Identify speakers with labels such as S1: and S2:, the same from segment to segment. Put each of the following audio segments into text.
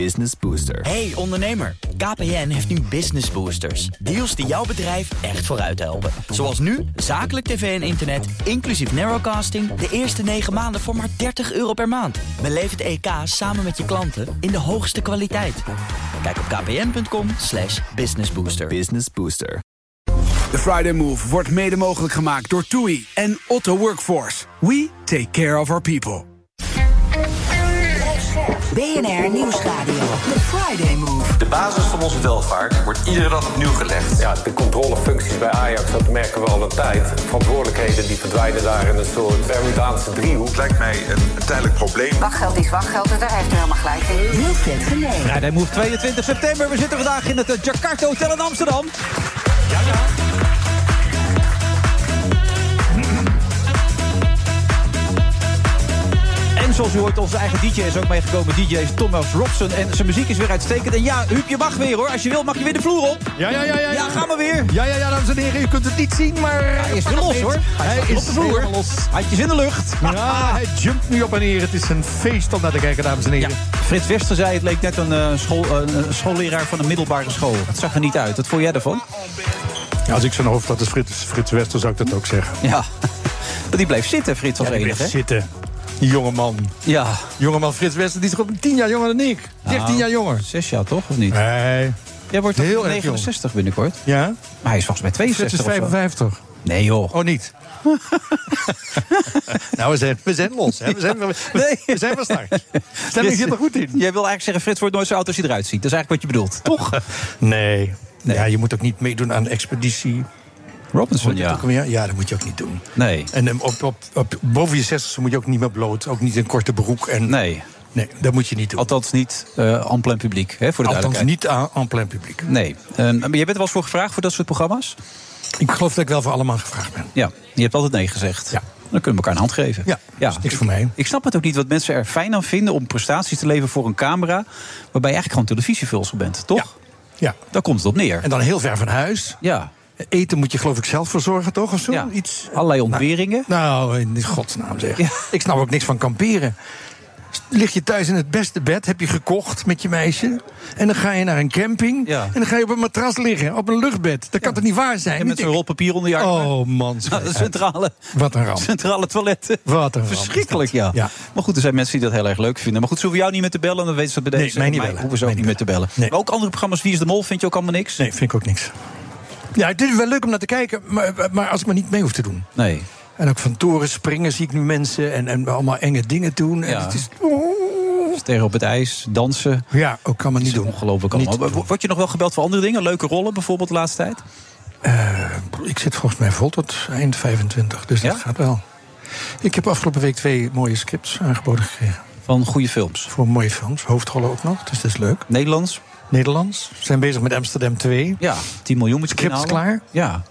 S1: Business Booster.
S2: Hey ondernemer, KPN heeft nu Business Boosters. Deals die jouw bedrijf echt vooruit helpen. Zoals nu, zakelijk tv en internet, inclusief narrowcasting... de eerste 9 maanden voor maar 30 euro per maand. Beleef het EK samen met je klanten in de hoogste kwaliteit. Kijk op kpn.com slash businessbooster.
S1: Business Booster.
S3: De Friday Move wordt mede mogelijk gemaakt door TUI en Otto Workforce. We take care of our people.
S4: BNR Nieuwsradio. The Friday Move.
S5: De basis van onze welvaart wordt iedere dag opnieuw gelegd.
S6: Ja, de controlefuncties bij Ajax, dat merken we al een tijd. Verantwoordelijkheden die verdwijnen daar in een soort Bermudaanse driehoek.
S5: Het lijkt mij een, een tijdelijk probleem.
S7: Wachtgeld is wachtgeld, dus daar heeft u helemaal gelijk in.
S4: Wilfred Genee.
S8: Friday Move 22 september. We zitten vandaag in het eh, Jakarta Hotel in Amsterdam. En zoals u hoort, onze eigen DJ is ook meegekomen. DJ is Thomas Robson. En zijn muziek is weer uitstekend. En ja, Huub, je mag weer hoor. Als je wil, mag je weer de vloer op.
S9: Ja, ja, ja, ja.
S8: Ja, ga maar weer.
S9: Ja, ja, ja, dames en heren, u kunt het niet zien, maar...
S8: Hij is weer los hoor. Hij, is op de vloer.
S9: helemaal los.
S8: Handjes in de lucht.
S9: Ja, hij jumpt nu op en neer. Het is een feest om naar te kijken, dames en
S8: Ja,
S9: heren.
S8: Frits Wester zei, het leek net een, eh, school, een, een schoolleraar van een middelbare school. Het zag er niet uit. Wat vond jij ervan?
S9: Als ik zo'n hoofd had als Frits, Frits Wester, zou ik dat ook zeggen.
S8: Ja, maar die bleef zitten, Frits als
S9: Ja, die
S8: enige.
S9: blijft
S8: hè?
S9: zitten. Die jonge man.
S8: Ja, Nou,
S9: Jonge man Frits Wester, die is toch tien jaar jonger dan ik? 13 jaar jonger.
S8: zes jaar toch, of niet?
S9: Nee.
S8: Jij wordt
S9: Heel erg
S8: 69 binnenkort.
S9: Ja?
S8: Maar hij is volgens mij
S9: Frits is
S8: 62 of zo.
S9: 55.
S8: Nee joh.
S9: Oh, niet? nou, we zijn, we zijn los. Hè? We, zijn, we,
S8: Nee.
S9: we zijn van start. Stemming zit er goed in.
S8: Jij wil eigenlijk zeggen, Frits wordt nooit zo oud als hij eruit ziet. Dat is eigenlijk wat je bedoelt. Toch?
S9: Nee.
S8: Nee.
S9: Ja, je moet ook niet meedoen aan een expeditie.
S8: Robinson,
S9: Moet je het
S8: ja.
S9: ook weer? Ja, dat moet je ook niet doen.
S8: Nee.
S9: En eh, op, op, op, boven je 60 moet je ook niet meer bloot. Ook niet in korte broek. En,
S8: Nee,
S9: Nee, dat moet je niet doen.
S8: althans niet eh en plein publiek, hè, voor de
S9: Althans
S8: duidelijkheid.
S9: niet aan, aan plein publiek.
S8: Nee. Ehm, maar je bent er wel eens voor gevraagd voor dat soort programma's?
S9: Ik geloof dat ik wel voor allemaal gevraagd ben.
S8: Ja, je hebt altijd nee gezegd.
S9: Ja.
S8: Dan kunnen we elkaar een hand geven.
S9: Ja, dat is niks voor mij.
S8: Ik snap het ook niet wat mensen er fijn aan vinden om prestaties te leveren voor een camera. waarbij je eigenlijk gewoon televisievulsel bent, toch?
S9: Ja.
S8: Daar komt het op neer.
S9: En dan heel ver van huis.
S8: Ja.
S9: Eten moet je geloof ik zelf verzorgen, toch? Of zo?
S8: ja.
S9: Iets. eh,
S8: Allerlei ontberingen.
S9: Nou, in godsnaam zeg.
S8: Ja.
S9: Ik snap ook niks van kamperen. Lig je thuis in het beste bed, heb je gekocht met je meisje. En dan ga je naar een camping.
S8: Ja.
S9: En dan ga je op een matras liggen, op een luchtbed. Dat kan toch niet waar zijn?
S8: en met
S9: Niet
S8: zo'n
S9: ik.
S8: rol papier onder je arm.
S9: Oh man,
S8: Nou, de centrale,
S9: Wat een ramp.
S8: centrale toiletten.
S9: Wat een ramp
S8: Verschrikkelijk,
S9: is
S8: ja.
S9: dat. Ja.
S8: Maar goed, er zijn mensen die dat heel erg leuk vinden. Maar goed, ze hoeven jou niet meer te bellen. Dan weten ze het bij
S9: Nee,
S8: deze.
S9: mij niet
S8: Mij
S9: bellen.
S8: hoeven ze ook
S9: Mij
S8: niet meer te bellen.
S9: Nee.
S8: Maar ook andere programma's. Wie is de Mol vind je ook allemaal niks?
S9: Nee, vind ik ook niks. Ja, dit is wel leuk om naar te kijken, maar, maar als ik maar niet mee hoef te doen.
S8: Nee.
S9: En ook van toren springen zie ik nu mensen en, en allemaal enge dingen doen. En
S8: Ja.
S9: het is,
S8: Sterren op het ijs, dansen.
S9: ja, ook kan me niet
S8: Niet
S9: doen.
S8: ongelooflijk
S9: Niet
S8: allemaal.
S9: doen.
S8: Word je nog wel gebeld voor andere dingen? Leuke rollen bijvoorbeeld de laatste tijd?
S9: eh, Ik zit volgens mij vol tot eind 25, dus
S8: Ja?
S9: dat gaat wel. Ik heb afgelopen week twee mooie scripts aangeboden gekregen.
S8: Van goede films.
S9: Voor mooie films, hoofdrollen ook nog, dus dat is leuk.
S8: Nederlands?
S9: Nederlands, we zijn bezig met Amsterdam 2.
S8: Ja, 10 miljoen moet je
S9: Script is
S8: binnenhalen. Ja.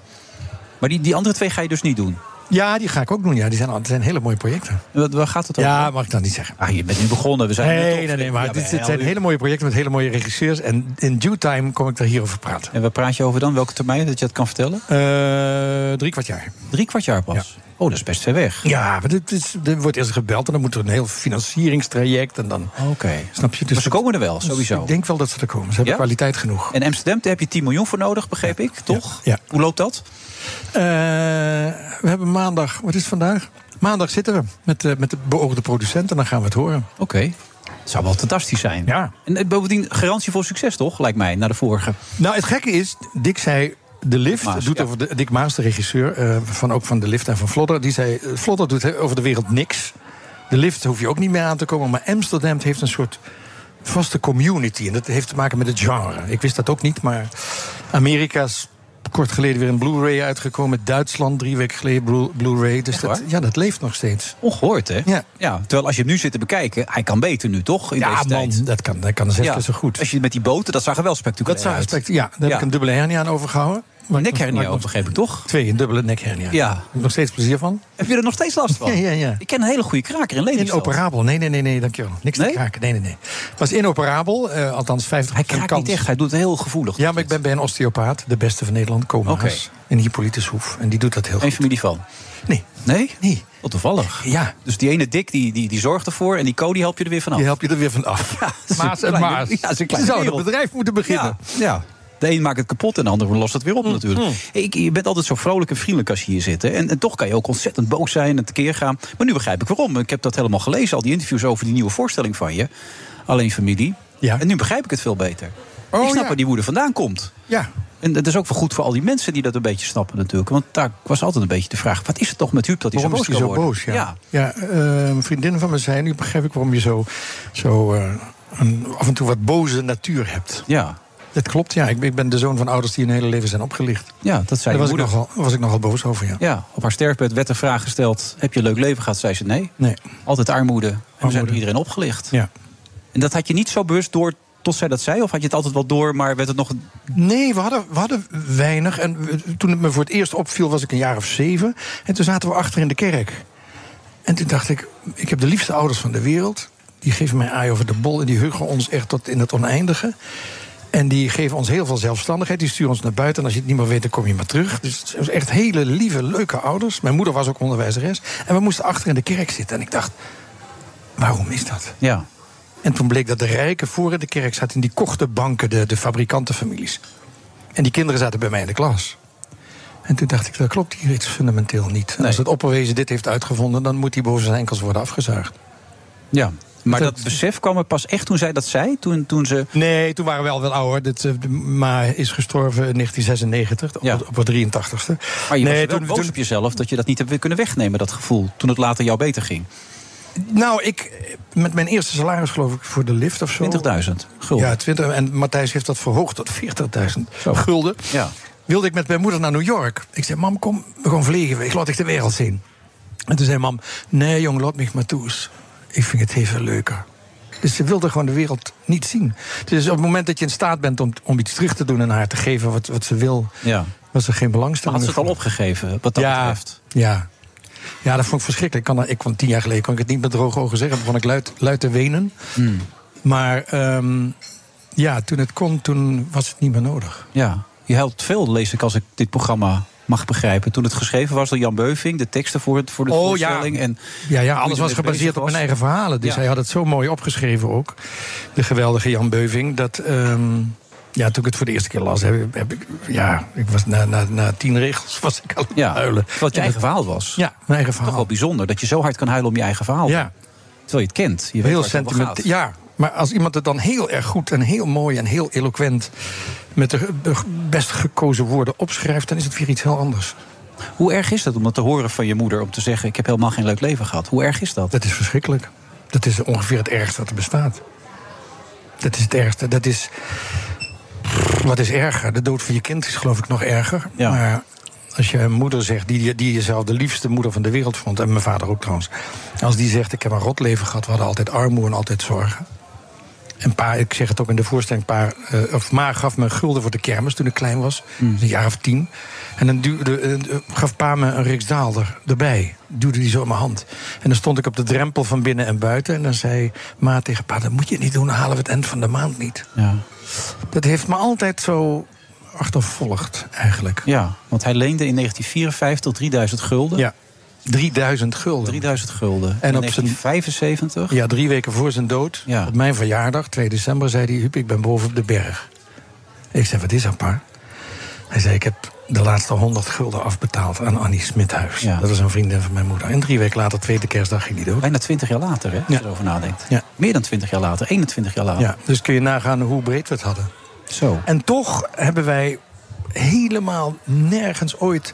S8: Maar die, die andere twee ga je dus niet doen.
S9: Ja, die ga ik ook doen, ja. Die zijn, al- dat zijn hele mooie projecten.
S8: Wat- Waar gaat het over?
S9: Ja, mag ik dat niet zeggen.
S8: Ah, je bent nu begonnen. We zijn net
S9: Nee,
S8: op-
S9: nee, nee,
S8: Ja,
S9: maar dit,
S8: bij
S9: dit zijn
S8: LU.
S9: hele mooie projecten met hele mooie regisseurs. En in due time kom ik daar hierover praten.
S8: En waar praat je over dan? Welke termijn dat je dat kan vertellen?
S9: Eh drie kwart jaar.
S8: Drie kwart jaar pas. Oh, dat is best ver weg.
S9: Ja, maar dit is, er wordt eerst gebeld en dan moet er een heel financieringstraject. En dan,
S8: Oké.
S9: snap je? Dus
S8: Maar ze komen er wel,
S9: dus
S8: sowieso.
S9: ik denk wel dat ze er komen. Ze hebben
S8: Ja?
S9: kwaliteit genoeg.
S8: En Amsterdam, daar heb je 10 miljoen voor nodig, begreep ik, toch?
S9: ja.
S8: Hoe loopt dat?
S9: Eh, we hebben maandag, wat is het vandaag? Maandag zitten we met, eh, met de beoogde producent en dan gaan we het horen.
S8: Oké. Het zou wel fantastisch zijn.
S9: Ja.
S8: En eh, bovendien garantie voor succes, toch? Lijkt mij, naar de vorige.
S9: Nou, het gekke is, Dick zei. De Lift
S8: Maas,
S9: doet
S8: ja.
S9: over de, Dick Maas, de regisseur eh, van ook van De Lift en van Vlodder. Die zei: eh, Vlodder doet he- over de wereld niks. De Lift hoef je ook niet meer aan te komen. Maar Amsterdam heeft een soort vaste community. En dat heeft te maken met het genre. Ik wist dat ook niet, maar Amerika is kort geleden weer een Blu-ray uitgekomen. Duitsland drie weken geleden Blu- Blu-ray. Dus dat,
S8: waar?
S9: ja, dat leeft nog steeds.
S8: Ongehoord, hè?
S9: Ja.
S8: Terwijl als je hem nu zit te bekijken, hij kan beter nu, toch? In
S9: ja,
S8: deze
S9: man,
S8: tijd.
S9: dat kan, dat kan zes
S8: Ja.
S9: keer zo goed.
S8: Als je met die boten, dat zag er wel spectaculair
S9: Dat zag
S8: uit.
S9: respect. Ja, daar heb
S8: Ja.
S9: ik een dubbele hernia aan overgehouden.
S8: Nekhernia
S9: nog-
S8: ook, begreep ik toch?
S9: Twee in dubbele nekhernia.
S8: Ja.
S9: Heb ik nog steeds plezier van?
S8: Heb je er nog steeds last van?
S9: Ja, ja, ja.
S8: Ik ken een hele goede kraker in
S9: In
S8: Lelystad.
S9: Inoperabel. Nee, nee, nee, nee, dankjewel. Niks
S8: Nee?
S9: te kraken. Nee, nee, nee. Het was inoperabel, eh althans 50%
S8: Hij kraakt
S9: kans.
S8: niet echt, hij doet het heel gevoelig.
S9: Ja, maar ik ben bij een osteopaat, de beste van Nederland, Komaas.
S8: Oké.
S9: En Hippolytus Hoef. En die doet dat heel
S8: Geen
S9: goed.
S8: familie van.
S9: Nee.
S8: Nee?
S9: Nee.
S8: Wat toevallig.
S9: Ja.
S8: Dus die ene Dick, die, die, die zorgt ervoor. En die Co, die help je er weer vanaf.
S9: Die help je er weer van af.
S8: Ja, dat is een
S9: maas en
S8: kleine-
S9: Maas.
S8: Ja, dat is een kleine
S9: Ze zouden een
S8: wereld.
S9: bedrijf moeten beginnen. Mm,
S8: Ja, ja. De een maakt het kapot en de ander lost het weer op natuurlijk. Hey, ik, je bent altijd zo vrolijk en vriendelijk als je hier zit. Hè? En, en toch kan je ook ontzettend boos zijn en tekeer gaan. Maar nu begrijp ik waarom. Ik heb dat helemaal gelezen, al die interviews over die nieuwe voorstelling van je. Alleen familie.
S9: Ja.
S8: En nu begrijp ik het veel beter.
S9: Oh,
S8: ik snap
S9: ja.
S8: waar die woede vandaan komt.
S9: Ja.
S8: En dat is ook wel goed voor al die mensen die dat een beetje snappen natuurlijk. Want daar was altijd een beetje de vraag... wat is het toch met Huub dat hij
S9: Waarom
S8: zo
S9: is
S8: boos
S9: hij
S8: kan
S9: zo
S8: worden?
S9: boos? Ja. ja. eh, een vriendin van me zei, nu begrijp ik waarom je zo, zo eh, een, af en toe wat boze natuur hebt.
S8: ja.
S9: Dat klopt, ja. Ik, ben- ik ben de zoon van ouders die hun hele leven zijn opgelicht.
S8: Ja, dat zei
S9: Daar
S8: je
S9: was ik,
S8: moeder.
S9: nogal, was ik nogal boos over, ja.
S8: Ja, op haar sterfbed werd de vraag gesteld... heb je een leuk leven gehad? Zei ze nee.
S9: Nee.
S8: Altijd armoede. En we zijn
S9: Armoede.
S8: door iedereen opgelicht.
S9: Ja.
S8: En dat had je niet zo bewust door tot zij dat zei? Of had je het altijd wel door, maar werd het nog...
S9: Nee, we hadden, we hadden weinig. En we- toen het me voor het eerst opviel, was ik een jaar of zeven. En toen zaten we achter in de kerk. En toen dacht ik, ik heb de liefste ouders van de wereld. Die geven mij aai over de bol en die huggen ons echt tot in het oneindige. En die geven ons heel veel zelfstandigheid. Die sturen ons naar buiten. En als je het niet meer weet, dan kom je maar terug. Dus het zijn echt hele lieve, leuke ouders. Mijn moeder was ook onderwijzeres. En we moesten achter in de kerk zitten. En ik dacht, waarom is dat?
S8: Ja,
S9: En toen bleek dat de rijken voor in de kerk zaten. En die kochten banken, de, de fabrikantenfamilies. En die kinderen zaten bij mij in de klas. En toen dacht ik, dat klopt hier iets fundamenteel niet. En als het opperwezen dit heeft uitgevonden... dan moet die boven zijn enkels worden afgezaagd.
S8: ja. Maar dat,
S9: Dat-
S8: besef kwam er pas echt toen zij dat zei? Toen, toen ze...
S9: Nee, toen waren we al wel ouder. Dit, eh, de ma is gestorven in 1996, op
S8: Ja.
S9: het- op haar 83ste.
S8: Maar je
S9: nee,
S8: was wel boos op jezelf dat je dat niet hebt kunnen wegnemen, dat gevoel. Toen het later jou beter ging.
S9: Nou, ik, eh, met mijn eerste salaris geloof ik voor de lift of zo...
S8: 20.000 gulden.
S9: Ja, 20. En Matthijs heeft dat verhoogd tot 40.000
S8: Zo.
S9: gulden.
S8: Ja.
S9: Wilde ik met mijn moeder naar New York. Ik zei, mam, kom, we gaan vliegen. Ik laat ik de wereld zien. En toen zei mam, nee jong, laat me maar toe. Ik vind het heel veel leuker. Dus ze wilde gewoon de wereld niet zien. Dus op het moment dat je in staat bent om, om iets terug te doen... en haar te geven wat, wat ze wil,
S8: Ja.
S9: was er geen
S8: Maar
S9: belangstelling
S8: had ze het al
S9: meer voor.
S8: opgegeven, wat dat
S9: ja,
S8: betreft?
S9: ja. ja, dat vond ik verschrikkelijk. Ik, kan, ik, want tien jaar geleden kon ik het niet met droge ogen zeggen. Begon ik luid, luid te wenen.
S8: Hmm.
S9: Maar ehm, ja, toen het kon, toen was het niet meer nodig.
S8: Ja, je helpt veel, lees ik als ik dit programma mag begrijpen. Toen het geschreven was door Jan Beuving, de teksten voor, het, voor de
S9: Oh, ja.
S8: voorstelling. En
S9: Ja, ja
S8: Hoe
S9: alles
S8: je
S9: was
S8: ermee bezig
S9: gebaseerd op
S8: was.
S9: mijn eigen verhalen. Dus
S8: Ja.
S9: hij had het zo mooi opgeschreven ook. De geweldige Jan Beuving. Dat, ehm, ja, toen ik het voor de eerste keer las, heb, heb ik, ja, ik was na, na, na tien regels was ik al
S8: ja,
S9: ja. huilen.
S8: wat je
S9: Ja,
S8: eigen verhaal was.
S9: Ja, mijn eigen
S8: Toch wel
S9: verhaal.
S8: bijzonder dat je zo hard kan huilen om je eigen verhaal.
S9: Ja,
S8: Terwijl je het kent. Je weet
S9: heel
S8: waar het over
S9: sentiment.
S8: gaat.
S9: Ja, maar als iemand het dan heel erg goed en heel mooi en heel eloquent met de ge- de best gekozen woorden opschrijft, dan is het weer iets heel anders.
S8: Hoe erg is dat om dat te horen van je moeder? Om te zeggen, ik heb helemaal geen leuk leven gehad. Hoe erg is dat?
S9: Dat is verschrikkelijk. Dat is ongeveer het ergste wat er bestaat. Dat is het ergste. Dat is. Wat is erger? De dood van je kind is geloof ik nog erger.
S8: Ja.
S9: Maar als je een moeder zegt, die, die jezelf de liefste moeder van de wereld vond, en mijn vader ook trouwens. Als die zegt, ik heb een rot leven gehad, we hadden altijd armoede en altijd zorgen. En pa, ik zeg het ook in de voorstelling, pa, eh, of ma gaf me een gulden voor de kermis toen ik klein was. dus Een jaar of tien. En dan duwde, eh, eh, gaf pa me een riksdaalder erbij. Duwde die zo in mijn hand. En dan stond ik op de drempel van binnen en buiten. En dan zei ma tegen pa, dat moet je niet doen, dan halen we het eind van de maand niet.
S8: Ja.
S9: Dat heeft me altijd zo achtervolgd, eigenlijk.
S8: ja, want hij leende in 1954 3000 gulden.
S9: Ja. 3000 gulden.
S8: 3000 gulden. En,
S9: op
S8: in
S9: zijn-
S8: 1975.
S9: Ja, drie weken voor zijn dood.
S8: Ja.
S9: Op mijn verjaardag, 2 december, zei hij... Huub, ik ben boven op de berg. Ik zei, wat is dat, pa? Hij zei, ik heb de laatste 100 gulden afbetaald aan Annie Smithuis.
S8: Ja.
S9: Dat was een vriendin van mijn moeder. En drie weken later, tweede kerstdag, ging hij dood.
S8: Bijna 20 jaar later, hè, als
S9: Ja.
S8: je erover nadenkt.
S9: Ja.
S8: Meer dan 20 jaar later, 21 jaar later.
S9: Ja, dus kun je nagaan hoe breed we het hadden.
S8: Zo.
S9: En toch hebben wij helemaal nergens ooit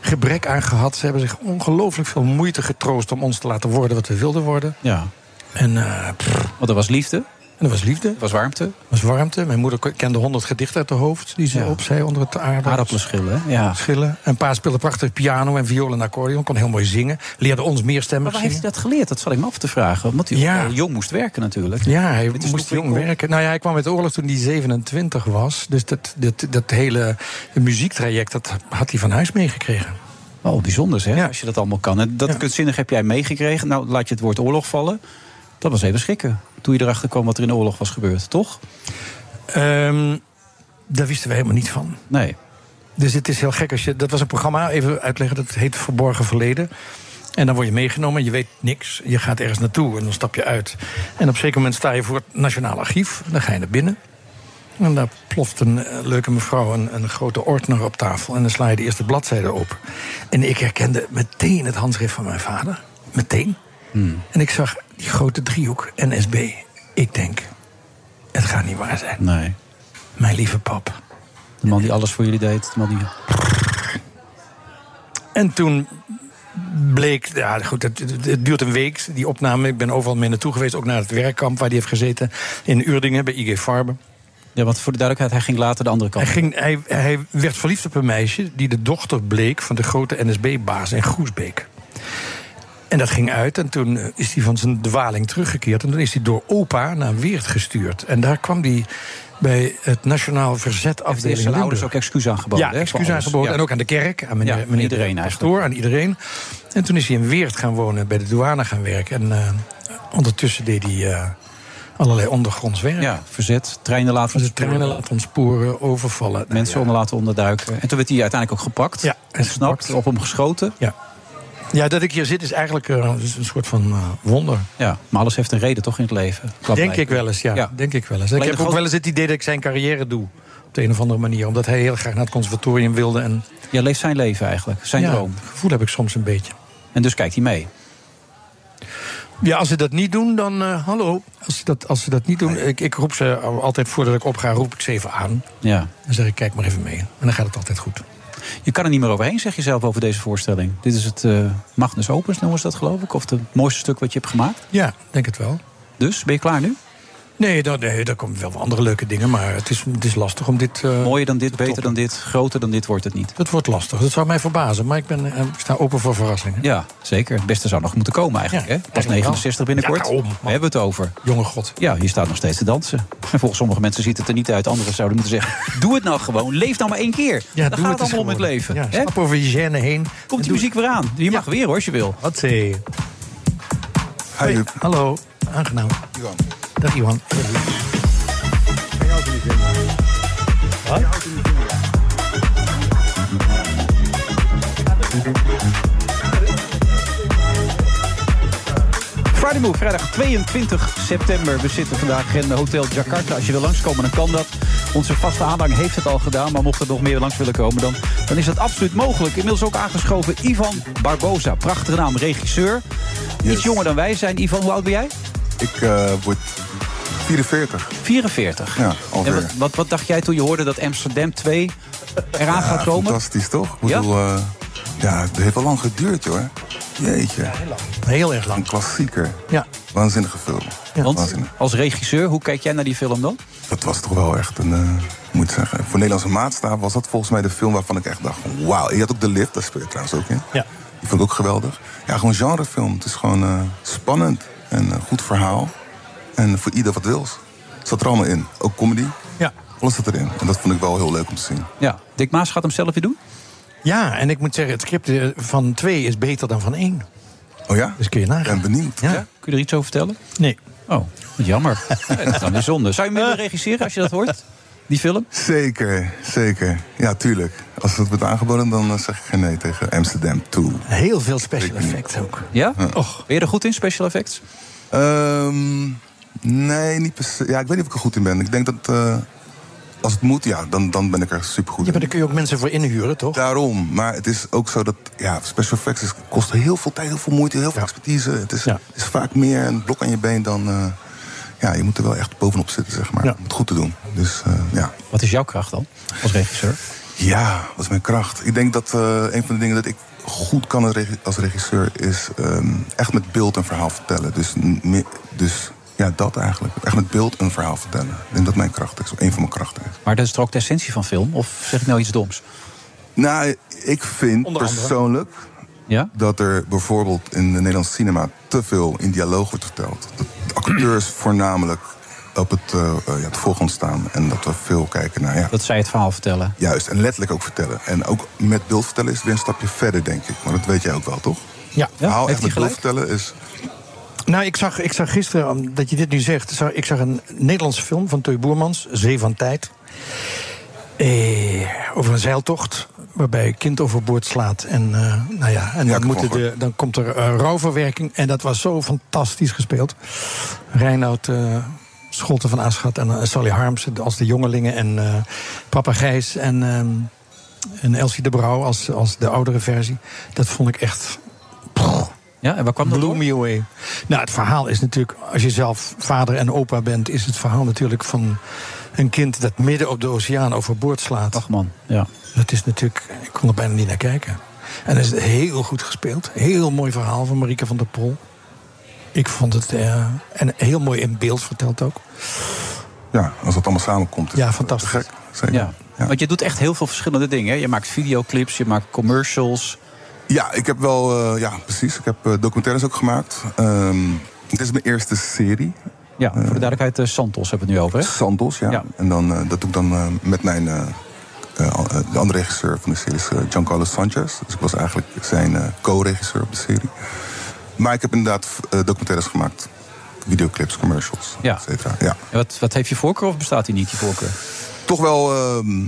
S9: gebrek aan gehad. Ze hebben zich ongelooflijk veel moeite getroost om ons te laten worden wat we wilden worden.
S8: Ja,
S9: En eh, pff,
S8: want er was liefde.
S9: En er was liefde, er
S8: was warmte.
S9: was warmte. Mijn moeder kende honderd gedichten uit de hoofd die ze
S8: Ja.
S9: opzij onder het aardappel.
S8: Aardappelschillen, hè? Ja.
S9: Schillen. En pa speelde prachtig piano en viool en accordeon. Kon heel mooi zingen. Leerde ons
S8: Maar
S9: meerstemmig
S8: waar
S9: zingen.
S8: heeft hij dat geleerd? Dat zal ik me af te vragen. Omdat hij
S9: Ja.
S8: ook wel jong moest werken natuurlijk.
S9: Ja, hij
S8: Dit is
S9: moest
S8: nog
S9: jong
S8: winkel.
S9: werken. Nou ja, hij kwam met de oorlog toen hij 27 was. Dus dat, dat, dat hele muziektraject dat had hij van huis meegekregen.
S8: Wel bijzonders, hè?
S9: Ja.
S8: Als je dat allemaal kan. En dat
S9: Ja.
S8: kunstzinnig heb jij meegekregen. Nou, laat je het woord oorlog vallen. Dat was even schrikken. Toen je erachter kwam wat er in de oorlog was gebeurd, toch?
S9: Ehm, daar wisten we helemaal niet van.
S8: Nee.
S9: Dus het is heel gek als je. Dat was een programma, even uitleggen, dat heet Verborgen Verleden. En dan word je meegenomen, je weet niks. Je gaat ergens naartoe en dan stap je uit. En op een zeker moment sta je voor het Nationaal Archief. Dan ga je naar binnen. En daar ploft een eh, leuke mevrouw een, een grote ordner op tafel. En dan sla je de eerste bladzijde op. En ik herkende meteen het handschrift van mijn vader. Meteen. En ik zag die grote driehoek NSB. Ik denk, het gaat niet waar zijn.
S8: Nee.
S9: Mijn lieve pap.
S8: De man die alles voor jullie deed. De man die...
S9: En toen bleek, ja goed, het, het- het duurt een week, die opname. Ik ben overal mee naartoe geweest, ook naar het werkkamp waar hij heeft gezeten. In Uerdingen bij IG Farben.
S8: Ja, want voor de duidelijkheid, hij ging later de andere kant.
S9: Hij, ging, hij, hij werd verliefd op een meisje die de dochter bleek van de grote NSB-baas in Groesbeek. En dat ging uit en toen eh, is hij van zijn dwaling teruggekeerd. En toen is hij door opa naar Weert gestuurd. En daar kwam hij bij het Nationaal Verzet
S8: Heeft hij
S9: afdeling
S8: zijn ouders
S9: Limburg.
S8: ook excuus aangeboden. hè,
S9: Ja,
S8: voor
S9: excuus
S8: alles.
S9: aangeboden.
S8: Ja.
S9: En ook aan de kerk, aan meneer,
S8: Ja, aan
S9: meneer
S8: iedereen
S9: de
S8: eigenlijk.
S9: pastoor, aan iedereen. En toen is hij in Weert gaan wonen, bij de douane gaan werken. En eh, ondertussen deed hij eh, allerlei ondergronds werk.
S8: Ja, verzet, treinen laten
S9: Dus de treinen laten ontsporen, overvallen. Nou
S8: mensen onder laten onderduiken. En toen werd hij uiteindelijk ook gepakt.
S9: Ja,
S8: en snapt,
S9: gepakt.
S8: op hem geschoten.
S9: Ja. ja, dat ik hier zit is eigenlijk eh, is een soort van eh, wonder.
S8: Ja, maar alles heeft een reden toch in het leven? Klap
S9: Denk
S8: lijkt
S9: ik wel eens, ja.
S8: Ja.
S9: Denk ik wel eens. Ik
S8: Alleen
S9: heb
S8: de
S9: ook
S8: grote-
S9: wel eens het idee dat ik zijn carrière doe. Op de een of andere manier. Omdat hij heel graag naar het conservatorium wilde. En
S8: me. Ja, leeft zijn leven eigenlijk, zijn
S9: ja,
S8: droom.
S9: dat gevoel heb ik soms een beetje.
S8: En dus kijkt hij mee.
S9: Ja, als ze dat niet doen, dan eh, hallo. Als ze, dat, als ze dat niet doen, ik, ik roep ze al- altijd voordat ik opga, roep ik ze even aan.
S8: Ja.
S9: Dan zeg ik, kijk maar even mee. En dan gaat het altijd goed.
S8: Je kan er niet meer overheen, zeg je zelf over deze voorstelling. Dit is het eh, Magnus Opus, noemen ze dat geloof ik. Of het mooiste stuk wat je hebt gemaakt.
S9: Ja, denk het wel.
S8: Dus, ben je klaar nu?
S9: Nee, eh, daar nee, daar komen wel wat andere leuke dingen, maar het is, het is lastig om dit... eh,
S8: Mooier dan dit, beter
S9: toppen.
S8: dan dit, groter dan dit wordt het niet.
S9: Dat wordt lastig. Dat zou mij verbazen, maar ik, ben, eh, ik sta open voor verrassingen.
S8: Ja, zeker. Het beste zou nog moeten komen eigenlijk.
S9: Ja,
S8: hè? Pas
S9: eigenlijk wel.
S8: 69 binnenkort.
S9: Ja, daarom.
S8: We hebben het over.
S9: Jonge god.
S8: Ja, je staat nog steeds te dansen. En volgens sommige mensen ziet het er niet uit. Anderen zouden moeten zeggen, doe het nou gewoon. Leef nou maar één keer.
S9: Ja, doe
S8: Dan gaat
S9: het eens
S8: het allemaal om het
S9: gewoon.
S8: leven.
S9: Ja,
S8: hè?
S9: stap over je gêne heen.
S8: Komt die muziek weer aan. Je mag weer hoor, als je wil.
S9: Wat zee.
S5: Hij
S9: Hey, hallo. Aangenaam.
S1: Johan.
S9: Dag Johan.
S8: Friday Move, vrijdag 22 september. We zitten vandaag in Hotel Jakarta. Als je wil langskomen, dan kan dat. Onze vaste aanhang heeft het al gedaan. Maar mocht er nog meer langs willen komen, dan, dan is dat absoluut mogelijk. Inmiddels ook aangeschoven Ivan Barbosa. Prachtige naam, regisseur. Iets
S1: Yes.
S8: jonger dan wij zijn. Ivan, hoe oud ben jij?
S1: Ik eh, word 44.
S8: 44.
S1: Ja, alweer.
S8: En wat, wat, wat dacht jij toen je hoorde dat Amsterdam 2 eraan gaat komen?
S1: Fantastisch, toch? Ik
S8: Ja?
S1: bedoel, eh, ja, het heeft wel lang geduurd, hoor. Jeetje,
S9: Heel erg
S1: een
S9: lang.
S1: klassieker.
S9: Ja.
S1: Waanzinnige film.
S8: Want
S1: Waanzinnig.
S8: als regisseur, hoe kijk jij naar die film dan?
S1: Dat was toch wel echt een, eh, moet ik zeggen, voor Nederlandse maatstaaf was dat volgens mij de film waarvan ik echt dacht, van, wauw. Je had ook De Lift, daar speel je trouwens ook in.
S9: Ja.
S1: Die vond ik ook geweldig. Ja, gewoon genrefilm. Het is gewoon eh, spannend en een goed verhaal. En voor ieder wat wils. Het zat er allemaal in. Ook comedy.
S9: Ja.
S1: Alles zat erin. En dat vond ik wel heel leuk om te zien.
S8: Ja, Dick Maas gaat hem zelf weer doen.
S9: Ja, en ik moet zeggen, het script eh, van twee is beter dan van één.
S1: Oh ja?
S9: Dus kun je nagaan.
S1: Ik ben benieuwd.
S9: Ja.
S8: Kun je er iets over vertellen?
S9: Nee.
S8: Oh, wat jammer. Ja, dat is dan weer zonde. Zou je hem willen regisseren als je dat hoort? Die film?
S1: Zeker, zeker. Ja, tuurlijk. Als het wordt aangeboden, dan eh, zeg ik geen nee tegen Amsterdam 2.
S9: Heel veel special effects ook.
S8: Ja?
S9: Och.
S8: Ben je er goed in, special effects?
S1: Ehm, nee, niet per se. Ja, ik weet niet of ik er goed in ben. Ik denk dat eh, als het moet, ja, dan, dan ben ik er supergoed
S9: Ja, maar
S1: in.
S9: daar kun je ook mensen voor inhuren, toch?
S1: Daarom. Maar het is ook zo dat ja, special effects is- kost heel veel tijd, heel veel moeite, heel veel
S9: Ja.
S1: expertise. Het is,
S9: Ja.
S1: het is vaak meer een blok aan je been dan... eh, ja, je moet er wel echt bovenop zitten, zeg maar,
S9: Ja.
S1: om het goed te doen. Dus eh, ja,
S8: Wat is jouw kracht dan, als regisseur?
S1: Ja, wat is mijn kracht? Ik denk dat eh, een van de dingen dat ik goed kan als regi- als regisseur is ehm, echt met beeld een verhaal vertellen. Dus, n- me- dus Ja, dat eigenlijk. Echt met beeld een verhaal vertellen. Ik denk dat mijn kracht is, een van mijn krachten is.
S8: Maar dat is toch ook de essentie van film? Of zeg ik nou iets doms?
S1: Nou, ik vind
S8: Onder andere.
S1: persoonlijk dat er bijvoorbeeld in de Nederlandse cinema te veel in dialoog wordt verteld. Dat de acteurs voornamelijk op het, eh, eh, ja, het voorgrond staan en dat we veel kijken naar. Ja.
S8: Dat zij het verhaal vertellen.
S1: Juist, en letterlijk ook vertellen. En ook met beeld vertellen is weer een stapje verder, denk ik. Maar dat weet jij ook wel, toch?
S9: Ja.
S1: Verhaal echt met beeld vertellen is.
S9: Nou, ik zag, ik zag gisteren, um, dat je dit nu zegt... zag- ik zag een Nederlandse film van Teu Boermans, Zee van Tijd... Eh, over een zeiltocht waarbij een kind overboord slaat. En, eh, nou ja, en dan,
S1: ik
S9: moeten
S1: volg het.
S9: de, dan komt er eh, rouwverwerking. En dat was zo fantastisch gespeeld. Reinoud eh, Scholten van Aschat en eh, Sally Harms als de jongelingen. En eh, Papa Gijs en, ehm, en Elsie de Brouw als, als de oudere versie. Dat vond ik echt
S8: Ja, en waar kwam dat
S9: Blew
S8: door?
S9: me away. Nou, het verhaal is natuurlijk, als je zelf vader en opa bent, is het verhaal natuurlijk van een kind dat midden op de oceaan overboord slaat. Ach
S8: man, ja.
S9: Dat is natuurlijk, ik kon er bijna niet naar kijken. En dat is heel goed gespeeld. Heel mooi verhaal van Marieke van der Pol. Ik vond het, eh, en heel mooi in beeld verteld ook.
S1: Ja, als dat allemaal samenkomt. is
S9: Ja,
S1: het
S9: fantastisch.
S1: Gek, zeker.
S8: Ja. Want je doet echt heel veel verschillende dingen. Hè? Je maakt videoclips, je maakt commercials.
S1: Ja, ik heb wel, eh, ja, precies. Ik heb eh, documentaires ook gemaakt. Ehm, dit is mijn eerste serie.
S8: Ja, voor de duidelijkheid, eh, Santos hebben we het nu over. Hè?
S1: Santos, ja. En dan, eh, dat doe ik dan eh, met mijn, eh, eh, al- eh, de andere regisseur van de serie is eh, Giancarlo Sanchez. Dus ik was eigenlijk zijn eh, co-regisseur op de serie. Maar ik heb inderdaad eh, documentaires gemaakt. Videoclips, commercials,
S8: Ja.
S1: et cetera. Ja.
S8: En Wat, wat heeft je voorkeur of bestaat die niet, je voorkeur?
S1: toch wel ehm,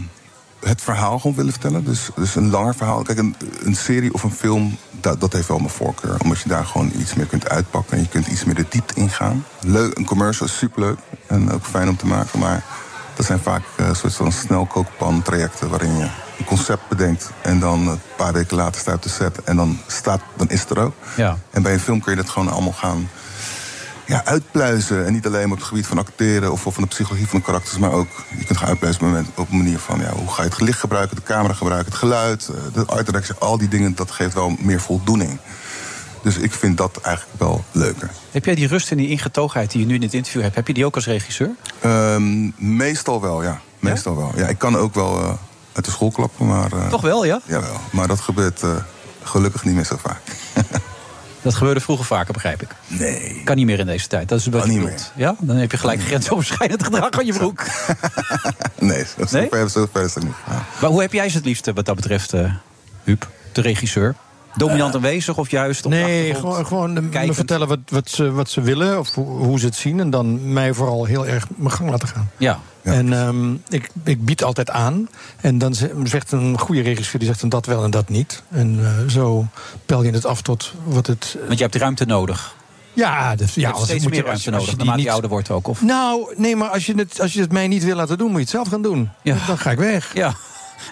S1: het verhaal gewoon willen vertellen. Dus, dus een langer verhaal. Kijk, een, een serie of een film, dat, dat heeft wel mijn voorkeur. Omdat je daar gewoon iets meer kunt uitpakken en je kunt iets meer de diepte ingaan. Leuk, een commercial is superleuk en ook fijn om te maken. Maar dat zijn vaak eh soort van snelkookpan trajecten waarin je een concept bedenkt. En dan een paar weken later staat de set en dan, staat, dan is het er ook.
S8: Ja.
S1: En bij een film kun je dat gewoon allemaal gaan ja, uitpluizen. En niet alleen maar op het gebied van acteren of of van de psychologie van de karakters, maar ook je kunt gaan uitpluizen op een moment- op een manier van ja, hoe ga je het licht gebruiken, de camera gebruiken, het geluid, eh, de art direction, al die dingen, dat geeft wel meer voldoening. Dus ik vind dat eigenlijk wel leuker.
S8: Heb jij die rust en die ingetogenheid die je nu in dit interview hebt, heb je die ook als regisseur?
S1: Ehm, meestal wel, ja. Meestal wel. Ja, ik kan ook wel eh, uit de school klappen, maar. eh,
S8: Toch wel, ja?
S1: Jawel, maar dat gebeurt eh, gelukkig niet meer zo vaak.
S8: Dat gebeurde vroeger vaker, begrijp ik.
S1: Nee.
S8: Kan niet meer in deze tijd. Dat is wat
S1: Kan
S8: je
S1: niet
S8: bedoelt. Ja? Dan heb je gelijk grensoverschrijdend gedrag aan je broek.
S1: Nee, dat is zover, zover is het niet. Ja.
S8: Ah. Maar hoe heb jij ze het liefste wat dat betreft, eh Huub, de regisseur? Dominant aanwezig of juist? Op de
S9: Eh, Nee,
S8: achtergrond?
S9: gewoon, gewoon eh, me
S8: Kijkend.
S9: vertellen wat, wat, ze, wat ze willen of hoe, hoe ze het zien. En dan mij vooral heel erg mijn gang laten gaan.
S8: Ja.
S9: en ehm, ik, ik bied altijd aan. En dan ze- zegt een goede regisseur, die zegt dan dat wel en dat niet. En eh, zo pel je het af tot wat het... eh,
S8: Want je hebt die ruimte nodig.
S9: Ja, dus,
S8: je
S9: ja
S8: hebt
S9: als
S8: steeds
S9: moet
S8: meer
S9: je, als
S8: ruimte
S9: je, als
S8: nodig.
S9: je die
S8: naarmate
S9: niet...
S8: je ouder wordt ook. Of,
S9: Nou, nee, maar als je, het, als je het mij niet wil laten doen, moet je het zelf gaan doen. Dan- Dan ga ik weg.
S8: ja.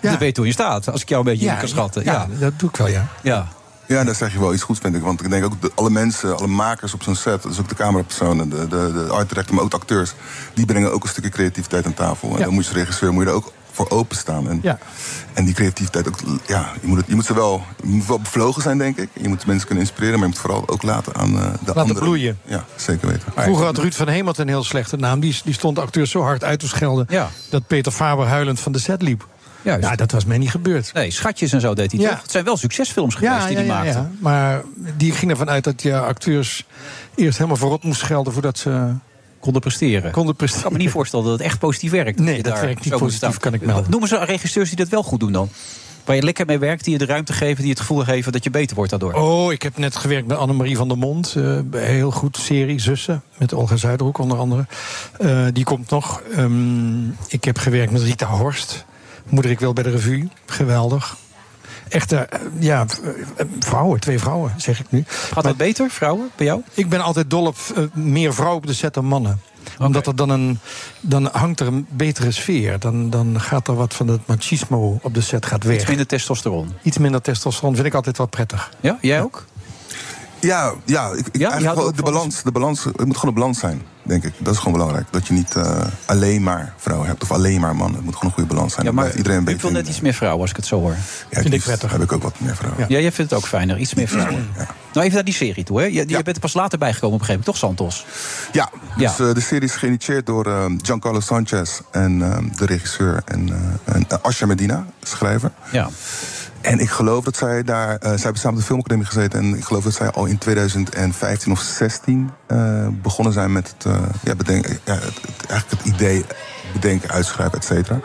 S8: Dan weet je hoe je staat. Als ik jou een beetje in
S9: Ja,
S8: kan schatten.
S9: ja,
S8: Ja.
S9: dat doe ik wel, ja.
S8: Ja.
S1: Ja, daar zeg je wel iets goeds, vind ik. Want ik denk ook de, alle mensen, alle makers op zo'n set... dus ook de camerapersonen, de, de, de art director, maar ook de acteurs... die brengen ook een stukje creativiteit aan tafel. En
S9: Ja.
S1: dan moet je als regisseur moet je daar ook voor openstaan. En,
S9: Ja.
S1: en die creativiteit ook... Ja, je moet, het, je moet ze wel, je moet wel bevlogen zijn, denk ik. Je moet mensen kunnen inspireren, maar je moet vooral ook laten aan eh, de anderen.
S9: bloeien.
S1: Ja, zeker weten.
S9: Vroeger had Ruud van Hemert een heel slechte naam. Die, die stond de acteurs zo hard uit te schelden...
S8: Ja.
S9: dat Peter Faber huilend van de set liep.
S8: Juist.
S9: Ja, dat was mij niet gebeurd.
S8: Nee, schatjes en zo deed hij
S9: Ja.
S8: toch? Het zijn wel succesfilms geweest die hij maakte.
S9: Maar die ging ervan uit dat je acteurs eerst helemaal voorop moest schelden... voordat ze
S8: Konden
S9: konden
S8: presteren. Ik kan me
S9: presteren.
S8: niet voorstellen dat het echt positief werkt.
S9: Nee,
S8: je
S9: dat
S8: daar
S9: werkt niet
S8: zo moet
S9: positief,
S8: staan.
S9: kan ik melden.
S8: Noemen ze nou regisseurs die dat wel goed doen dan? Waar je lekker mee werkt, die je de ruimte geven... die het gevoel geven dat je beter wordt daardoor.
S9: Oh, ik heb net gewerkt met Annemarie van der Mond. eh, bij een heel goed serie, Zussen. Met Olga Zuiderhoek onder andere. Eh, die komt nog. Ehm, ik heb gewerkt met Rita Horst. Moeder ik wil bij de revue. Geweldig. Echte, eh, ja, v- eh, vrouwen. Twee vrouwen, zeg ik nu.
S8: Gaat dat beter, vrouwen, bij jou?
S9: Ik ben altijd dol op eh, meer vrouwen op de set dan mannen. Omdat er dan een. dan hangt er een betere sfeer. Dan, dan gaat er wat van het machismo op de set gaat
S8: Iets
S9: weg.
S8: minder testosteron.
S9: Iets minder testosteron vind ik altijd wel prettig.
S8: Ja, jij ook?
S1: Ja, ja, ik, ik,
S8: je
S1: eigenlijk
S8: houdt
S1: wel
S8: ook
S1: de
S8: van-
S1: balans, de balans. Het moet gewoon een balans zijn. denk ik. Dat is gewoon belangrijk. Dat je niet eh, alleen maar vrouwen hebt of alleen maar mannen. Het moet gewoon een goede balans zijn.
S8: Ja,
S1: Dan
S8: maar
S1: blijft iedereen een
S8: ik
S1: beetje eh,
S8: wil net iets meer vrouwen als ik het zo hoor.
S1: vind ik prettig. Heb ik ook wat meer vrouwen.
S8: Ja. jij vindt het ook fijner, iets meer vrouwen. Nou, even naar die serie toe. Hè. Je, je bent er pas later bijgekomen op een gegeven moment, toch Santos?
S1: Ja, dus eh, de serie is geïnitieerd door eh, Giancarlo Sanchez en eh, de regisseur en, eh, en Asha Medina, schrijver.
S8: Ja.
S1: En ik geloof dat zij daar, eh, zij hebben samen op de filmacademie gezeten en ik geloof dat zij al in 2015 of 16 eh, begonnen zijn met het, eh, ja, bedenken, ja, het, het- eigenlijk het idee bedenken, uitschrijven, et cetera.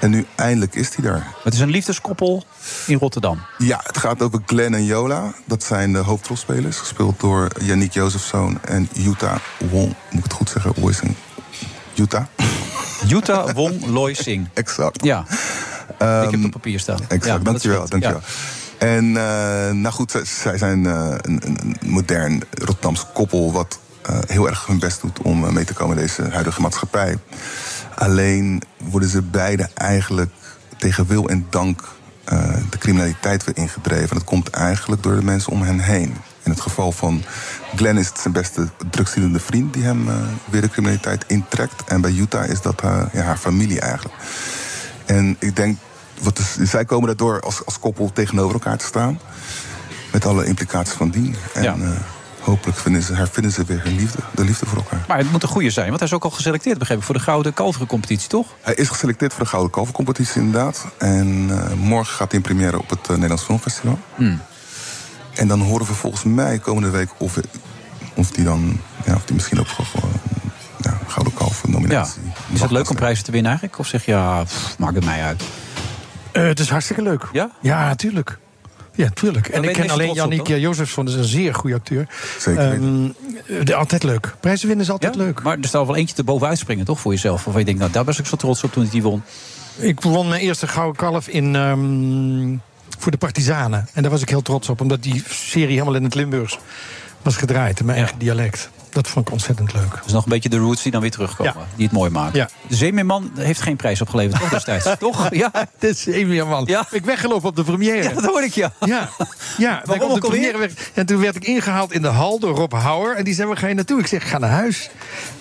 S1: En nu eindelijk is die daar.
S8: Het is een liefdeskoppel in Rotterdam.
S1: Ja, het gaat over Glenn en Yola. Dat zijn de hoofdrolspelers, gespeeld door Yannick Jozefzoon en Utah Wong. Moet ik het goed zeggen? Woising. Utah.
S8: Utah Wong Loi Singh.
S1: Exact.
S8: Ja. ik heb het
S1: Ehm,
S8: op papier staan.
S1: Exact,
S8: Ja, maar dat
S1: dankjewel.
S8: scheelt.
S1: dankjewel.
S8: Ja.
S1: En eh, nou goed, zij- zij zijn eh, een, een een modern Rotterdams koppel... wat eh, heel erg hun best doet om eh, mee te komen in deze huidige maatschappij. Alleen worden ze beide eigenlijk tegen wil en dank... eh, de criminaliteit weer ingedreven. En dat komt eigenlijk door de mensen om hen heen. In het geval van Glenn is het zijn beste drugsdealende vriend... die hem eh, weer de criminaliteit intrekt. En bij Utah is dat haar- ja, haar familie eigenlijk. En ik denk, wat is, zij komen daardoor als, als koppel tegenover elkaar te staan. Met alle implicaties van dien. En eh, hopelijk vinden ze, hervinden ze weer hun liefde, de liefde voor elkaar.
S8: Maar het moet een goede zijn, want hij is ook al geselecteerd, begrepen, voor de Gouden Kalverencompetitie, toch?
S1: Hij is geselecteerd voor de Gouden Kalvercompetitie inderdaad. En eh, morgen gaat hij in première op het eh, Nederlands Filmfestival. En dan horen we volgens mij komende week of, of die dan... Ja, of die misschien ook gewoon ja, Gouden Kalf
S8: Ja.
S1: nominatie.
S8: Is het leuk om prijzen te winnen eigenlijk? Of zeg je, ja, pff, maakt het mij uit?
S9: Eh, het is hartstikke leuk.
S8: Ja?
S9: Ja, tuurlijk. Ja, tuurlijk.
S8: Dan
S9: En
S8: ben
S9: ik ken
S8: je niks
S9: alleen
S8: trots op,
S9: Jannik
S8: toch?
S9: Jozefsson, dat is een zeer goede acteur.
S1: Zeker
S9: Ehm, de- altijd leuk. Prijzen winnen is altijd leuk.
S8: Maar er staat wel eentje te bovenuit springen, toch, voor jezelf? Of je denkt, nou, daar was ik zo trots op toen ik die won.
S9: Ik won mijn eerste gouden kalf in, ehm, voor de Partizanen. En daar was ik heel trots op, omdat die serie helemaal in het Limburgs was gedraaid. In mijn eigen dialect. Dat vond ik ontzettend leuk.
S8: Dus nog een beetje de roots die dan weer terugkomen.
S9: Ja.
S8: Die het mooi maken.
S9: Ja.
S8: De Zeemeerman heeft geen prijs opgeleverd, toch destijds? toch? Ja,
S9: dat is even man. Ik weggelopen op de première.
S8: Ja, dat hoor ik, ja.
S9: Ja, ja
S8: Waarom
S9: ik op de
S8: ook alweer?
S9: première weg. En toen werd ik ingehaald in de hal door Rob Houwer. En die zei, waar ga je naartoe? Ik zeg, ik ga naar huis.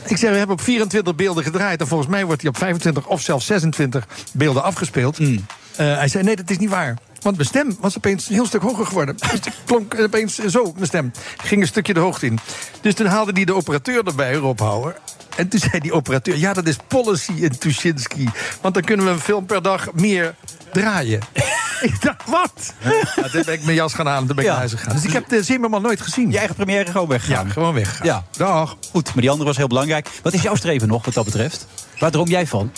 S9: Ik zeg, we hebben op 24 beelden gedraaid. En volgens mij wordt die op 25 of zelfs 26 beelden afgespeeld.
S8: Hmm.
S9: Eh, hij zei, nee, dat is niet waar. Want mijn stem was opeens een heel stuk hoger geworden. Dus ik klonk opeens zo, mijn stem. Ging een stukje de hoogte in. Dus toen haalde die de operateur erbij, Rob Houwer. En toen zei die operateur, ja, dat is policy in Tuschinski. Want dan kunnen we een film per dag meer draaien. ik dacht, wat? Ja, toen ben ik mijn jas gaan halen en toen ben ik naar huis gegaan. Dus ik heb de Zimmerman nooit gezien. Je
S8: eigen première gewoon weggegaan?
S9: Ja, gewoon weg.
S8: Ja.
S9: Dag.
S8: Goed, maar die andere was heel belangrijk. Wat is jouw streven nog, wat dat betreft? Waar droom jij van?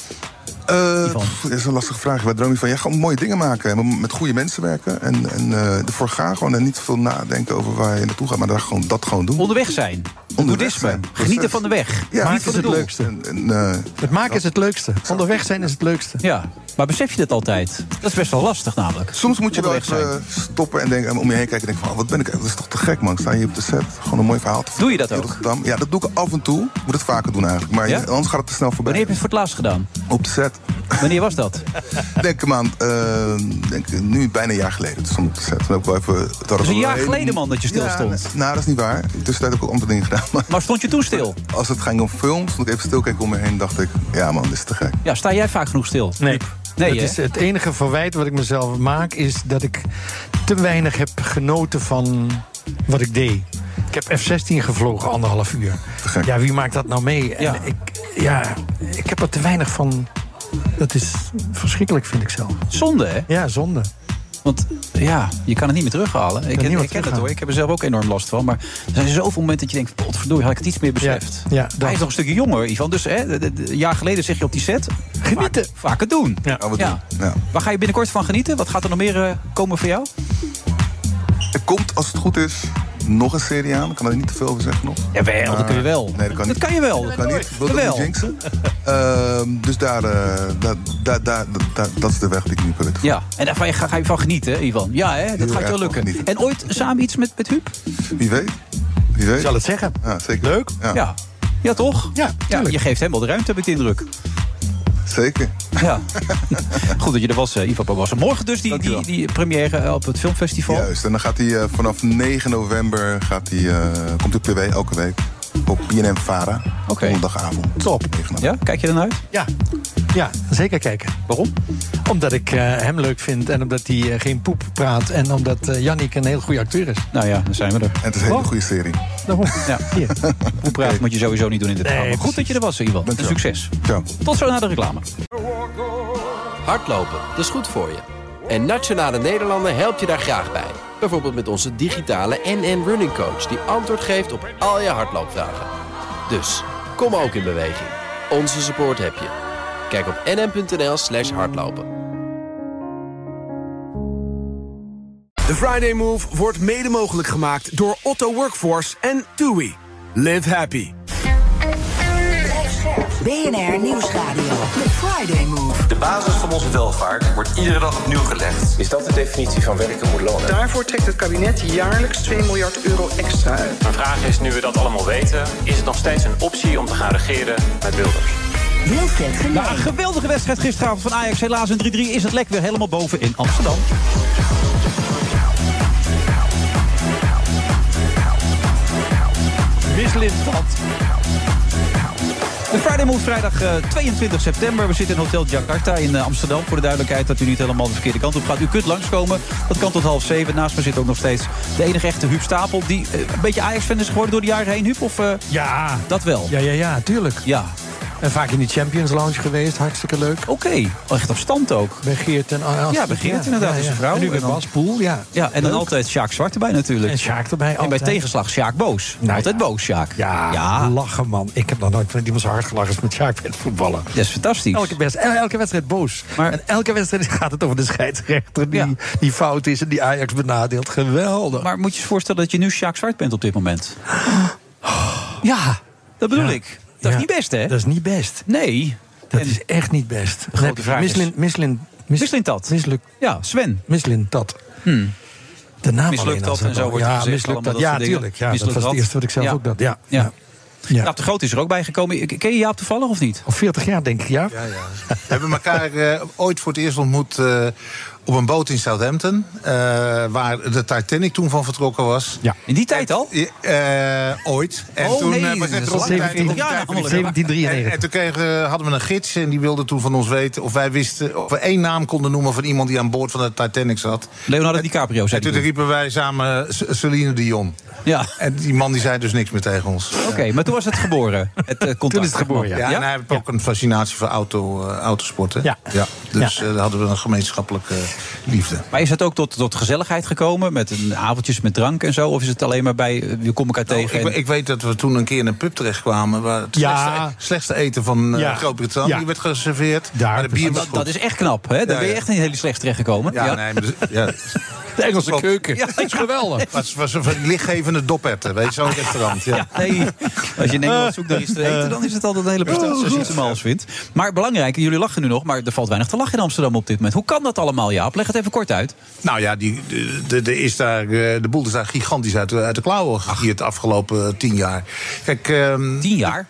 S1: Eh, pff, dat is een lastige vraag. Waar droom je van? Ja, gewoon mooie dingen maken. en Met goede mensen werken. En, en eh, ervoor gaan gewoon. En niet te veel nadenken over waar je naartoe gaat. Maar daar gewoon, dat gewoon doen.
S8: Onderweg zijn. Boeddhisme. Genieten van de weg.
S1: Ja,
S8: Maken
S1: niet van
S8: is
S1: het
S8: het
S1: leukste. En, en, eh,
S9: Het maken is het leukste. Onderweg zijn is het leukste.
S8: Ja, maar besef je dat altijd? Dat is best wel lastig namelijk.
S1: Soms moet je wel
S8: Onderweg
S1: even eh, stoppen en denken, om je heen kijken en denken van... oh, wat ben ik, dat is toch te gek man, ik sta hier op de set, gewoon een mooi verhaal te
S8: Doe je dat ook?
S1: Rotterdam. Ja, dat doe ik af en toe, Ik moet het vaker doen eigenlijk. Maar
S8: Ja?
S1: anders gaat het te snel voorbij.
S8: Wanneer heb je het voor het laatst gedaan?
S1: Op de set.
S8: Wanneer was dat?
S1: Denk een maand, eh, denk, nu bijna een jaar geleden stond ik op de set. Toen heb ik wel even, dat
S8: is een jaar geleden, man, dat je stil stond.
S1: nou, dat is niet waar. Tussentijd heb ik ook andere dingen gedaan. Maar,
S8: stond je toen stil?
S1: Als het ging om film, stond ik even stil, keek om me heen en dacht ik... ja man, dit is te gek.
S8: Ja, sta jij vaak genoeg stil?
S9: Nee.
S8: Nee,
S9: het,
S8: hè?
S9: is het enige verwijt wat ik mezelf maak is dat ik te weinig heb genoten van wat ik deed. Ik heb F-16 gevlogen, anderhalf uur. Ja, wie maakt dat nou mee? En
S8: Ja.
S9: Ik, ja, ik heb er te weinig van. Dat is verschrikkelijk, vind ik zelf.
S8: Zonde, hè?
S9: Ja, zonde.
S8: Want ja, je kan het niet meer terughalen. Ik,
S9: niet meer
S8: ik ken het
S9: terughalen.
S8: hoor, ik heb er zelf ook enorm last van. Maar er zijn zoveel momenten dat je denkt, potverdorie, had ik het iets meer beseft.
S9: ja, dat.
S8: Hij is nog een stukje jonger, Ivan. Dus hè, de- de- de- een jaar geleden zeg je op die set... Genieten. Vaak, vaak het doen. Ja.
S1: wat doen. Ja.
S8: Waar ga je binnenkort van genieten? Wat gaat er nog meer eh, komen voor jou?
S1: Er komt, als het goed is, nog een serie aan. Ik kan er niet te veel over zeggen nog.
S8: Jawel, dat
S1: Maar-
S8: kun je wel.
S1: Nee, dat kan niet.
S8: kan je wel.
S1: Dat kan niet. Ik wil dat
S8: Jawel.
S1: niet jinxen. Ehm, dus daar, eh, daar, daar, daar, daar- dat is de weg die ik nu probeer te
S8: Ja, en daar ga je, ga je van genieten, hè, Ivan. Ja, hè, dat gaat
S1: Heel
S8: je wel
S1: erg van
S8: lukken.
S1: genieten.
S8: En ooit samen iets met, met Huub?
S1: gaan. Wie weet? Wie weet?
S9: het zeggen.
S1: Ja, zeker. Leuk? Ja,
S8: Ja. ja. toch?
S9: Ja, tuurlijk.
S8: je geeft hem wel de ruimte, heb ik de indruk.
S1: zeker.
S8: Ja. Goed dat je er was, eh, Ivan Barbassen. Morgen dus die, die, die première eh, op het filmfestival.
S1: Juist. En dan gaat hij eh, vanaf 9 november gaat hij, eh, komt hij op tv elke week. op PNM Vara. Donderdagavond.
S8: Top. Ja, kijk je dan uit?
S9: Ja. Ja, zeker kijken.
S8: Waarom?
S9: Omdat ik eh, hem leuk vind en omdat hij eh, geen poep praat. En omdat eh Jannik een heel goede acteur is.
S8: Nou ja, dan zijn we er. En
S1: het is een hele goede serie.
S9: Daarom.
S8: Ja. Hoe praat moet je sowieso niet doen in dit
S9: Nee,
S8: programma. Goed dat je er was, Iwan. Een succes. Tot zo na de reclame.
S10: Hardlopen, dat is goed voor je. En Nationale Nederlanden helpt je daar graag bij. Bijvoorbeeld met onze digitale NN Running Coach... die antwoord geeft op al je hardloopvragen. Dus, kom ook in beweging. Onze support heb je. Kijk op nn.nl slash hardlopen.
S3: De Friday Move wordt mede mogelijk gemaakt door Otto Workforce en TUI. Live happy.
S4: BNR Nieuwsradio. The Friday Move.
S11: De basis van onze welvaart wordt iedere dag opnieuw gelegd. Is dat de definitie van werken moet lonen?
S12: Daarvoor trekt het kabinet jaarlijks 2 miljard euro extra uit.
S11: Mijn vraag is, nu we dat allemaal weten... is het nog steeds een optie om te gaan regeren met Wilders?
S8: Na een geweldige wedstrijd gisteravond van Ajax. Helaas een 3-3 is het lek weer helemaal boven in Amsterdam. Wisselend De Friday Move vrijdag eh, 22 september. We zitten in Hotel Jakarta in eh, Amsterdam. Voor de duidelijkheid dat u niet helemaal de verkeerde kant op gaat. U kunt langskomen. Dat kan tot half zeven. Naast me zit ook nog steeds de enige echte Huub Stapel. Die eh, een beetje Ajax-fan is geworden door de jaren heen. Huub, of... eh,
S9: ja.
S8: Dat wel?
S9: Ja, ja, ja, tuurlijk.
S8: Ja.
S9: En vaak in die Champions Lounge geweest. Hartstikke leuk.
S8: Oké. Oh, Echt op stand ook.
S9: Bij Geert en eh, Astrid,
S8: Ja, bij Geert inderdaad, is een vrouw.
S9: En nu bij
S8: En dan-
S9: Bas Poel, ja.
S8: Ja, en dan
S9: Leuk.
S8: altijd Sjaak Zwart erbij natuurlijk.
S9: En Sjaak erbij,
S8: En bij
S9: altijd. Nou
S8: tegenslag Sjaak boos. altijd boos, Sjaak.
S9: Ja, lachen man. Ik heb nog nooit van iemand zo hard gelachen als met Sjaak bij het voetballen.
S8: Dat is fantastisch.
S9: Elke, best, el- elke wedstrijd boos. en elke wedstrijd gaat het over de scheidsrechter die, die fout is en die Ajax benadeelt. Geweldig.
S8: Maar moet je je voorstellen dat je nu Sjaak Zwart bent op dit moment? Ja, dat bedoel ik. Dat is niet best, hè?
S9: Dat is niet best.
S8: Nee.
S9: Dat is echt niet best.
S8: grote vraag is-
S9: Mislin, mislin, mis,
S8: dat.
S9: Misluk,
S8: ja, Sven.
S9: Mislin dat.
S4: Hmm.
S9: De naam
S8: Mislukt
S9: alleen al
S8: dat en zo
S9: al-
S8: wordt het
S9: ja,
S8: gezegd,
S9: Mislukt
S8: allemaal
S9: dat.
S8: dat
S9: Ja,
S8: soort dingen.
S9: tuurlijk. Ja, dat
S8: Mislukt
S9: was het
S8: dat.
S9: eerste wat ik zelf
S8: Ja.
S9: ook dacht. Ja.
S8: Ja. Jaap de Groot is er ook bij gekomen. Ken je Jaap toevallig of niet?
S9: Al 40 jaar denk ik, ja.
S13: We hebben elkaar eh, ooit voor het eerst ontmoet eh, op een boot in Southampton. eh, waar de Titanic toen van vertrokken was.
S9: Ja.
S8: In die tijd al?
S13: ooit. En
S8: Oh,
S13: toen eh,
S8: nee,
S13: was
S8: dat
S13: net
S8: is
S13: rond
S8: al
S13: die tijd-
S8: 17
S13: rond die
S8: jaar,
S13: tijd-
S8: allemaal.
S13: En, en toen kregen, hadden we een gids en die wilde toen van ons weten of wij wisten of we één naam konden noemen van iemand die aan boord van de Titanic zat.
S8: Leonardo DiCaprio zei
S13: En toen
S8: die
S13: riepen wij samen eh, C- Celine Dion.
S8: Ja.
S13: En die man die zei dus niks meer tegen ons.
S8: Oké, maar toen was het geboren. Het, eh, contact.
S13: Ja, en hij heeft ook een fascinatie voor auto, eh, autosport. Hè?
S8: Ja.
S13: Dus
S8: Ja.
S13: eh, daar hadden we een gemeenschappelijke eh, liefde.
S8: Maar is het ook tot, tot gezelligheid gekomen? Met een, avondjes met drank en zo? Of is het alleen maar bij, eh, je komt elkaar
S9: Nou,
S8: tegen?
S13: Ik,
S8: en-
S13: we- ik weet dat we toen een keer in een pub terechtkwamen... waar het
S8: Ja.
S13: slechtste, e-, slechtste eten van eh,
S8: Ja.
S13: Groot-Brittannië
S8: Ja.
S13: werd geserveerd. maar de bier
S8: Want
S13: was
S8: dat,
S13: goed.
S8: dat is echt knap, hè? Daar
S13: Ja,
S8: ben je
S13: ja.
S8: echt niet heel slecht terechtgekomen.
S13: Ja, nee, maar dus- ja.
S9: De Engelse keuken.
S8: Ja, dat is geweldig.
S13: Het was, was een van die lichtgevende doppetten, weet je, zo'n restaurant. Ja.
S8: nee, als je in Engeland zoekt naar iets te eten,
S13: Eh.
S8: dan is het altijd een hele prestatie als je iets mals vindt. Maar belangrijk, en jullie lachen nu nog, maar er valt weinig te lachen in Amsterdam op dit moment. Hoe kan dat allemaal, Jaap? Leg het even kort uit.
S13: Nou ja, die, de, de, de is daar, eh, de boel is daar gigantisch uit, de- uit de klauwen gegierd de afgelopen eh, tien jaar. Kijk, ehm,
S8: tien jaar?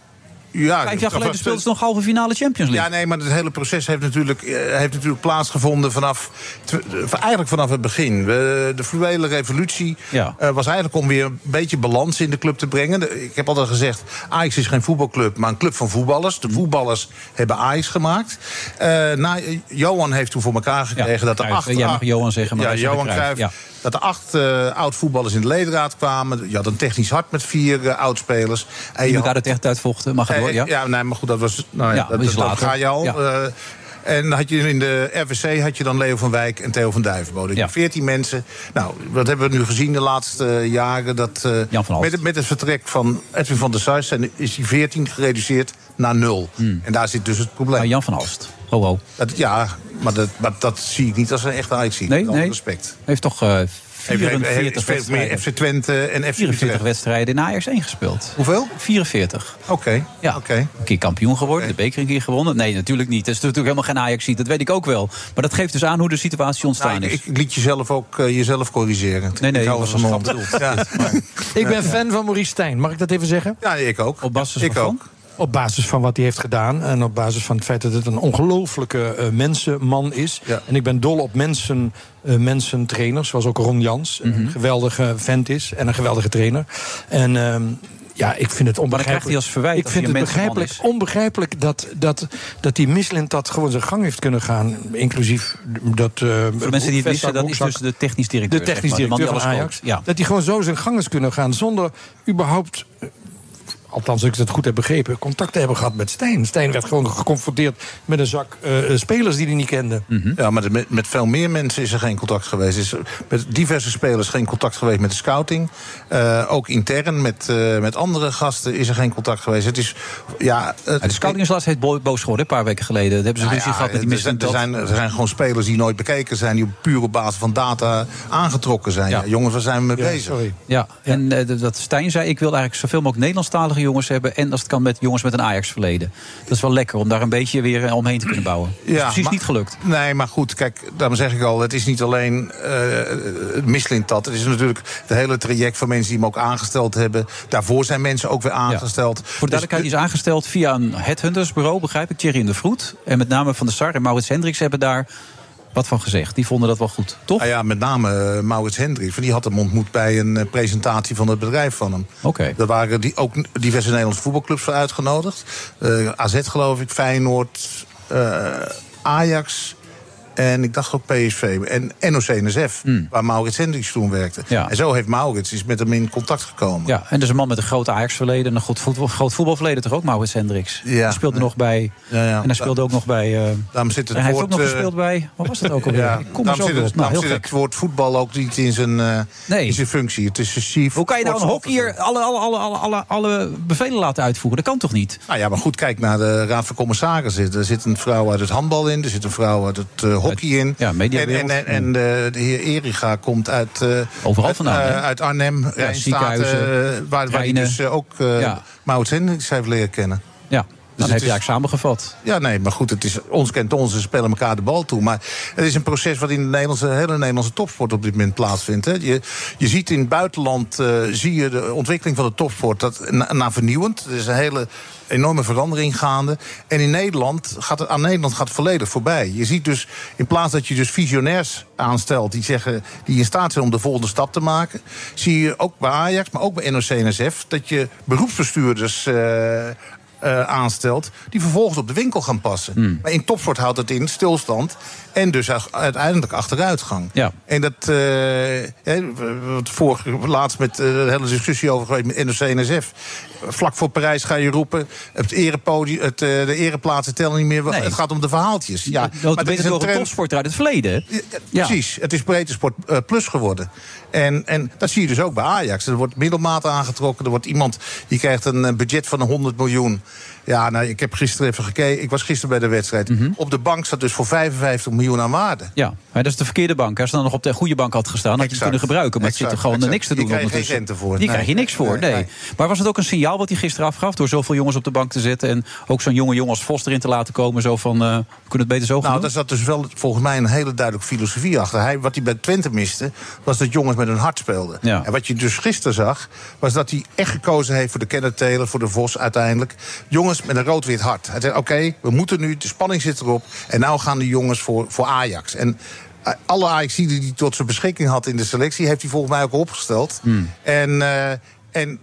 S13: Ja,
S8: Vijf jaar geleden
S13: was-
S8: speelden ze nog halve finale Champions League.
S13: Ja, nee, maar het hele proces heeft natuurlijk, eh, heeft natuurlijk plaatsgevonden vanaf, tw- eh, eigenlijk vanaf het begin. We- de fluwele revolutie
S8: Ja.
S13: eh, was eigenlijk om weer een beetje balans in de club te brengen. De- ik heb altijd gezegd, Ajax is geen voetbalclub, maar een club van voetballers. De voetballers hebben Ajax gemaakt. Eh, na, Johan heeft toen voor elkaar gekregen dat er
S8: Cruijff.
S13: acht...
S8: Jij mag
S13: acht-
S8: Johan zeggen, maar
S13: ja,
S8: wij zeggen
S13: Johan
S8: Cruijff,
S13: Cruijff. Dat er acht eh, oud-voetballers in de ledenraad kwamen. Je had een technisch hart met vier eh, oudspelers. En
S8: Die
S13: je
S8: elkaar
S13: had-
S8: het echt uitvochten. Mag het
S13: Eh,
S8: door, ja?
S13: nee, maar goed, dat was. Nou ja,
S8: Ja,
S13: dat,
S8: is
S13: dat, dat
S8: later.
S13: ga je al.
S8: Ja.
S13: eh, en had je in de RVC had je dan Leo van Wijk en Theo van Duivenbode.
S8: Ja.
S13: 14 mensen. Nou, wat hebben we nu gezien de laatste jaren? Dat, eh, met, het- met het vertrek van Edwin van der Sar zijn is die 14 gereduceerd naar 0. En daar zit dus het probleem.
S8: Hmm. Ah, Jan van Alst. Ho, ho.
S13: Dat, ja, maar dat, maar dat zie ik niet als een echte Ajax. Nee,
S8: nee.
S13: respect.
S8: Heeft toch eh
S13: Heeft- heeft- heeft-
S8: 44
S13: speelt meer
S8: wedstrijden.
S13: FC Twente en FC
S8: 44
S13: Utrecht.
S8: wedstrijden in Ajax 1 gespeeld.
S13: Hoeveel?
S8: 44.
S13: Oké.
S8: Ja, een keer kampioen geworden, de beker een keer gewonnen. Nee, natuurlijk niet. Dat is natuurlijk helemaal geen ajax dat weet ik ook wel. Maar dat geeft dus aan hoe de situatie ontstaan
S13: Nou,
S8: is.
S13: ik, ik liet jezelf ook eh, jezelf corrigeren.
S8: Nee, nee,
S13: ik hou
S8: dat
S13: van
S8: was
S13: mijn
S8: grappig
S13: mond.
S8: bedoeld.
S13: Ja.
S9: Ik ben fan van Maurice Stijn. Mag ik dat even zeggen?
S13: Ja, ik ook.
S9: Op basis
S13: Ik
S9: waarvan?
S13: ook.
S9: Op basis van wat hij heeft gedaan. En op basis van het feit dat het een ongelooflijke eh, mensenman is. En ik ben dol op mensen, eh
S8: Mhm.
S9: mensentrainers. Zoals ook Ron Jans. Een geweldige vent is. En een geweldige trainer. En ehm, Ja, ik vind het
S8: Maar dan krijgt
S9: onbegrijpelijk.
S8: hij als verwijt
S9: ik
S8: dat
S9: vind
S8: hij een
S9: het
S8: mensenman
S9: begrijpelijk, onbegrijpelijk dat, dat, dat die Misselint dat gewoon zijn gang heeft kunnen gaan. Inclusief dat. eh
S8: Voor de mensen die het wisten, dat is dus de technisch directeur.
S9: de technisch directeur
S8: zeg maar, de
S9: van
S8: man die alles
S9: Ajax.
S8: koopt. Ja.
S9: Dat die gewoon zo zijn gang is kunnen gaan zonder überhaupt. eh, Althans, als ik het goed heb begrepen, contact te hebben gehad met Stijn. Stijn werd gewoon geconfronteerd met een zak eh, eh, spelers die hij niet kende.
S8: Mhm.
S13: Ja, maar met, met veel meer mensen is er geen contact geweest. Is er met diverse spelers geen contact geweest met de scouting. Eh, ook intern met, eh, met andere gasten is er geen contact geweest. Het is, ja, het,
S8: De scouting is laatst heet bo- boos geworden, hè, een paar weken geleden. Daar hebben ze
S13: Nou
S8: ruzie
S13: ja,
S8: gehad met die
S13: er zijn,
S8: mensen.
S13: er, zijn, er zijn gewoon spelers die nooit bekeken zijn, die op pure basis van data aangetrokken zijn. Ja, jongens, waar zijn we mee bezig?
S8: Ja, en eh, d- dat Stijn zei, ik wil eigenlijk zoveel mogelijk Nederlandstalige jongens hebben. En als het kan met jongens met een Ajax-verleden. Dat is wel lekker om daar een beetje weer eh, omheen te kunnen bouwen. Dat is precies
S13: maar-
S8: niet gelukt.
S13: Nee, maar goed, kijk, daarom zeg ik al, het is niet alleen eh mislint dat. Het is natuurlijk het hele traject van mensen die hem ook aangesteld hebben. Daarvoor zijn mensen ook weer aangesteld.
S8: Voor de duidelijkheid, die is aangesteld via een headhuntersbureau, begrijp ik. Thierry in de Vroet. En met name Van der Sar en Maurits Hendricks hebben daar wat van gezegd. Die vonden dat wel goed, toch?
S13: Nou ja, met name eh, Maurits Hendricks. want Die had hem ontmoet bij een eh, presentatie van het bedrijf van hem.
S8: Oké.
S13: Daar waren die, ook diverse Nederlandse voetbalclubs voor uitgenodigd. Eh, AZ geloof ik, Feyenoord, eh, Ajax... En ik dacht ook PSV en NOC-NSF, waar Maurits Hendricks toen werkte.
S8: Hmm. Ja.
S13: En zo heeft Maurits is met hem in contact gekomen.
S8: Ja, en dus een man met een groot Ajax-verleden en een goed, voetbal, groot voetbalverleden toch ook, Maurits Hendricks.
S13: Ja.
S8: Die speelde nog bij... En hij speelde ook nog bij... eh,
S13: Daarom zit het
S8: en hij
S13: woord,
S8: heeft ook nog
S13: eh,
S8: gespeeld bij... Wat was dat ook alweer?
S13: Ja,
S8: Ik kom er
S13: daarom
S8: zo
S13: zit,
S8: weer
S13: het,
S8: op. Nou, heel
S13: daarom
S8: gek.
S13: zit het woord voetbal ook niet in zijn, eh, in zijn functie. Het is een chief.
S8: Hoe kan je nou een hockeyer alle, alle, alle, alle, alle, alle bevelen laten uitvoeren? Dat kan toch niet?
S13: Nou ja, maar goed, kijk naar de Raad van Commissarissen. Er zit een vrouw uit het handbal in, er zit een vrouw uit het eh, hockey in.
S8: ja, mediawereld.
S13: En, en, en, en de, de heer Eriga komt uit. eh,
S8: Overal
S13: uit,
S8: vandaan,
S13: eh,
S8: hè?
S13: uit Arnhem, Rijnstaat, eh,
S8: ziekenhuizen,
S13: waar, waar hij
S8: treinen.
S13: dus eh, ook eh
S8: Ja.
S13: Maurits Hendricks heeft leren kennen. Dus
S8: Ja, dan
S13: het
S8: heb je
S13: is-
S8: eigenlijk samengevat.
S13: Ja, nee, maar goed, het is, ons kent ons, we spelen elkaar de bal toe. Maar het is een proces wat in de Nederlandse, hele Nederlandse topsport op dit moment plaatsvindt. Hè. Je, je ziet in het buitenland, eh, zie je de ontwikkeling van de topsport dat, na, na vernieuwend. Er is een hele enorme verandering gaande. En in Nederland gaat het, aan Nederland gaat het volledig voorbij. Je ziet dus, in plaats dat je dus visionairs aanstelt... die zeggen, die in staat zijn om de volgende stap te maken... zie je ook bij Ajax, maar ook bij NOC-NSF... dat je beroepsbestuurders... eh, eh, aanstelt, die vervolgens op de winkel gaan passen. Maar in topsport houdt het in stilstand en dus u- uiteindelijk achteruitgang.
S8: Ja.
S13: En dat, eh, hè, wat vorige, laatst met eh, de hele discussie over geweest met NOC-NSF. Vlak voor Parijs ga je roepen, het erepodium, het, eh, de ereplaatsen tellen niet meer. Het gaat om de verhaaltjes. Ja,
S8: Dat beter door een topsporter uit het verleden. hè? Ja.
S13: Precies, het is breedte sport eh, plus geworden. En, en dat zie je dus ook bij Ajax. Er wordt middelmaat aangetrokken. Er wordt iemand die krijgt een eh, budget van 100 miljoen. Ja, nou, ik heb gisteren even gekeken. Ik was gisteren bij de wedstrijd.
S8: Mhm.
S13: Op de bank zat dus voor 55 miljoen aan waarde.
S8: Ja, maar dat is de verkeerde bank. Als ze dan nog op de goede bank had gestaan, had je het
S13: Exact.
S8: kunnen gebruiken. Maar
S13: Exact,
S8: het zit er gewoon
S13: exact.
S8: niks te
S13: Je
S8: doen.
S13: krijgt geen
S8: ondertussen.
S13: centen voor.
S8: Die
S13: Nee.
S8: krijg je niks voor, nee.
S13: Nee.
S8: Maar was het ook een signaal wat hij gisteren afgaf... door zoveel jongens op de bank te zetten... en ook zo'n jonge jongen als Vos erin te laten komen... zo van, eh, we kunnen het beter zo gaan
S13: Nou,
S8: doen?
S13: daar zat dus wel volgens mij een hele duidelijke filosofie achter. Hij, wat hij bij Twente miste, was dat jongens met hun hart speelden.
S8: Ja.
S13: En wat je dus gisteren zag, was dat hij echt gekozen heeft voor de Kenneth Taylor, voor de Vos uiteindelijk. Jongens met een rood-wit hart. Hij zei: Oké, we moeten nu, de spanning zit erop. En nou gaan de jongens voor, voor Ajax. En eh, alle Ajax die hij tot zijn beschikking had in de selectie, heeft hij volgens mij ook opgesteld.
S1: Hmm.
S8: Hmm.
S13: En. eh, en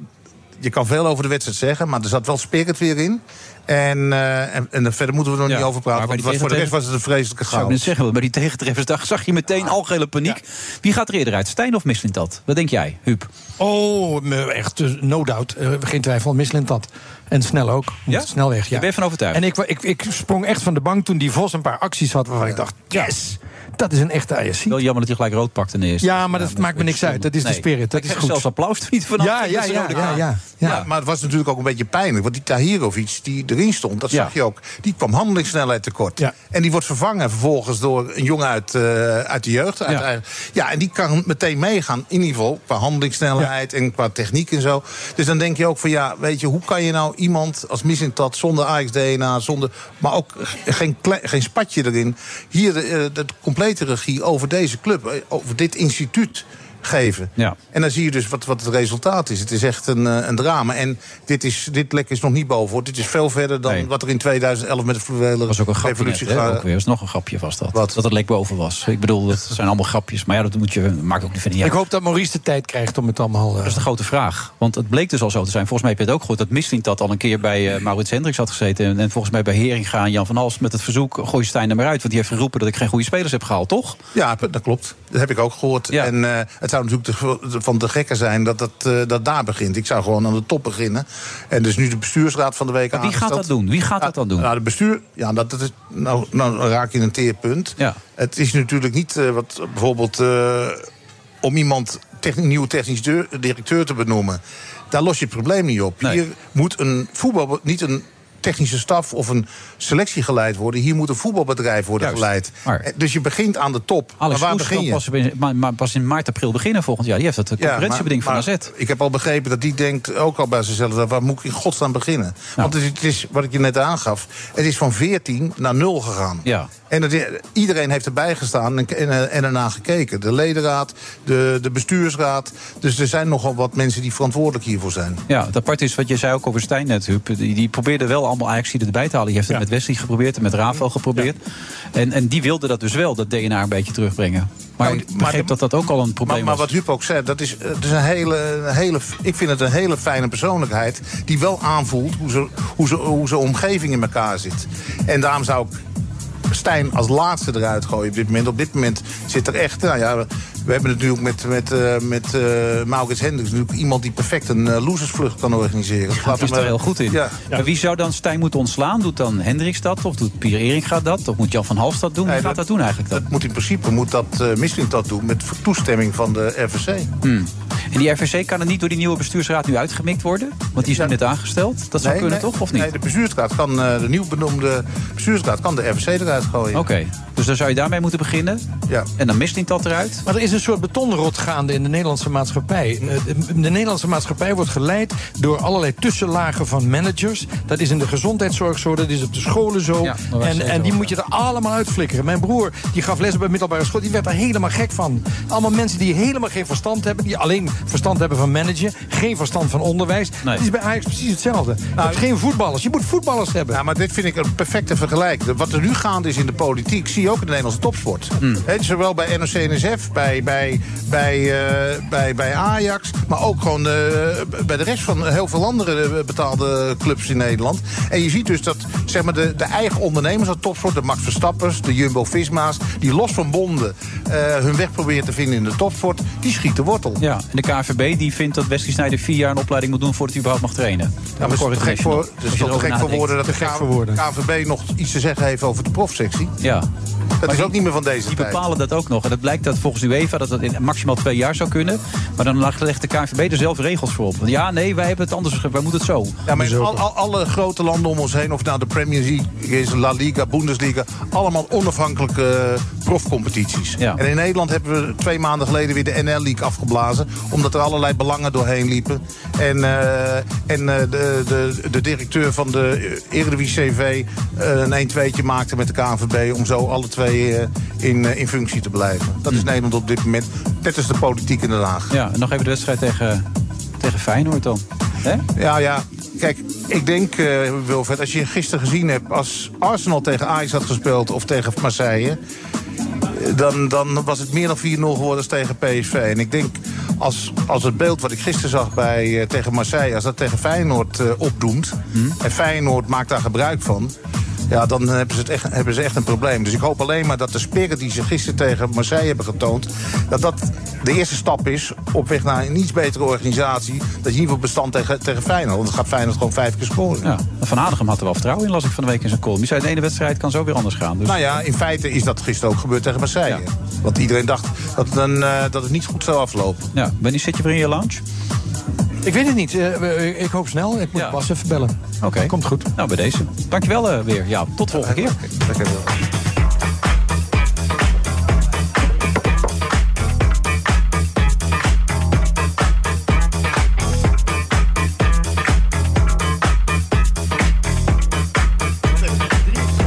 S13: je kan veel over de wedstrijd zeggen, maar er zat wel spirit weer in. En, eh, en, en verder moeten we er nog niet over
S8: bij
S13: praten. Want
S8: die
S13: het was- voor de
S8: tegentreffer-
S13: rest was het een vreselijke
S8: Zou ik net
S13: chaos.
S8: zeggen, want bij die tegentreffers daar zag je meteen algehele paniek. Wie gaat er eerder uit, Stijn of dat? Wat denk jij, Huub?
S9: Oh, me- echt, eh, no doubt. Eh, geen twijfel, mislint dat. En snel ook.
S8: Ja?
S9: Snel weg, ja.
S8: Je bent van overtuigd.
S9: En ik, wa- ik, ik sprong echt van de bank toen die Vos een paar acties had... waarvan ik dacht, yes, dat is een echte ISC.
S8: Wel jammer dat hij gelijk rood pakte in de eerste.
S9: Ja, maar dat maakt me niks uit. Dat is dus- de spirit. Dat
S8: Ik
S9: is
S8: kreeg
S9: goed.
S8: zelfs applaus toen niet vanaf.
S9: Ja, ja, ja, ja, ja.
S13: Ja, maar het was natuurlijk ook een beetje pijnlijk. Want die Tahirovic die erin stond, dat zag je ook. Die kwam handelingssnelheid tekort. En die wordt vervangen vervolgens door een jongen uit, eh, uit de jeugd. Uit, ja. ja, en die kan meteen meegaan. In ieder geval qua handelingssnelheid en qua techniek en zo. Dus dan denk je ook van ja, weet je, hoe kan je nou iemand als Missintat zonder AX-DNA, zonder. maar ook geen, kle- geen spatje erin. hier de, eh, de complete regie over deze club, eh, over dit instituut geven.
S8: Ja.
S13: En dan zie je dus wat, wat het resultaat is. Het is echt een, eh, een drama. En dit, is, dit lek is nog niet boven. hoor. Dit is veel verder dan wat er in 2011 met de fluwele
S8: was ook een grapje
S13: revolutie
S8: net, hè,
S13: gaat.
S8: ook weer. was nog een grapje was dat. Dat het lek boven was. Ik bedoel, dat zijn allemaal grapjes. Maar ja, dat moet je, maakt ook niet verder niet
S9: Ik
S8: uit.
S9: hoop dat Maurice de tijd krijgt om het allemaal... eh,
S8: Dat is de grote vraag. Want het bleek dus al zo te zijn. Volgens mij heb je het ook gehoord dat Misling dat al een keer bij eh Maurits Hendricks had gezeten. En, en volgens mij bij Heringa en Jan van Alst met het verzoek: gooi Stijn er maar uit. Want die heeft geroepen dat ik geen goede spelers heb gehaald, toch?
S13: Ja, p- dat klopt. Dat heb ik ook gehoord. En eh, het zou natuurlijk de- de- van de gekken zijn dat, dat, eh, dat daar begint. Ik zou gewoon aan de top beginnen. En dus nu de bestuursraad van de week
S8: Maar wie gaat dat doen? Wie gaat dat dan doen?
S13: Nou, de bestuur, ja, dat, dat is, nou, nou raak je een teerpunt. Het is natuurlijk niet eh, wat bijvoorbeeld eh, om iemand techni- nieuwe technisch deur- directeur te benoemen. Daar los je het probleem niet op. Hier moet een voetbal niet een technische staf of een selectie geleid worden. Hier moet een voetbalbedrijf worden
S8: Juist.
S13: geleid.
S8: Maar-
S13: Eh, Dus je begint aan de top.
S8: Alex
S13: maar waar
S8: Kroes kan
S13: begin je?
S8: pas, in- maar, maar pas in maart, april beginnen volgend jaar. Die heeft het concurrentiebeding
S13: maar-
S8: van AZ.
S13: maar Ik heb al begrepen dat die denkt ook al bij zichzelf... dat waar moet ik in godsnaam beginnen?
S8: Nou.
S13: Want het is, het is, wat ik je net aangaf, het is van 14 naar 0 gegaan.
S8: Ja.
S13: En dat, i- iedereen heeft erbij gestaan en, en, eh, en ernaar gekeken. De ledenraad, de, de bestuursraad. Dus er zijn nogal wat mensen die verantwoordelijk hiervoor zijn.
S8: Ja, het apart is wat je zei ook over Stijn net, Huub. Die, die probeerde wel allemaal ajax erbij te halen. Je heeft het met Wesley geprobeerd en met Rafael geprobeerd. En, en die wilde dat dus wel, dat DNA een beetje terugbrengen. Maar ik begreep dat dat ook al een probleem
S13: Nou,
S8: was.
S13: Maar, maar wat Huub ook zei, dat is, eh, het is een hele, een hele, ik vind het een hele fijne persoonlijkheid... die wel aanvoelt hoe ze, hoe ze, hoe ze omgeving in elkaar zit. En daarom zou ik Stijn als laatste eruit gooien op dit moment. Op dit moment zit er echt, nou ja, we hebben het nu ook met, met, eh, met eh Maurits Hendricks... natuurlijk iemand die perfect een eh, losersvlucht kan organiseren.
S8: Dat is
S13: hem,
S8: er
S13: eh,
S8: heel goed in.
S13: Ja.
S8: Maar wie zou dan Stijn moeten ontslaan? Doet dan Hendricks dat? Of doet Pier Eringa dat? Of moet Jan van Hals dat doen? Wie gaat dat, doen eigenlijk dan?
S13: Dat moet in principe moet dat, eh Misling dat doen met toestemming van de RVC.
S8: Hmm. En die RVC kan er niet door die nieuwe bestuursraad nu uitgemikt worden? Want die is nu net aangesteld. Dat zou
S13: Nee,
S8: kunnen,
S13: nee.
S8: toch? Of niet?
S13: Nee, de bestuursraad kan, eh, de nieuw benoemde bestuursraad kan de RVC eruit gooien.
S8: Oké, dus dan zou je daarmee moeten beginnen.
S13: Ja.
S8: En dan mist dat eruit.
S9: Maar er is een soort betonrot gaande in de Nederlandse maatschappij. Eh, De de Nederlandse maatschappij wordt geleid door allerlei tussenlagen van managers. Dat is in de gezondheidszorg zo, dat is op de scholen zo.
S8: maar wij
S9: en
S8: zijn
S9: en
S8: zo,
S9: die moet je er allemaal uitflikkeren. Mijn broer, die gaf les bij middelbare school, die werd daar helemaal gek van. Allemaal mensen die helemaal geen verstand hebben, die alleen verstand hebben van managen, geen verstand van onderwijs.
S13: Nee.
S9: Het is bij Ajax precies hetzelfde. Je hebt geen voetballers, je moet voetballers hebben.
S13: Nou, Ja, maar dit vind ik een perfecte vergelijk. De- Wat er nu gaande is in de politiek, zie je ook in de Nederlandse topsport.
S9: Hmm.
S13: Hè, zowel bij NOC NSF, bij, bij, bij, eh, bij, bij Ajax, maar ook gewoon eh, bij de rest van heel veel andere eh, betaalde clubs in Nederland. En je ziet dus dat zeg maar, de, de eigen ondernemers uit topsport, de Max Verstappers, de Jumbo Visma's, die los van bonden eh, hun weg proberen te vinden in de topsport, die schieten wortel.
S8: Ja, en de KVB die vindt dat Wesley Sneijder vier jaar een opleiding moet doen voordat hij überhaupt mag trainen.
S13: Ja, maar is het te gek voor, het
S8: Dus
S13: is toch te gek voor woorden dat de
S8: gek
S13: K- KVB nog iets te zeggen heeft over de profsectie?
S8: Ja.
S13: Dat is ook niet meer van deze
S8: Die
S13: tijd.
S8: bepalen dat ook nog. En dat blijkt dat volgens UEFA dat dat in maximaal twee jaar zou kunnen. Maar dan lag- legt de KNVB er zelf regels voor op. Want Ja, nee, wij hebben het anders. ge- Wij moeten het zo.
S13: Ja, maar in al, al- alle grote landen om ons heen, of het nou de Premier League is, La Liga, Bundesliga, allemaal onafhankelijke eh, profcompetities.
S8: Ja.
S13: En in Nederland hebben we twee maanden geleden weer de NL League afgeblazen, omdat er allerlei belangen doorheen liepen. En, eh, en eh, de, de, de directeur van de eh, Eredivisie CV eh, een 1-2'tje maakte met de KNVB om zo alle twee eh, in, eh, in functie te blijven. Dat is Nederland op dit moment, net als de politiek in Den Haag.
S8: Ja, en nog even de wedstrijd tegen, tegen Feyenoord dan. Hè?
S13: Ja, ja. Kijk, ik denk, eh, Wilfred, als je gisteren gezien hebt... als Arsenal tegen Ajax had gespeeld of tegen Marseille... eh, Dan, dan was het meer dan 4-0 geworden als tegen PSV. En ik denk, als, als het beeld wat ik gisteren zag bij, eh, tegen Marseille... als dat tegen Feyenoord eh, opdoemt... en Feyenoord maakt daar gebruik van... ja, dan hebben ze, het echt, hebben ze echt een probleem. Dus ik hoop alleen maar dat de spirit die ze gisteren tegen Marseille hebben getoond... dat dat de eerste stap is op weg naar een iets betere organisatie... dat je in ieder geval bestand tegen, tegen Feyenoord. Want dan gaat Feyenoord gewoon vijf keer scoren.
S8: Ja, Van Adegem had er wel vertrouwen in, las ik van de week in zijn column. Die zei, de ene wedstrijd kan zo weer anders gaan. Dus
S13: Nou ja, in feite is dat gisteren ook gebeurd tegen Marseille. Want iedereen dacht dat het, een, eh, dat het niet goed zou aflopen.
S8: Ja, Benny, zit je weer in je lounge?
S9: Ik weet het niet, eh, eh, ik hoop snel. Ik moet Bas even bellen.
S8: Oké. Komt goed. Nou, bij deze. Dankjewel eh, weer. Ja, tot volgende keer.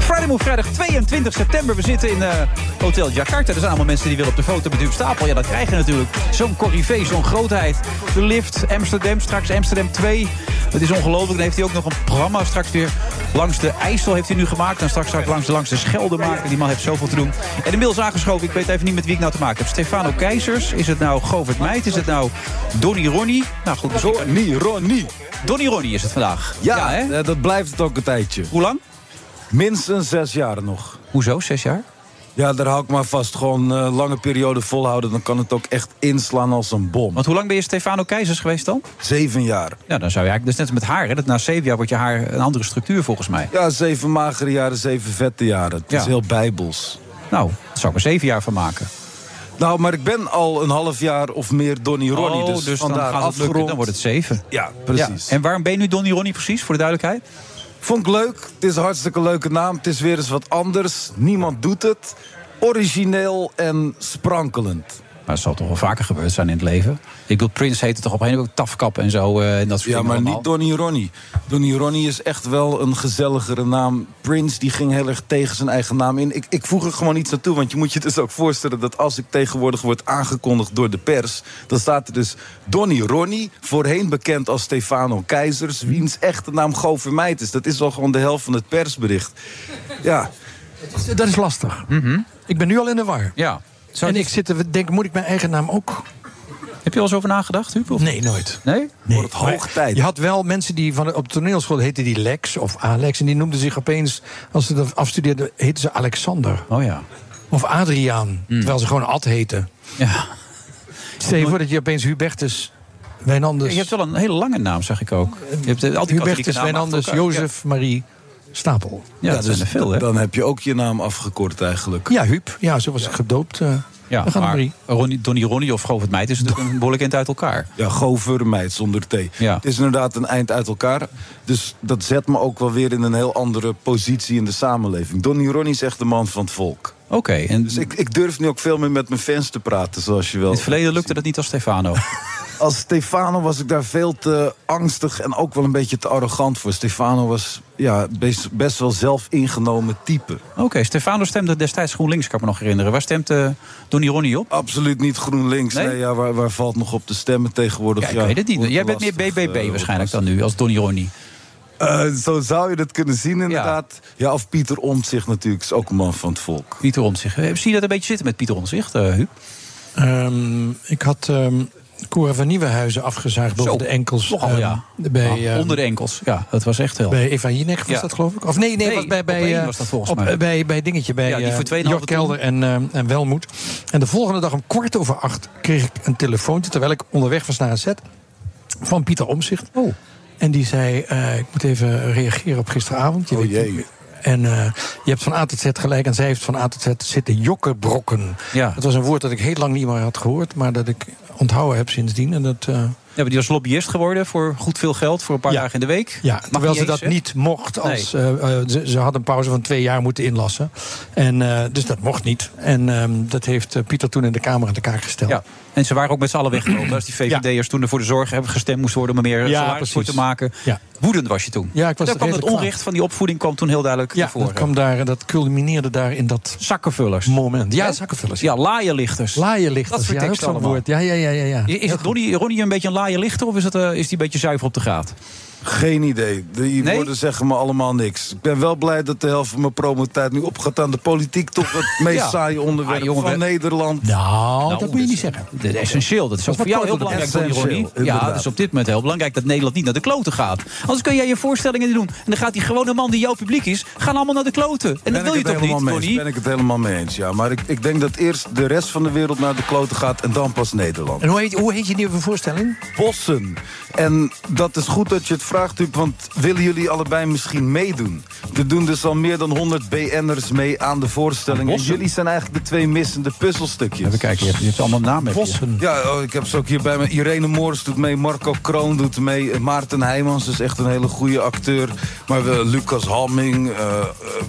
S3: Friday
S8: Move vrijdag 22 september. We zitten in eh, Hotel Jakarta. Er zijn allemaal mensen die willen op de foto met Huub Stapel. Ja, dat krijg je natuurlijk. Zo'n corrivee, zo'n grootheid. De lift, Amsterdam, straks Amsterdam 2. Het is ongelooflijk. Dan heeft hij ook nog een programma straks weer langs de IJssel heeft hij nu gemaakt. En straks zou ik langs de, langs de Schelde maken. Die man heeft zoveel te doen. En inmiddels aangeschoven, ik weet even niet met wie ik nou te maken heb. Stefano Keizers, is het nou Govert Meid? Is het nou Donny Ronnie? Nou goed, misschien-
S14: Ronnie, Ronnie.
S8: Donny Ronnie is het vandaag.
S14: Ja, eh, dat blijft het ook een tijdje.
S8: Hoe lang?
S14: Minstens zes jaar nog.
S8: Hoezo, zes jaar?
S14: Ja, daar hou ik maar vast. Gewoon eh, lange periode volhouden. Dan kan het ook echt inslaan als een bom.
S8: Want hoe lang ben je Stefano Keizers geweest dan?
S14: Zeven jaar.
S8: Ja, dan zou je eigenlijk... Dat is net als met haar, hè? Dat na zeven jaar wordt je haar een andere structuur volgens mij.
S14: Ja, zeven magere jaren, zeven vette jaren. Het
S8: Ja.
S14: is heel bijbels.
S8: Nou, daar zou ik er zeven jaar van maken.
S14: Nou, maar ik ben al een half jaar of meer Donnie Ronnie.
S8: Oh,
S14: dus,
S8: dan
S14: vandaar
S8: gaat het lukken.
S14: afgerond.
S8: Dan wordt het zeven.
S14: Ja, precies.
S8: En waarom ben je nu Donny Ronnie precies, voor de duidelijkheid?
S14: Vond ik leuk. Het is een hartstikke leuke naam. Het is weer eens wat anders. Niemand doet het. Origineel en sprankelend.
S8: Maar dat zal toch wel vaker gebeurd zijn in het leven. Ik bedoel, Prince heette toch op een gegeven moment ook Tafkap en zo. eh, en dat soort
S14: Ja,
S8: dingen
S14: maar
S8: allemaal.
S14: niet Donnie Ronnie. Donnie Ronnie is echt wel een gezelligere naam. Prince die ging heel erg tegen zijn eigen naam in. Ik, ik voeg er gewoon iets aan toe, want je moet je dus ook voorstellen... dat als ik tegenwoordig word aangekondigd door de pers... dan staat er dus Donnie Ronnie, voorheen bekend als Stefano Keizers... wiens echte naam Govermeid is. Dat is wel gewoon de helft van het persbericht. Ja.
S9: Dat is lastig. Ik ben nu al in de war.
S8: Mhm. Ja.
S9: en ik zit te denken, moet ik mijn eigen naam ook...
S8: Heb je al eens over nagedacht, Huub?
S9: Nee, nooit.
S8: Nee?
S9: nee. het hoog tijd. Je had wel mensen die van, de- op de toneelschool heten die Lex of Alex. En die noemden zich opeens, als ze dat afstudeerden, heten ze Alexander.
S8: Oh ja. Hmm.
S9: Of Adriaan, terwijl ze gewoon Ad heten.
S8: Ja.
S9: Stel je voor dat je opeens Hubertus Wijnanders...
S8: Je hebt wel een hele lange naam, zeg ik ook. Je hebt eh, altijd
S9: Hubertus Wijnanders, Jozef, Marie, Stapel.
S8: Ja, dat zijn er veel, hè?
S14: Dan heb je ook je naam afgekort eigenlijk.
S9: Ja, Huub. Ja, zo was ik gedoopt. eh.
S8: Ja,
S9: we gaan naar
S8: maar
S9: Marie.
S8: Ronnie, Donnie Ronnie of Govert Meid is natuurlijk een behoorlijk eind uit elkaar.
S14: Ja, Govermeid zonder T. Het is inderdaad een eind uit elkaar. Dus dat zet me ook wel weer in een heel andere positie in de samenleving. Donnie Ronnie is echt de man van het volk.
S8: Oké. en
S14: Dus ik, ik durf nu ook veel meer met mijn fans te praten, zoals je wel.
S8: In het verleden lukte dat niet als Stefano.
S14: Als Stefano was ik daar veel te angstig en ook wel een beetje te arrogant voor. Stefano was ja, best, best wel zelf ingenomen type.
S8: Oké, Stefano stemde destijds GroenLinks, kan ik me nog herinneren. Waar stemt eh Donnie Ronnie op?
S14: Absoluut niet GroenLinks. Nee, ja, waar, waar valt nog op te stemmen tegenwoordig?
S8: Ja, ik weet het niet.
S14: wordt
S8: Jij bent meer
S14: lastig,
S8: BBB
S14: eh, wordt
S8: waarschijnlijk dan nu, als Donnie Ronnie.
S14: Eh, zo zou je dat kunnen zien, inderdaad. Ja, of Pieter Omtzigt natuurlijk, is ook een man van het volk.
S8: Pieter Omtzigt. Eh, Zie je dat een beetje zitten met Pieter Omtzigt, eh Huub?
S9: Ehm, ik had ehm Cora van Nieuwenhuizen afgezaagd boven
S8: Zo,
S9: de enkels.
S8: nogal,
S9: ehm,
S8: ja.
S9: Bij,
S8: Ah,
S9: ehm,
S8: onder de enkels, ja. Dat was echt heel...
S9: bij Eva Jinek was
S8: Ja.
S9: dat, geloof ik. Of nee, nee,
S8: Nee,
S9: was bij,
S8: op
S9: bij,
S8: één
S9: eh,
S8: was dat volgens
S9: op,
S8: mij.
S9: eh, bij, bij dingetje, bij
S8: Ja, die
S9: eh,
S8: voor 2,5
S9: Jort
S8: ton.
S9: Kelder en, ehm, en Welmoed. En de volgende dag om kwart over acht kreeg ik een telefoontje... terwijl ik onderweg was naar een set van Pieter Omzicht.
S8: Oh.
S9: En die zei, eh, ik moet even reageren op gisteravond. Je weet- En eh, je hebt van A tot Z gelijk. En zij heeft van A tot Z zitten jokkenbrokken.
S8: Ja.
S9: Dat was een woord dat ik heel lang niet meer had gehoord... maar dat ik onthouden heb sindsdien. En dat... eh,
S8: Ja, maar die was lobbyist geworden voor goed veel geld voor een paar dagen in de week.
S9: ja,
S8: Mag
S9: terwijl ze
S8: eens,
S9: dat
S8: hè?
S9: niet mocht. Als,
S8: Nee.
S9: eh, eh, ze, ze had een pauze van twee jaar moeten inlassen. En, eh, dus dat mocht niet. En ehm, dat heeft eh, Pieter toen in de Kamer aan de kaak gesteld.
S8: Ja. En ze waren ook met z'n allen weggelopen. Als die VVD'ers toen ervoor de zorg hebben gestemd moest worden... om er meer eh,
S9: Ja,
S8: salaris voor te
S9: precies.
S8: maken.
S9: Ja.
S8: Woedend was je toen.
S9: Ja, ik was
S8: Daar
S9: er
S8: kwam het
S9: redelijk
S8: onrecht van die opvoeding kwam toen heel duidelijk naar voren.
S9: Dat, kwam daar, dat culmineerde daar in dat
S8: zakkenvullers.
S9: moment. Ja, zakkenvullers.
S8: Ja, laaienlichters.
S9: Laaienlichters,
S8: Dat soort
S9: ja, ook
S8: teksten
S9: zo'n
S8: allemaal.
S9: woord. Ja, ja, ja, ja, ja.
S8: Is het Ronnie, Ronnie een beetje een laaienlichter of is, het, eh, is die een beetje zuiver op de graad?
S14: Geen idee. Die
S8: Nee?
S14: woorden zeggen me allemaal niks. Ik ben wel blij dat de helft van mijn promotijd nu opgaat aan de politiek. Toch het meest
S8: Ja.
S14: saaie onderwerp
S8: Ah, jongen,
S14: van
S8: we-
S14: Nederland.
S9: Nou, dat moet je niet zeggen.
S8: Dat is essentieel. Dat is ook
S14: Dat
S8: voor jou heel
S14: wordt
S8: belangrijk, Donnie
S14: essentieel,
S8: Ronnie. Ja,
S14: inderdaad.
S8: dat is op dit moment heel belangrijk dat Nederland niet naar de kloten gaat. Anders kun jij je voorstellingen niet doen. En dan gaat die gewone man die jouw publiek is, gaan allemaal naar de kloten. En
S14: Ben
S8: dat
S14: ik
S8: wil je
S14: het
S8: toch niet,
S14: helemaal mee eens?
S8: Ronnie?
S14: Ben ik het helemaal mee eens, ja. Maar ik, ik denk dat eerst de rest van de wereld naar de kloten gaat en dan pas Nederland.
S9: En hoe heet, hoe heet je nieuwe voorstelling?
S14: Bossen. En dat is goed dat je het vraagt, Huub, want willen jullie allebei misschien meedoen? Er doen dus al meer dan 100 BN'ers mee aan de voorstelling. En jullie zijn eigenlijk de twee missende puzzelstukjes. Even
S8: kijken, je hebt, allemaal namen.
S9: Bossen.
S14: Ja, oh, ik heb ze ook hier bij me. Irene Moors doet mee, Marco Kroon doet mee. eh, Maarten Heijmans is echt een hele goede acteur. Maar we, Lucas Hamming. eh, eh,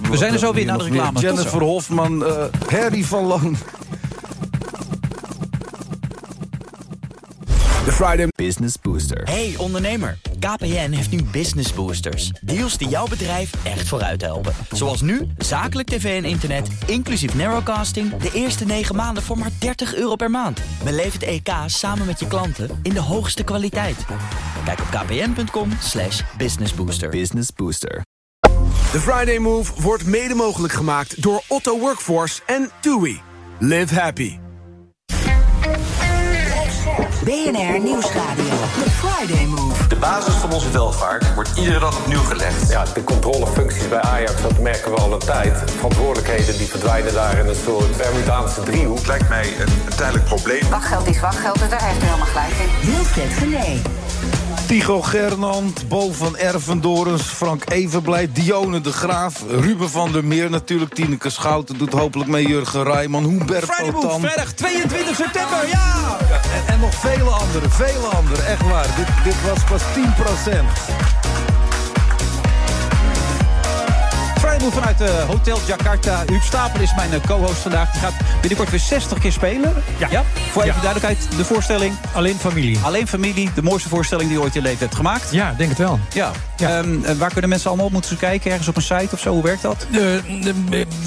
S14: wat
S8: zijn er zo
S14: hebben
S8: weer
S14: hier
S8: na
S14: nog
S8: de
S14: meer?
S8: reclame. Tot
S14: Jennifer
S8: zo.
S14: Hofman, eh, Harry van Loon.
S3: De Friday
S2: Business Booster. Hey ondernemer, KPN heeft nu Business Boosters. Deals die jouw bedrijf echt vooruit helpen. Zoals nu, zakelijk tv en internet, inclusief narrowcasting... de eerste 9 maanden voor maar 30 euro per maand. Beleef het EK samen met je klanten in de hoogste kwaliteit. Kijk op kpn.com slash businessbooster. Business Booster.
S3: De Friday Move wordt mede mogelijk gemaakt door Otto Workforce en TUI. Live happy.
S4: BNR Nieuwsradio. The Friday Move.
S11: De basis van onze welvaart wordt iedere dag opnieuw gelegd.
S6: Ja, de controlefuncties bij Ajax, dat merken we al een tijd. Verantwoordelijkheden die verdwijnen daar in een soort Bermudaanse driehoek.
S11: Het lijkt mij een, een tijdelijk probleem.
S7: Wachtgeld is wachtgeld, dus daar heeft u helemaal gelijk in.
S4: Wilfred Genee.
S14: Tigo Gernand, Bo van Ervendorens, Frank Evenblijd, Dione de Graaf... Ruben van der Meer natuurlijk, Tineke Schouten doet hopelijk mee... Jurgen Rijman,
S5: Friday
S14: Hubert
S5: Move,
S14: Tan.
S5: vrijdag 22 september, ja!
S14: En, en nog vele anderen, vele anderen, echt waar. Dit, dit was pas 10%.
S8: Vrijboel vanuit eh, Hotel Jakarta. Huub Stapel is mijn eh, co-host vandaag. Die gaat binnenkort weer 60 keer spelen. Ja. Voor even duidelijkheid, de voorstelling. Alleen familie. Alleen familie, de mooiste voorstelling die je ooit in je leven hebt gemaakt.
S9: Ja, denk het wel.
S8: Ja. Ehm, eh, waar kunnen mensen allemaal op moeten ze kijken? Ergens op een site of zo? Hoe werkt dat?
S9: De, de,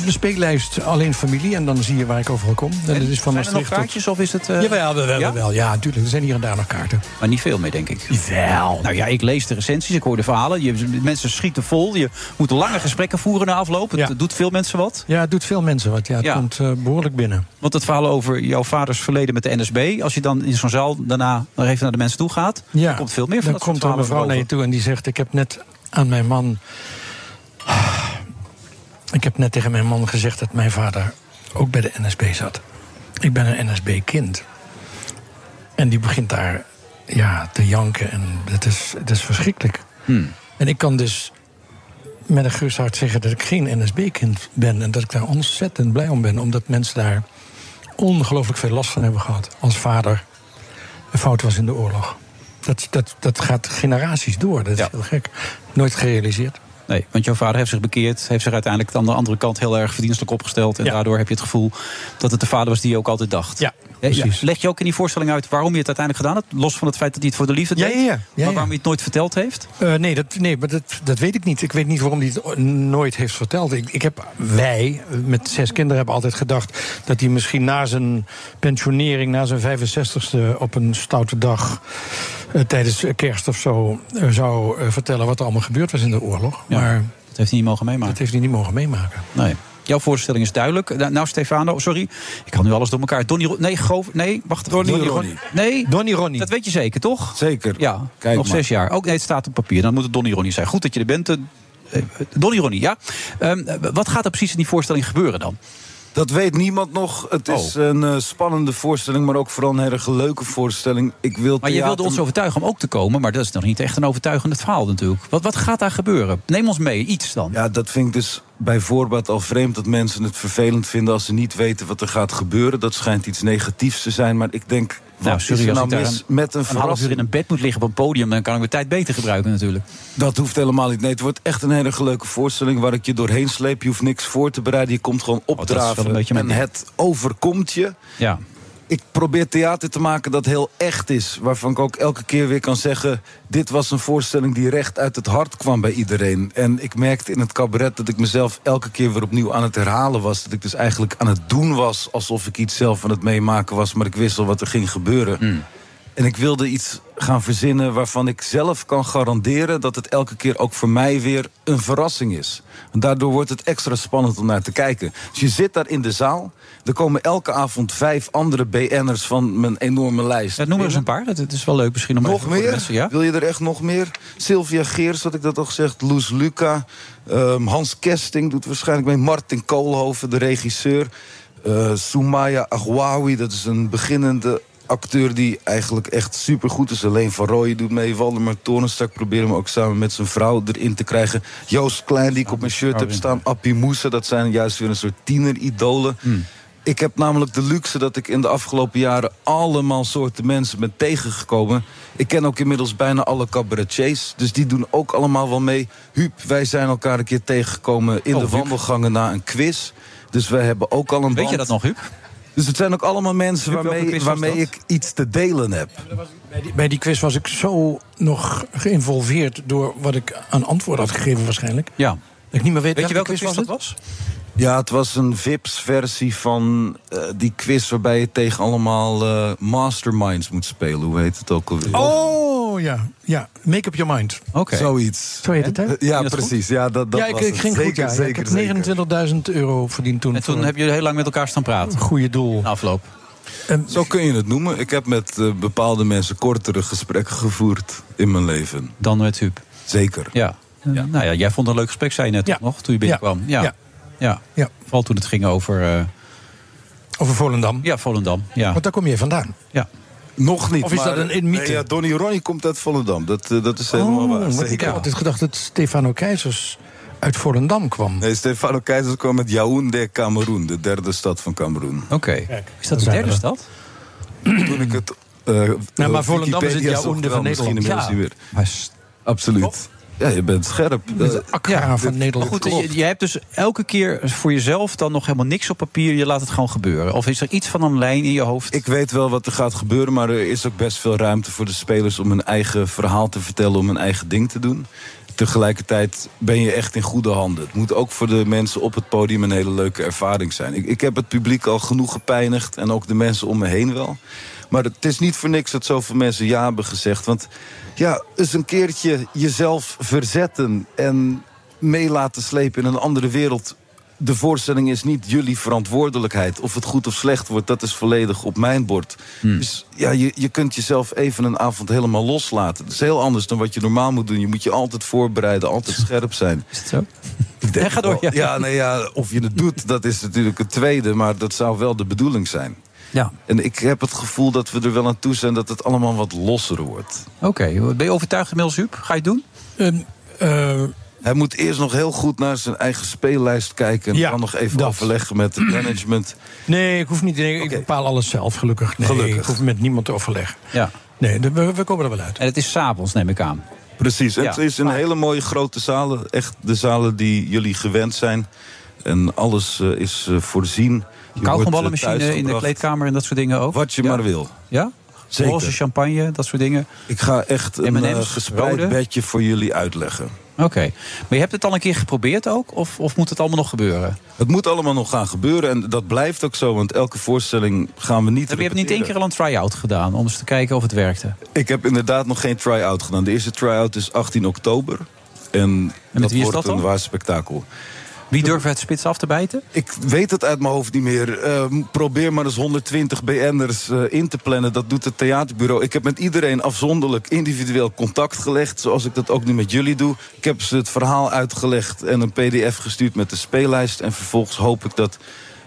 S9: de speellijst alleen familie en dan zie je waar ik overal kom. En dat is van
S8: Zijn er nog
S9: Maastricht tot...
S8: kaartjes of is het... eh,
S9: Jawel, wel, wel,
S8: ja?
S9: wel. Ja, natuurlijk. Er zijn hier en daar nog kaarten.
S8: Maar niet veel meer, denk ik. Wel. Nou ja, ik lees de recensies, ik hoor de verhalen. Je, mensen schieten vol. Je moet lange gesprekken voeren na afloop. Het doet veel mensen wat.
S9: Ja, het doet veel mensen wat. Ja, het
S8: Ja.
S9: komt eh, behoorlijk binnen.
S8: Want het verhaal over jouw vaders verleden met de NSB... als je dan in zo'n zaal daarna nog even naar de mensen toe gaat...
S9: Ja.
S8: dan komt veel meer van
S9: Dan
S8: dat
S9: komt er
S8: soort
S9: een mevrouw naar je
S8: verhalen
S9: toe en die zegt... ik heb net aan mijn man... Ik heb net tegen mijn man gezegd dat mijn vader ook bij de NSB zat. Ik ben een NSB-kind. En die begint daar ja, te janken en het is, het is verschrikkelijk. En ik kan dus met een gerust hart zeggen dat ik geen NSB-kind ben... en dat ik daar ontzettend blij om ben, omdat mensen daar ongelooflijk veel last van hebben gehad. Als vader een fout was in de oorlog. Dat, dat, dat gaat generaties door. Dat is heel gek. Nooit gerealiseerd.
S8: Nee, want jouw vader heeft zich bekeerd. Heeft zich uiteindelijk aan de andere kant heel erg verdienstelijk opgesteld. En daardoor heb je het gevoel dat het de vader was die je ook altijd dacht. Ja,
S9: precies.
S8: Leg je ook in die voorstelling uit waarom je het uiteindelijk gedaan hebt? Los van het feit dat hij het voor de liefde deed.
S9: ja, ja. Ja,
S8: maar
S9: ja.
S8: waarom hij het nooit verteld heeft?
S9: Eh, nee, dat, nee, maar dat, dat weet ik niet. Ik weet niet waarom hij het o- nooit heeft verteld. Ik, ik heb, wij eh, met zes kinderen hebben altijd gedacht dat hij misschien na zijn pensionering, na zijn 65ste, op een stoute dag eh, tijdens kerst of zo eh, zou eh, vertellen wat er allemaal gebeurd was in de oorlog.
S8: Ja,
S9: maar
S8: dat heeft hij niet mogen meemaken.
S9: Dat heeft hij niet mogen meemaken.
S8: Nee. Jouw voorstelling is duidelijk. Nou, nou, Stefano, sorry. Ik kan nu alles door elkaar. Donnie Ro- Nee, Goof. Nee, wacht.
S14: Donnie
S8: Ron-
S14: Ronnie.
S8: Nee. Donnie Ronnie. Dat weet je zeker, toch?
S14: Zeker.
S8: Ja,
S14: Kijk
S8: nog
S14: maar.
S8: zes jaar. Ook nee, het staat op papier. Dan moet het Donnie Ronnie zijn. Goed dat je er bent. Eh, eh, Donnie Ronnie, ja. Ehm, eh, wat gaat er precies in die voorstelling gebeuren dan?
S14: Dat weet niemand nog. Het
S8: Oh.
S14: is een eh, spannende voorstelling, maar ook vooral een hele leuke voorstelling. Ik wil
S8: Maar je wilde
S14: theater-
S8: ons overtuigen om ook te komen, maar dat is nog niet echt een overtuigend verhaal natuurlijk. Wat, wat gaat daar gebeuren? Neem ons mee, iets dan.
S14: Ja, dat vind ik dus bij voorbaat al vreemd dat mensen het vervelend vinden als ze niet weten wat er gaat gebeuren. Dat schijnt iets negatiefs te zijn, maar ik denk. Wat
S8: Nou,
S14: is
S8: sorry,
S14: er
S8: als
S14: nou
S8: ik daar
S14: mis met een,
S8: een half uur in
S14: verrassing?
S8: een bed moet liggen op een podium, dan kan ik mijn tijd beter gebruiken natuurlijk.
S14: Dat hoeft helemaal niet. Nee, het wordt echt een hele leuke voorstelling waar ik je doorheen sleep. Je hoeft niks voor te bereiden. Je komt gewoon
S8: Oh, is wel een
S14: opdraven.
S8: beetje mijn
S14: en
S8: ding.
S14: het overkomt je.
S8: Ja.
S14: Ik probeer theater te maken dat heel echt is. Waarvan ik ook elke keer weer kan zeggen... dit was een voorstelling die recht uit het hart kwam bij iedereen. En ik merkte in het cabaret dat ik mezelf elke keer weer opnieuw aan het herhalen was. Dat ik dus eigenlijk aan het doen was alsof ik iets zelf aan het meemaken was... maar ik wist al wat er ging gebeuren. En ik wilde iets gaan verzinnen waarvan ik zelf kan garanderen... dat het elke keer ook voor mij weer een verrassing is. Want daardoor wordt het extra spannend om naar te kijken. Dus je zit daar in de zaal. Er komen elke avond vijf andere BN'ers van mijn enorme lijst.
S8: Ja, noem er eens een paar. Het, het is wel leuk misschien om even
S14: Nog
S8: voor de
S14: meer?
S8: mensen- ja?
S14: Wil je er echt nog meer? Sylvia Geers had ik dat al gezegd. Loes Luca. Ehm, Hans Kesting doet waarschijnlijk mee. Martin Koolhoven, de regisseur. Eh, Soumaya Agwawi, dat is een beginnende acteur die eigenlijk echt supergoed is. Alleen Van Rooyen doet mee. Waldemar Torenstak probeert hem ook samen met zijn vrouw erin te krijgen. Joost Klein, die ik op mijn shirt heb staan. Appie Moussa, dat zijn juist weer een soort tiener-idolen. Ik heb namelijk de luxe dat ik in de afgelopen jaren allemaal soorten mensen ben tegengekomen. Ik ken ook inmiddels bijna alle cabaretiers, dus die doen ook allemaal wel mee. Huub, wij zijn elkaar een keer tegengekomen in
S8: Oh,
S14: de
S8: Huub.
S14: wandelgangen na een quiz. Dus wij hebben ook al een
S8: Weet
S14: band.
S8: je dat nog, Huub?
S14: Dus het zijn ook allemaal mensen
S9: Huub, welke
S14: waarmee,
S9: quiz was
S14: waarmee
S9: dat?
S14: ik iets te delen heb.
S9: Bij die, bij die quiz was ik zo nog geïnvolveerd door wat ik aan antwoord had gegeven waarschijnlijk.
S8: Ja.
S9: Dat ik niet meer weet,
S8: Weet je welke quiz
S9: quiz
S8: dat
S9: het?
S8: was?
S14: Ja, het was een VIPS-versie van eh, die quiz waarbij je tegen allemaal eh, masterminds moet spelen. Hoe heet het ook alweer?
S9: Oh ja, ja. Make up your mind.
S14: Zoiets.
S9: Zo heet het, hè?
S14: Ja, precies. Ja, dat, dat
S9: ja, ik,
S14: was
S9: ik
S14: het.
S9: ging
S14: zeker,
S9: goed, ja. Ja,
S14: Zeker, zeker.
S9: ik heb 29.000 euro verdiend toen.
S8: En toen
S9: voor-
S8: hebben jullie heel lang met elkaar staan praten.
S9: Goede doel.
S8: Afloop.
S14: Zo kun je het noemen. Ik heb met eh, bepaalde mensen kortere gesprekken gevoerd in mijn leven.
S8: Dan met Huub.
S14: Zeker.
S8: Ja. Eh, Nou ja, jij vond het een leuk gesprek, zei je net
S9: Ja.
S8: nog, toen je binnenkwam. Ja. Ja.
S9: Ja. Ja.
S8: Vooral toen het ging over... eh,
S9: Over Volendam.
S8: ja, Volendam. Ja.
S9: Want daar kom je vandaan. Oh,
S8: ja.
S14: Nog niet.
S9: Of is dat
S14: maar-
S9: een- een mythe?
S14: Nee, ja, Donnie Ronnie komt uit Volendam. Dat, eh, dat is helemaal waar.
S9: want ik
S14: Zeker.
S9: had altijd gedacht dat Stefano Keizers uit Volendam kwam.
S14: Nee, Stefano Keizer kwam met Yaoundé, Cameroen. De derde stad van Cameroen.
S8: Oké. Is dat de derde stad?
S14: Toen ik het... eh,
S9: maar
S14: eh,
S9: Volendam is het
S14: Wikipedia
S9: Yaoundé
S14: zocht,
S9: van
S14: wel, misschien
S9: Nederland.
S14: inmiddels
S9: Ja. Oh.
S14: niet meer. Absoluut. Ja, je bent scherp. Eh,
S9: Accra van
S8: Maar
S9: Nederland.
S8: goed, je, je hebt dus elke keer voor jezelf dan nog helemaal niks op papier. Je laat het gewoon gebeuren. Of is er iets van een lijn in je hoofd?
S14: Ik weet wel wat er gaat gebeuren, maar er is ook best veel ruimte voor de spelers om hun eigen verhaal te vertellen, om hun eigen ding te doen. Tegelijkertijd ben je echt in goede handen. Het moet ook voor de mensen op het podium een hele leuke ervaring zijn. Ik, ik heb het publiek al genoeg gepijnigd en ook de mensen om me heen wel. Maar het is niet voor niks dat zoveel mensen ja hebben gezegd. Want ja, eens een keertje jezelf verzetten en mee laten slepen in een andere wereld de voorstelling is niet jullie verantwoordelijkheid. Of het goed of slecht wordt, dat is volledig op mijn bord. Dus ja, je, je kunt jezelf even een avond helemaal loslaten. Dat is heel anders dan wat je normaal moet doen. Je moet je altijd voorbereiden, altijd scherp zijn.
S8: Is het zo?
S14: Ik denk
S8: Ja, ga door,
S14: wel-
S8: ja.
S14: Ja, nee, ja, of je het doet, dat is natuurlijk het tweede. Maar dat zou wel de bedoeling zijn.
S8: Ja.
S14: En ik heb het gevoel dat we er wel aan toe zijn dat het allemaal wat losser wordt.
S8: Oké. Ben je overtuigd inmiddels, Huub? Ga je het doen?
S9: Ehm, eh,
S14: Hij moet eerst nog heel goed naar zijn eigen speellijst kijken. En
S9: Ja,
S14: dan nog even
S9: dat.
S14: overleggen met het management.
S9: nee, ik hoef niet. nee, Ik bepaal alles zelf, gelukkig. Nee,
S14: Gelukkig.
S9: Ik hoef met niemand te overleggen.
S8: Ja.
S9: Nee, de- we, we komen er wel uit.
S8: En het is s'avonds, neem ik aan.
S14: Precies, en
S8: Ja,
S14: het is een hele mooie grote zalen. Echt de zalen die jullie gewend zijn. En alles eh, is eh, voorzien. Je wordt, eh,
S8: Kauwgomballenmachine in de
S14: thuisgebracht.
S8: kleedkamer en dat soort dingen ook?
S14: Wat je
S8: Ja?
S14: maar wil.
S8: Ja?
S14: Zeker.
S8: Roze champagne, dat soort dingen.
S14: Ik ga echt een
S8: M&M's,
S14: eh, gespreid
S8: rode.
S14: bedje voor jullie uitleggen.
S8: Oké. Maar je hebt het al een keer geprobeerd ook? Of, of moet het allemaal nog gebeuren?
S14: Het moet allemaal nog gaan gebeuren en dat blijft ook zo. Want elke voorstelling gaan we niet
S8: Heb je hebt niet één keer
S14: repeteren.
S8: al een try-out gedaan om eens te kijken of het werkte?
S14: Ik heb inderdaad nog geen try-out gedaan. De eerste try-out is 18 oktober. En, dat
S8: wie is
S14: wordt
S8: dat dan?
S14: een waar spektakel.
S8: Wie durft het spits af te bijten?
S14: Ik weet het uit mijn hoofd niet meer. Ehm, probeer maar eens 120 BN'ers eh, in te plannen. Dat doet het theaterbureau. Ik heb met iedereen afzonderlijk individueel contact gelegd. Zoals ik dat ook nu met jullie doe. Ik heb ze het verhaal uitgelegd en een pdf gestuurd met de speellijst. En vervolgens hoop ik dat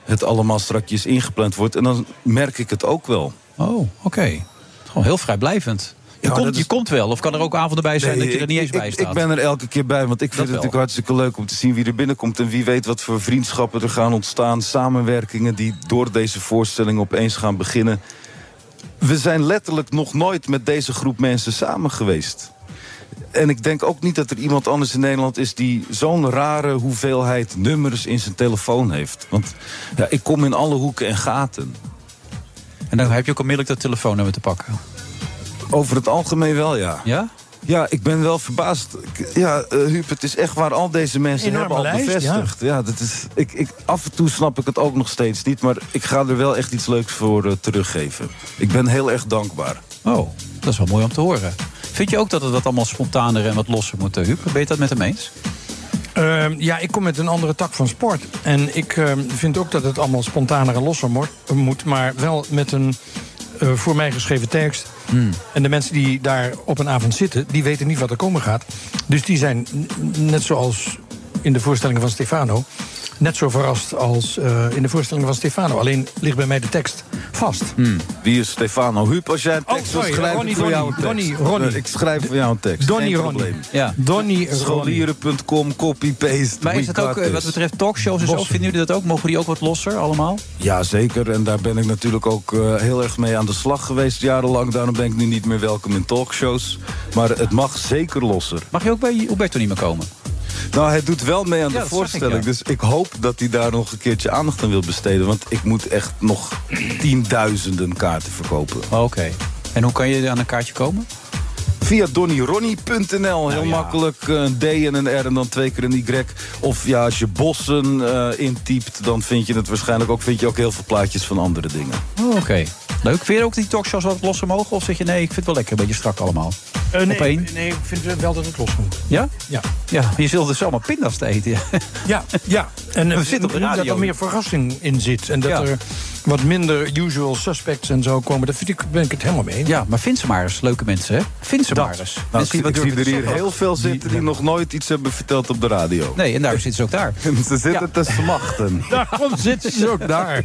S14: het allemaal strakjes ingepland wordt. En dan merk ik het ook wel.
S8: Oh, oké. Gewoon heel vrijblijvend. Je,
S14: Ja,
S8: komt,
S14: dat
S8: je
S14: is-
S8: komt wel, of kan er ook avonden bij zijn dat je er
S14: ik-
S8: niet eens
S14: ik,
S8: bij
S14: ik-
S8: staat?
S14: Ik ben er elke keer bij, want ik vind het
S8: Dat wel.
S14: natuurlijk hartstikke leuk om te zien wie er binnenkomt. En wie weet wat voor vriendschappen er gaan ontstaan. Samenwerkingen die door deze voorstelling opeens gaan beginnen. We zijn letterlijk nog nooit met deze groep mensen samen geweest. En ik denk ook niet dat er iemand anders in Nederland is die zo'n rare hoeveelheid nummers in zijn telefoon heeft. Want ja, ik kom in alle hoeken en gaten.
S8: En dan heb je ook onmiddellijk dat telefoonnummer te pakken.
S14: Over het algemeen wel, ja.
S8: Ja?
S14: Ja, ik ben wel verbaasd. Ik- Ja, eh, Huub, het is echt waar al deze mensen
S9: Enorme
S14: hebben al
S9: lijst,
S14: bevestigd. Ja, dat is, ik, ik, af en toe snap ik het ook nog steeds niet. Maar ik ga er wel echt iets leuks voor eh, teruggeven. Ik ben heel erg dankbaar.
S8: Oh, dat is wel mooi om te horen. Vind je ook dat het wat allemaal spontaner en wat losser moet, eh, Huub? Ben je het dat met hem eens?
S9: Ehm, ja, ik kom met een andere tak van sport. En ik ehm, vind ook dat het allemaal spontaner en losser mo- moet. Maar wel met een eh, voor mij geschreven tekst.
S8: Hmm.
S9: En de mensen die daar op een avond zitten, die weten niet wat er komen gaat. Dus die zijn, n- net zoals in de voorstellingen van Stefano... net zo verrast als eh, in de voorstellingen van Stefano. Alleen ligt bij mij de tekst vast.
S8: Hmm.
S14: Wie is Stefano? Huub, als jij een
S9: Oh,
S14: tekst wil
S9: sorry,
S14: schrijven,
S9: Ronnie,
S14: voor jou een tekst.
S9: Ronnie, Ronnie, Ronnie.
S14: Eh, Ik schrijf voor jou een tekst.
S9: Donnie
S14: Geen
S9: Ronnie.
S14: probleem.
S8: Ja.
S9: Donnie Ronnie.
S14: Scholieren.com, copy-paste.
S8: Maar
S14: we
S8: is dat ook,
S14: got
S8: eh, wat
S14: this.
S8: betreft talkshows en zo,
S9: Los.
S8: vinden jullie dat ook? Mogen die ook wat losser allemaal?
S14: Ja, zeker. En daar ben ik natuurlijk ook eh, heel erg mee aan de slag geweest jarenlang. Daarom ben ik nu niet meer welkom in talkshows. Maar het mag zeker losser.
S8: Mag je ook bij Humberto niet meer komen?
S14: Nou, hij doet wel mee aan
S15: Ja,
S14: de
S15: dat zag ik,
S14: voorstelling.
S15: ja.
S14: Dus ik hoop dat hij daar nog een keertje aandacht aan wil besteden. Want ik moet echt nog tienduizenden kaarten verkopen.
S8: Oké. En hoe kan je aan een kaartje komen? Nou
S14: Via donnyronnie.nl. Heel makkelijk. eh, Een D en een R en dan twee keer een Y. Of ja, als je bossen eh, intypt, dan vind je het waarschijnlijk ook. Vind je ook heel veel plaatjes van andere dingen.
S8: Oh, Oké. Leuk. Vind je ook die talkshows wat losser mogen? Of zeg je nee, ik vind het wel lekker, een beetje strak allemaal?
S9: Eh,
S8: Op één?
S9: nee, nee, ik vind wel dat het los moet.
S8: Ja?
S9: Ja.
S8: Ja, je zult dus allemaal pinda's te eten. ja.
S9: Ja, ja. En
S8: We
S9: we
S8: zitten op de
S9: dat
S8: radio.
S9: er meer verrassing in zit. En dat er wat minder usual suspects en zo komen. Daar vind ik, ben ik het helemaal mee. eens.
S8: Ja, maar vind ze maar eens. Leuke mensen, hè? Vind ze
S9: Dat.
S8: maar eens.
S9: Nou,
S8: Mensen
S14: Ik
S8: die
S14: zie,
S8: wat
S14: ik zie
S8: durven
S14: er
S8: te
S14: hier
S8: zeggen.
S14: heel veel zitten die nog nooit iets hebben verteld op de radio.
S8: Nee, en daarom zitten ze ook daar.
S14: Ze zitten te smachten.
S9: Daarom zitten ze ook daar.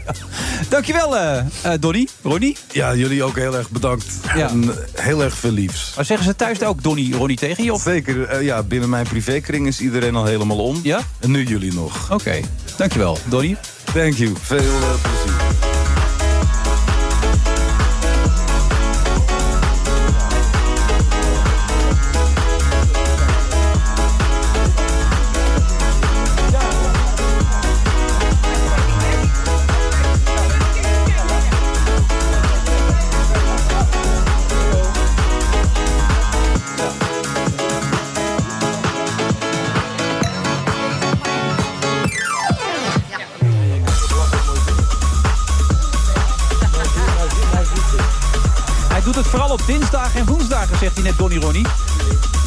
S8: Dankjewel, eh eh, Donnie. Ronnie.
S14: Ja, jullie ook heel erg bedankt.
S8: Ja.
S14: En eh, heel erg veel liefs.
S8: Maar zeggen ze thuis ook Donnie, Ronnie tegen je? Of?
S14: Zeker. eh, ja, binnen mijn privékring is iedereen al helemaal om.
S8: Ja?
S14: En nu jullie nog.
S8: Oké. Dankjewel, Donnie.
S14: Thank you. Veel eh, plezier.
S8: Hij doet het vooral op dinsdagen en woensdagen, zegt hij net Donnie Ronnie.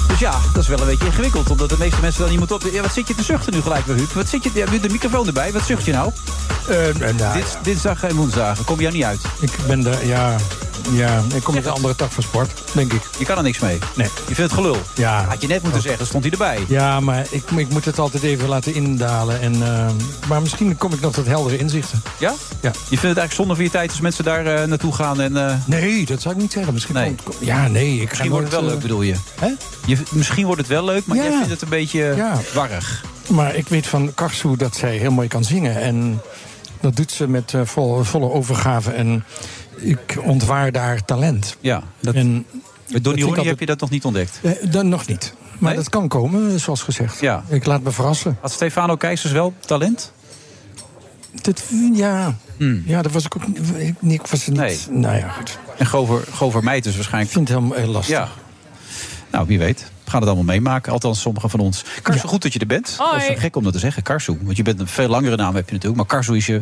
S8: Dus ja, dat is wel een beetje ingewikkeld, omdat de meeste mensen dan niet moeten op. Ja, wat zit je te zuchten nu gelijk weer, Huub? Wat zit je, ja, de microfoon erbij, wat zucht je nou? Dins- Dinsdag en woensdagen, kom je niet uit?
S9: Eh, nou, Ik ben daar, ja, ja, ik kom uit een andere tak van sport, denk ik.
S8: Je kan er niks mee.
S9: Nee.
S8: Je vindt het gelul.
S9: Ja.
S8: Had je net moeten zeggen, stond hij erbij.
S9: Ja, maar ik, ik moet het altijd even laten indalen. En, eh, maar misschien kom ik nog tot heldere inzichten.
S8: Ja?
S9: Ja.
S8: Je vindt het eigenlijk zonde voor je tijd als mensen daar eh, naartoe gaan en... eh,
S9: Nee, dat zou ik niet zeggen. Misschien
S8: Nee.
S9: komt- ja, nee. Ik eh,
S8: Misschien wordt het wel leuk, bedoel je?
S9: Hè?
S8: je? Misschien wordt het wel leuk, maar
S9: Ja.
S8: jij vindt het een beetje eh,
S9: Ja.
S8: warrig.
S9: Maar ik weet van Karsu dat zij heel mooi kan zingen. En dat doet ze met eh, vol- volle overgave. En ik ontwaar daar talent.
S8: Ja, dat,
S9: en,
S8: met Donnie
S9: vind ik
S8: Ronnie heb
S9: altijd-
S8: je dat nog niet ontdekt.
S9: Eh, dan nog niet. Maar dat kan komen, zoals gezegd.
S8: Ja.
S9: Ik laat me verrassen.
S8: Had Stefano Keizers wel talent?
S9: Dat, ja. ja, dat was ik ook niet. Ik was er niet.
S8: Hmm. Nee.
S9: Nou ja, goed.
S8: En Gover, Gover Meijt dus waarschijnlijk.
S9: Ik vind het heel, heel lastig.
S8: Ja. Nou, wie weet. We gaan het allemaal meemaken. Althans, sommigen van ons. Karsu, goed dat je er bent.
S16: Hoi.
S8: Dat is wel gek om dat te zeggen, Karsu. Want je bent een veel langere naam heb je natuurlijk. Maar Karsu is je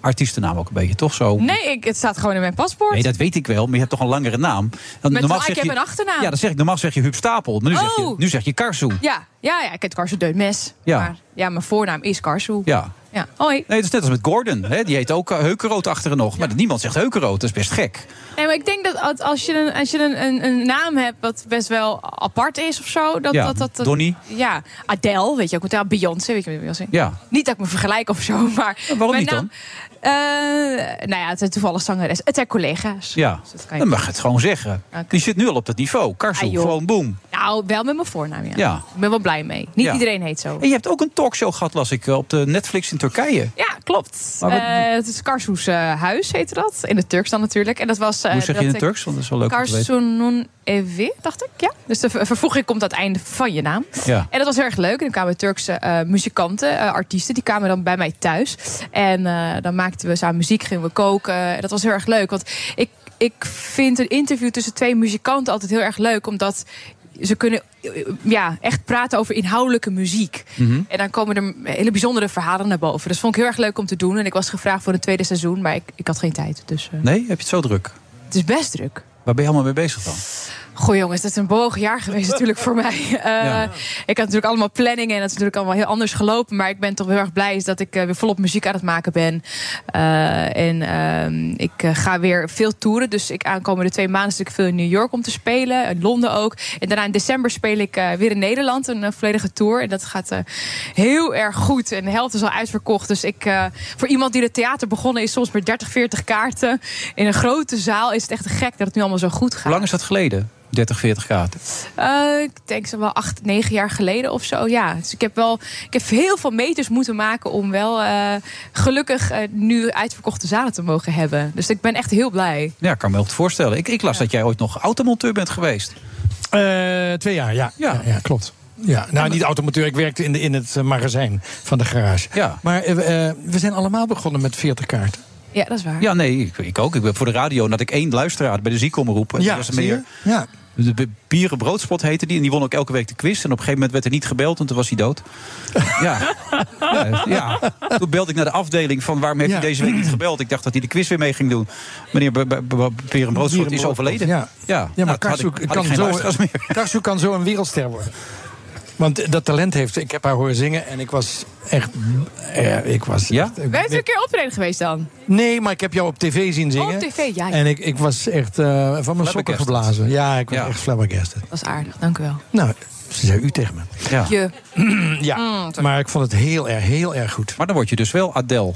S8: artiestennaam ook een beetje, toch zo?
S16: Nee, ik, het staat gewoon in mijn paspoort.
S8: Oh. Nee, dat weet ik wel, maar je hebt toch een langere naam. Dan
S16: Met
S8: normaal
S16: een- ik
S8: zeg
S16: heb
S8: je-
S16: een achternaam.
S8: Ja, dan zeg ik, normaal zeg je Huub Stapel. Maar nu, zeg, je,
S16: Oh.
S8: nu zeg je Karsu.
S16: Ja, ja, ja, ik heet Karsu Deunmes.
S8: Ja.
S16: Maar ja, mijn voornaam is Karsu.
S8: Ja.
S16: Ja. Hoi.
S8: Nee, het is net als met Gordon. Hè? Die heet ook eh, Heukerood achteren nog. Maar niemand zegt Heukerood. Dat is best gek.
S16: Nee, maar ik denk dat als- als je een, als je een, een, een naam hebt wat best wel apart is of zo. Dat,
S8: Ja,
S16: dat, dat, dat-
S8: Donnie.
S16: Ja, Adele, weet je ook meteen. Beyoncé, weet je wat ik wil zeggen.
S8: Ja.
S16: Niet dat ik me vergelijk of zo, maar...
S8: waarom
S16: mijn
S8: niet dan?
S16: eh, nou ja, het zijn toevallig zangeres. Het zijn collega's.
S8: Ja.
S16: Dus dat kan je-
S8: Dan mag je het gewoon zeggen.
S16: Oké.
S8: Die zit nu al op dat niveau. Karsu,
S16: Ah, joh.
S8: gewoon boom.
S16: Nou, wel met mijn voornaam, ja.
S8: Ja.
S16: Ik ben wel blij mee. Niet
S8: Ja.
S16: iedereen heet zo.
S8: En je hebt ook een talkshow gehad, las ik, eh, op de Netflix in Turkije.
S16: Ja, klopt.
S8: Maar wat-
S16: Eh, het is Karsu's eh, huis, heette dat. In het Turks dan natuurlijk. En dat was, eh,
S8: Hoe zeg je
S16: dat
S8: in het
S16: ik-
S8: Turks? Want dat is wel leuk om te weten.
S16: Karsunun Evi, dacht ik. Ja. Dus de ver- vervoeging komt aan het einde van je naam.
S8: Ja.
S16: En dat was heel erg leuk. En dan kwamen Turkse eh, muzikanten, eh, artiesten, die kwamen dan bij mij thuis. En eh, dan maakten we samen muziek, gingen we koken. En dat was heel erg leuk. Want ik, ik vind een interview tussen twee muzikanten altijd heel erg leuk. Omdat ze kunnen eh, eh, ja, echt praten over inhoudelijke muziek.
S17: Mhm.
S16: En dan komen er hele bijzondere verhalen naar boven. Dus vond ik heel erg leuk om te doen. En ik was gevraagd voor een tweede seizoen, maar ik, ik had geen tijd. Dus eh,
S8: Nee, heb je het zo druk?
S16: het is best druk.
S8: Waar ben je allemaal mee bezig dan?
S16: Goh jongens, dat is een bewogen jaar geweest natuurlijk voor mij. Eh, Ik had natuurlijk allemaal planningen en dat is natuurlijk allemaal heel anders gelopen. Maar ik ben toch heel erg blij dat ik eh, weer volop muziek aan het maken ben. Eh, en ehm, ik eh, ga weer veel toeren. Dus ik aankomende twee maanden zit ik veel in New York om te spelen. In Londen ook. En daarna in december speel ik eh, weer in Nederland een eh, volledige tour. En dat gaat eh, heel erg goed. En de helft is al uitverkocht. Dus ik, eh, voor iemand die het theater begonnen is soms met 30, 40 kaarten. In een grote zaal is het echt gek dat het nu allemaal zo goed gaat.
S8: Hoe lang is dat geleden? 30, 40 kaarten.
S16: Eh, ik denk zo wel acht, negen jaar geleden of zo. Ja, dus ik heb wel ik heb heel veel meters moeten maken om wel eh, gelukkig eh, nu uitverkochte zalen te mogen hebben. Dus ik ben echt heel blij.
S8: Ja, ik kan me wel goed voorstellen. Ik, ik las dat jij ooit nog automonteur bent geweest.
S9: Eh, twee jaar, ja. Ja, ja, klopt. Ja, nou niet automonteur, ik werkte in, de, in het eh, magazijn van de garage.
S8: Ja.
S9: Maar eh, eh, we zijn allemaal begonnen met 40 kaarten.
S16: Ja, dat is waar.
S8: Ja, nee, ik, ik ook. Ik ben voor de radio nadat ik één luisteraar bij de ziekenomroep. en
S9: Ja,
S8: die was er
S9: zie je?
S8: meer. De Bi- Bierenbroodspot heette die. En die won ook elke week de quiz. En op een gegeven moment werd er niet gebeld, want toen was hij dood. Ja. ja, ja. Toen belde ik naar de afdeling van waarom heeft hij deze week niet gebeld. Ik dacht dat hij de quiz weer mee ging doen. Meneer B- B- B- Bierenbroodspot is
S9: Bierenbroodspot,
S8: overleden.
S9: ja.
S8: ja.
S9: Ja, maar
S8: Nou, toen had
S9: Karshoek
S8: ik- had ik
S9: kan,
S8: geen
S9: zo-
S8: luisteraars meer.
S9: Karshoek kan zo een wereldster worden. Want eh, dat talent heeft, ik heb haar horen zingen en ik was echt. eh, ik was ja?
S16: Bent u een keer optreden geweest dan?
S9: nee, maar ik heb jou op tv zien zingen.
S16: Op tv, ja. ja.
S9: En ik, ik was echt eh, van mijn sokken
S16: Flabbergasted.
S9: geblazen. Ja, ik was echt flabbergasted.
S16: Dat is aardig, dank u wel.
S9: Nou, ze zei u tegen me.
S8: Ja.
S16: Je.
S9: ja,
S16: Mm,
S9: maar ik vond het heel erg, heel erg goed.
S8: Maar dan word je dus wel Adele.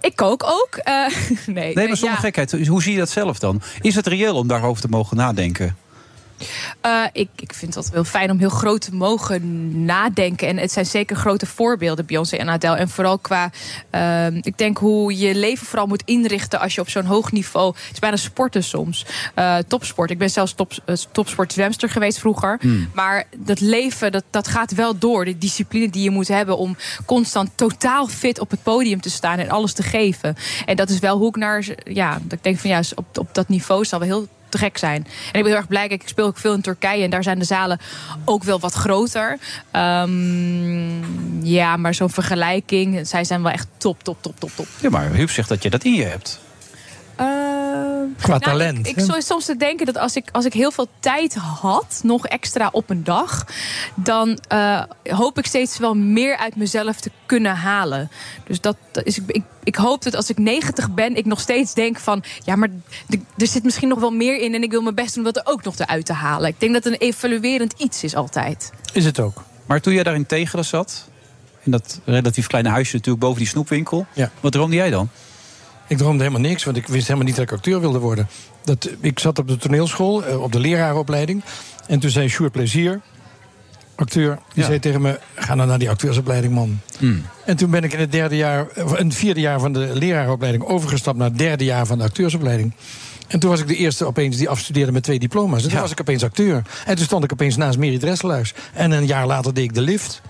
S16: Ik kook ook. eh, nee,
S8: Nee, maar zonder
S16: ja.
S8: gekheid. Hoe zie je dat zelf dan? Is het reëel om daarover te mogen nadenken?
S16: Eh, ik, ik vind dat wel fijn om heel groot te mogen nadenken. En het zijn zeker grote voorbeelden, Beyoncé en Adele. En vooral qua, ehm, ik denk hoe je leven vooral moet inrichten... als je op zo'n hoog niveau, het is bijna sporten soms, Eh, topsport. Ik ben zelfs top, eh, topsportzwemster geweest vroeger.
S15: Hmm.
S16: Maar dat leven, dat, dat gaat wel door. De discipline die je moet hebben om constant totaal fit op het podium te staan... en alles te geven. En dat is wel hoe ik naar, ja, dat ik denk van ja, op, op dat niveau zal wel heel te gek zijn. En ik ben heel erg blij. Kijk, ik speel ook veel in Turkije en daar zijn de zalen ook wel wat groter. Ehm, ja, maar zo'n vergelijking, zij zijn wel echt top, top, top, top, top.
S8: Ja, maar Huub zegt dat je dat in je hebt.
S16: Ehm,
S8: Qua
S16: nou,
S8: talent,
S16: Ik, ik
S8: hè?
S16: zou soms te denken dat als ik, als ik heel veel tijd had, nog extra op een dag, dan eh, hoop ik steeds wel meer uit mezelf te kunnen halen. Dus dat, dat is, ik, ik, ik hoop dat als ik 90 ben, ik nog steeds denk van, ja, maar d- er zit misschien nog wel meer in en ik wil mijn best doen om dat er ook nog uit te halen. Ik denk dat het een evaluerend iets is altijd.
S9: Is het ook.
S8: Maar toen jij daar in Tegelen zat, in dat relatief kleine huisje natuurlijk boven die snoepwinkel,
S9: Ja.
S8: wat droomde jij dan?
S9: Ik droomde helemaal niks, want ik wist helemaal niet dat ik acteur wilde worden. Dat, ik zat op de toneelschool, eh, op de lerarenopleiding. En toen zei Sjoerd Plezier, acteur, die
S8: Ja.
S9: zei tegen me... ga nou naar die acteursopleiding, man.
S8: Mm.
S9: En toen ben ik in het derde jaar, of in het vierde jaar van de lerarenopleiding overgestapt naar het derde jaar van de acteursopleiding. En toen was ik de eerste opeens die afstudeerde met twee diploma's. En toen was ik opeens acteur. En toen stond ik opeens naast Mary Dresselaars. En een jaar later deed ik de lift.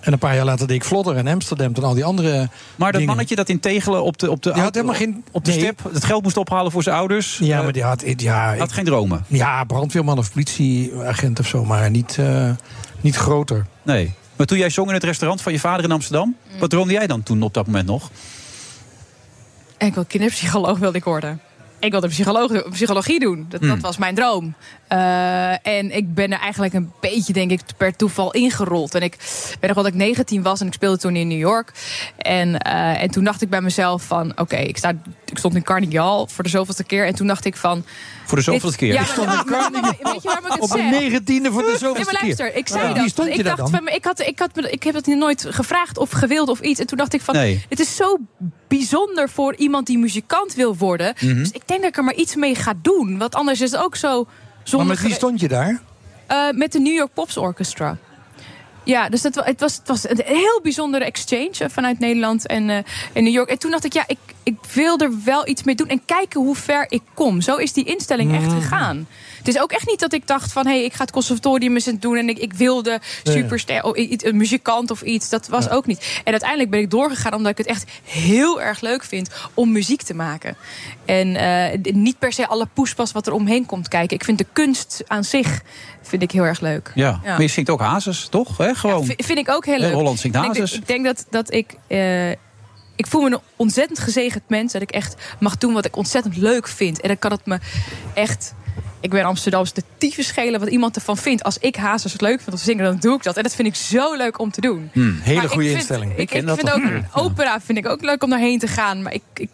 S9: En een paar jaar later deed ik Vlodder en Amsterdam en al die andere.
S8: Maar dat
S9: dingen.
S8: mannetje dat in Tegelen op de, op de,
S9: Die had
S8: auto-
S9: helemaal geen-
S8: op de
S9: nee.
S8: step het geld moest ophalen voor zijn ouders.
S9: Ja,
S8: eh,
S9: maar die had, ja,
S8: had geen dromen.
S9: Ja, brandweerman of politieagent of zo, maar niet, eh, niet groter.
S8: Nee. Maar toen jij zong in het restaurant van je vader in Amsterdam,
S16: Mm.
S8: wat droomde jij dan toen op dat moment nog?
S16: En ik wil kinderpsycholoog wilde ik worden. Ik wilde psycholoog, psychologie doen. Dat,
S8: Hmm.
S16: dat was mijn droom. Eh, en ik ben er eigenlijk een beetje, denk ik, per toeval ingerold. En ik weet nog wel dat ik 19 was en ik speelde toen in New York. En, eh, en toen dacht ik bij mezelf van... Oké, ik, sta- ik stond in Carnegie Hall voor de zoveelste keer. En toen dacht ik van...
S8: Voor de zoveelste
S16: dit-
S8: keer.
S16: Ja,
S8: Ik
S16: maar,
S8: stond
S16: maar- maar- maar- weet je waarom ik het
S9: Op de
S16: zeg?
S9: negentiende voor de
S16: Nee,
S9: zoveelste
S16: maar luister,
S9: keer.
S16: ik zei
S9: Ja. Wie
S16: dat.
S9: stond je
S16: ik
S9: daar
S16: dacht
S9: dan?
S16: van, ik, had, ik, had, me- ik heb dat nooit gevraagd of gewild of iets. En toen dacht ik van,
S8: Nee.
S16: het is zo bijzonder voor iemand die muzikant wil worden.
S9: Mhm.
S16: Dus ik denk dat ik er maar iets mee ga doen. Want anders is het ook zo
S9: Maar
S16: zonder...
S9: met wie
S16: gewe-
S9: stond je daar?
S16: Eh, met de New York Pops Orchestra. Ja, dus dat, wa- het, was, het was een heel bijzondere exchange eh, vanuit Nederland en, eh, en New York. En toen dacht ik, ja, ik, ik wil er wel iets mee doen en kijken hoe ver ik kom. Zo is die instelling echt
S9: Mhm.
S16: gegaan. Het is ook echt niet dat ik dacht van, hé, hey, ik ga het conservatorium eens doen... en ik, ik wilde
S15: Nee.
S16: superster, oh, i- i- een muzikant of iets. Dat was ook niet. En uiteindelijk ben ik doorgegaan omdat ik het echt heel erg leuk vind om muziek te maken. En eh, d- niet per se alle poespas wat er omheen komt kijken. Ik vind de kunst aan zich vind ik heel erg leuk.
S8: Ja.
S16: Ja.
S8: Maar je zingt ook hazes, toch? Hè? Gewoon.
S16: V- vind ik ook heel
S8: Eh,
S16: leuk.
S8: Holland zingt
S16: En ik,
S8: hazes.
S16: ik denk dat, dat ik... eh, ik voel me een ontzettend gezegend mens. Dat ik echt mag doen wat ik ontzettend leuk vind. En dan kan het me echt... Ik ben Amsterdams de tyfe schelen wat iemand ervan vindt. Als ik hazes het leuk vind om te zingen, dan doe ik dat. En dat vind ik zo leuk om te doen.
S9: Hmm, hele
S16: Maar ik
S9: goede
S16: vind-
S9: instelling.
S16: Ik,
S9: Ik ken
S16: ik
S9: dat
S16: vind
S9: toch.
S16: ook Hmm. opera vind ik ook leuk om daarheen te gaan. Maar ik, ik,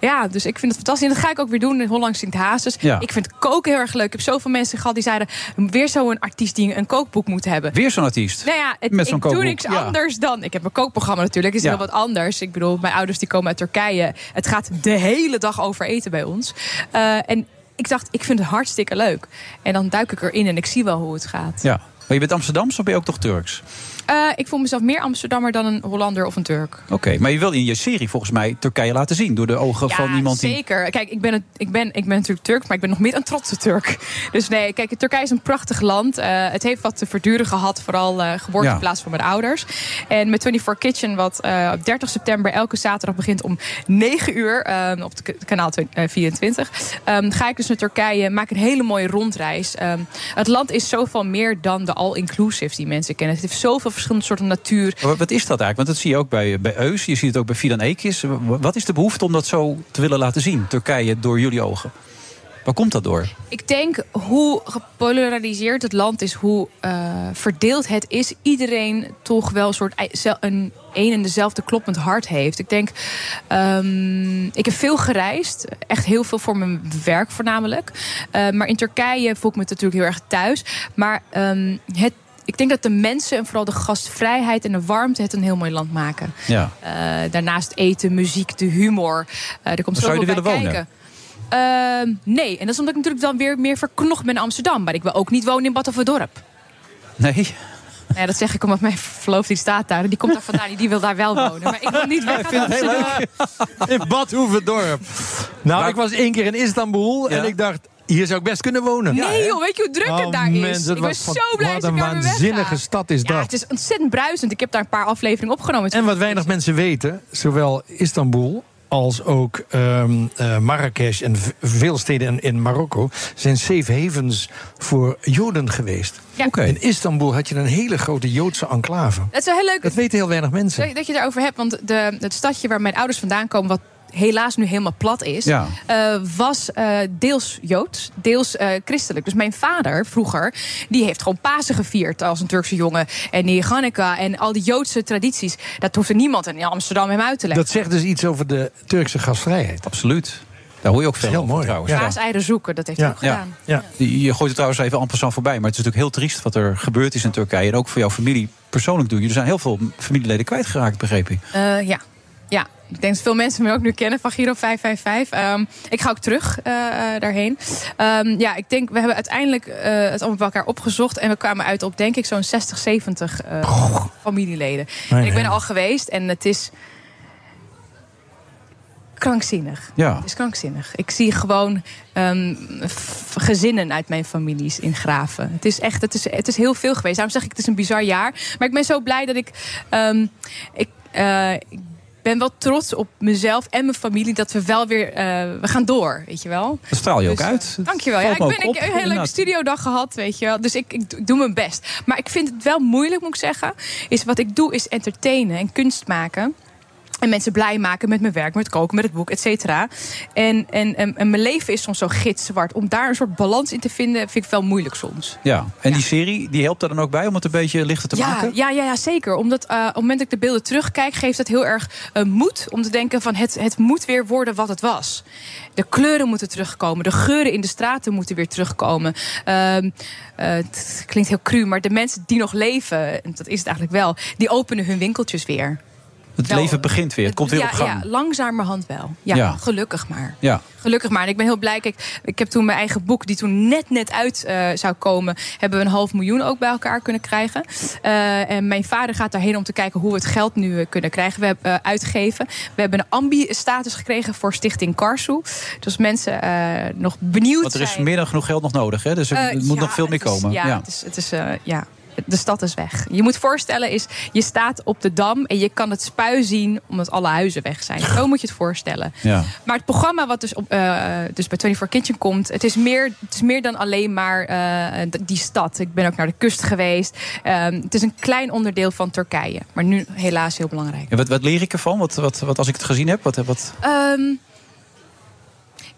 S16: ja, dus ik vind het fantastisch. En dat ga ik ook weer doen in Hollands Sint Hazes.
S8: Ja.
S16: Ik vind koken heel erg leuk. Ik heb zoveel mensen gehad die zeiden... weer zo'n artiest die een kookboek moet hebben.
S8: Weer zo'n artiest.
S16: Nou ja, het,
S8: Met zo'n
S16: ik doe
S8: kookboek,
S16: niks
S8: ja.
S16: anders dan... Ik heb een kookprogramma natuurlijk, is
S8: Ja.
S16: heel wat anders. Ik bedoel, mijn ouders die komen uit Turkije. Het gaat de hele dag over eten bij ons. Eh, en ik dacht, ik vind het hartstikke leuk. En dan duik ik erin en ik zie wel hoe het gaat.
S8: Ja. Maar je bent Amsterdams of ben je ook toch Turks?
S16: Eh, ik voel mezelf meer Amsterdammer dan een Hollander of een Turk.
S8: Oké, maar je wil in je serie volgens mij Turkije laten zien door de ogen van iemand die.
S16: Zeker. Kijk, ik ben, het, ik, ben, ik ben natuurlijk Turk, maar ik ben nog meer een trotse Turk. Dus nee, kijk, Turkije is een prachtig land. Eh, het heeft wat te verduren gehad, vooral eh geboorteplaats van mijn ouders. En met 24 Kitchen, wat eh, op 30 september elke zaterdag begint om 9 uur eh, op het k- kanaal twen- eh, 24, ehm, ga ik dus naar Turkije, maak een hele mooie rondreis. Ehm, het land is zoveel meer dan de all-inclusive die mensen kennen. Het heeft zoveel verschillende soorten natuur.
S8: Maar Wat is dat eigenlijk? Want dat zie je ook bij, bij Eus, je ziet het ook bij Fidan Eekjes. W- Wat is de behoefte om dat zo te willen laten zien, Turkije, door jullie ogen? Waar komt dat door?
S16: Ik denk hoe gepolariseerd het land is, hoe eh, verdeeld het is, iedereen toch wel een soort ei- zel- een een en dezelfde kloppend hart heeft. Ik denk, ehm, ik heb veel gereisd, echt heel veel voor mijn werk voornamelijk. Eh, maar in Turkije voel ik me natuurlijk heel erg thuis. Maar ehm, het, ik denk dat de mensen en vooral de gastvrijheid en de warmte het een heel mooi land maken.
S8: Ja.
S16: Eh, daarnaast eten, muziek, de humor. Eh er komt
S8: Maar zou je
S16: zoveel
S8: er
S16: bij
S8: willen wonen?
S16: kijken. Ehm, nee, en dat is omdat ik natuurlijk dan weer meer verknocht ben aan Amsterdam. Maar ik wil ook niet wonen in Battenverdorp.
S8: Nee?
S16: Nou ja, dat zeg ik omdat mijn verloofde die staat daar. en Die komt daar vandaan, die- die wil daar wel wonen. Maar ik wil niet weg uit Amsterdam.
S9: In Badhoevedorp. Nou, ik was één keer in Istanbul
S8: Ja.
S9: en ik dacht, hier zou ik best kunnen wonen.
S16: Nee joh, weet je hoe druk het
S9: Oh,
S16: daar is?
S9: mensen, het
S16: ik ben
S9: was
S16: zo
S9: van-
S16: blij
S9: Wat
S16: dat ik
S9: een
S16: daar weer weg
S9: waanzinnige
S16: ga.
S9: stad is
S16: Ja,
S9: dat.
S16: het is ontzettend bruisend. Ik heb daar een paar afleveringen opgenomen.
S9: En wat weinig mensen weten, zowel Istanbul als ook ehm, eh, Marrakesh en v- veel steden in, in Marokko zijn safe havens voor Joden geweest. In Istanbul had je een hele grote Joodse enclave.
S16: Dat is wel heel leuk.
S9: Dat weten heel weinig mensen.
S16: Dat je het daarover hebt, want de, het stadje waar mijn ouders vandaan komen, wat helaas nu helemaal plat is,
S9: Ja.
S16: eh, was eh, deels joods, deels eh, christelijk. Dus mijn vader vroeger, die heeft gewoon Pasen gevierd als een Turkse jongen. En die Hanukkah en al die joodse tradities. Dat hoefde niemand in Amsterdam hem uit te leggen.
S9: Dat zegt dus iets over de Turkse gastvrijheid.
S8: Absoluut. Daar hoor je ook veel
S9: heel
S8: over
S9: mooi.
S8: trouwens.
S9: Ja.
S16: Paaseieren zoeken, dat heeft hij ook gedaan.
S8: Je je gooit het trouwens even en passant voorbij. Maar het is natuurlijk heel triest wat er gebeurd is in Turkije. En ook voor jouw familie persoonlijk doen. Jullie zijn heel veel familieleden kwijtgeraakt, begreep ik.
S16: Eh, ja. ja, ik denk dat veel mensen me ook nu kennen van Giro 555. Ehm, ik ga ook terug eh, eh, daarheen. Ehm, ja, ik denk, we hebben uiteindelijk eh, het allemaal bij elkaar opgezocht. En we kwamen uit op, denk ik, zo'n 60, 70 eh, familieleden.
S8: Nee,
S16: en ik ben
S8: nee.
S16: er al geweest en het is krankzinnig.
S8: Ja.
S16: Het is krankzinnig. Ik zie gewoon ehm, f- gezinnen uit mijn families in graven. Het is echt, het is, het is heel veel geweest. Daarom zeg ik, het is een bizar jaar. Maar ik ben zo blij dat ik, ehm, ik, eh, ik ben wel trots op mezelf en mijn familie dat we wel weer, eh, we gaan door, weet je wel.
S8: Dat straal je ook
S16: Dus,
S8: uit.
S16: eh, Dankjewel. Ja, ik
S8: Valt me
S16: ben
S8: ook
S16: ik,
S8: op,
S16: een hele leuke
S8: inderdaad.
S16: studiodag gehad, weet je wel. Dus ik, ik, do- ik doe mijn best. Maar ik vind het wel moeilijk, moet ik zeggen. Is wat ik doe, is entertainen en kunst maken. En mensen blij maken met mijn werk, met koken, met het boek, et cetera. En, en, en, en mijn leven is soms zo gitzwart. Om daar een soort balans in te vinden, vind ik wel moeilijk soms.
S8: Ja, en die serie die helpt daar dan ook bij om het een beetje lichter te
S16: Ja,
S8: maken?
S16: ja, ja, ja, zeker. Omdat eh, op het moment dat ik de beelden terugkijk, geeft dat heel erg eh, moed om te denken van het, het moet weer worden wat het was. De kleuren moeten terugkomen, de geuren in de straten moeten weer terugkomen. Ehm, eh, het klinkt heel cru, maar de mensen die nog leven, en dat is het eigenlijk wel, die openen hun winkeltjes weer.
S8: Het
S16: Wel,
S8: leven begint weer, het komt weer
S16: ja,
S8: op gang.
S16: ja, langzamerhand wel. Ja,
S8: Ja.
S16: gelukkig maar.
S8: Ja.
S16: Gelukkig maar. En ik ben heel blij. Kijk, ik heb toen mijn eigen boek, die toen net net uit eh, zou komen, hebben we een half miljoen ook bij elkaar kunnen krijgen. Eh, en mijn vader gaat daarheen om te kijken hoe we het geld nu eh, kunnen krijgen. We hebben eh, uitgegeven. We hebben een ambi-status gekregen voor Stichting Karsu. Dus als mensen eh, nog benieuwd
S8: Want er is
S16: zijn.
S8: meer dan genoeg geld nog nodig, hè? dus er
S16: Eh,
S8: moet
S16: ja,
S8: nog veel meer
S16: het is-
S8: komen.
S16: ja, het is, het is eh, ja, de stad is weg. Je moet voorstellen, is, je staat op de dam en je kan het spui zien omdat alle huizen weg zijn. Zo moet je het voorstellen.
S8: Ja.
S16: Maar het programma wat dus, op, eh, dus bij 24 Kitchen komt, het is meer, het is meer dan alleen maar eh, d- die stad. Ik ben ook naar de kust geweest. Ehm, het is een klein onderdeel van Turkije, maar nu helaas heel belangrijk.
S8: En wat, wat leer ik ervan? Wat, wat, wat als ik het gezien heb? Wat, wat...
S16: Ehm,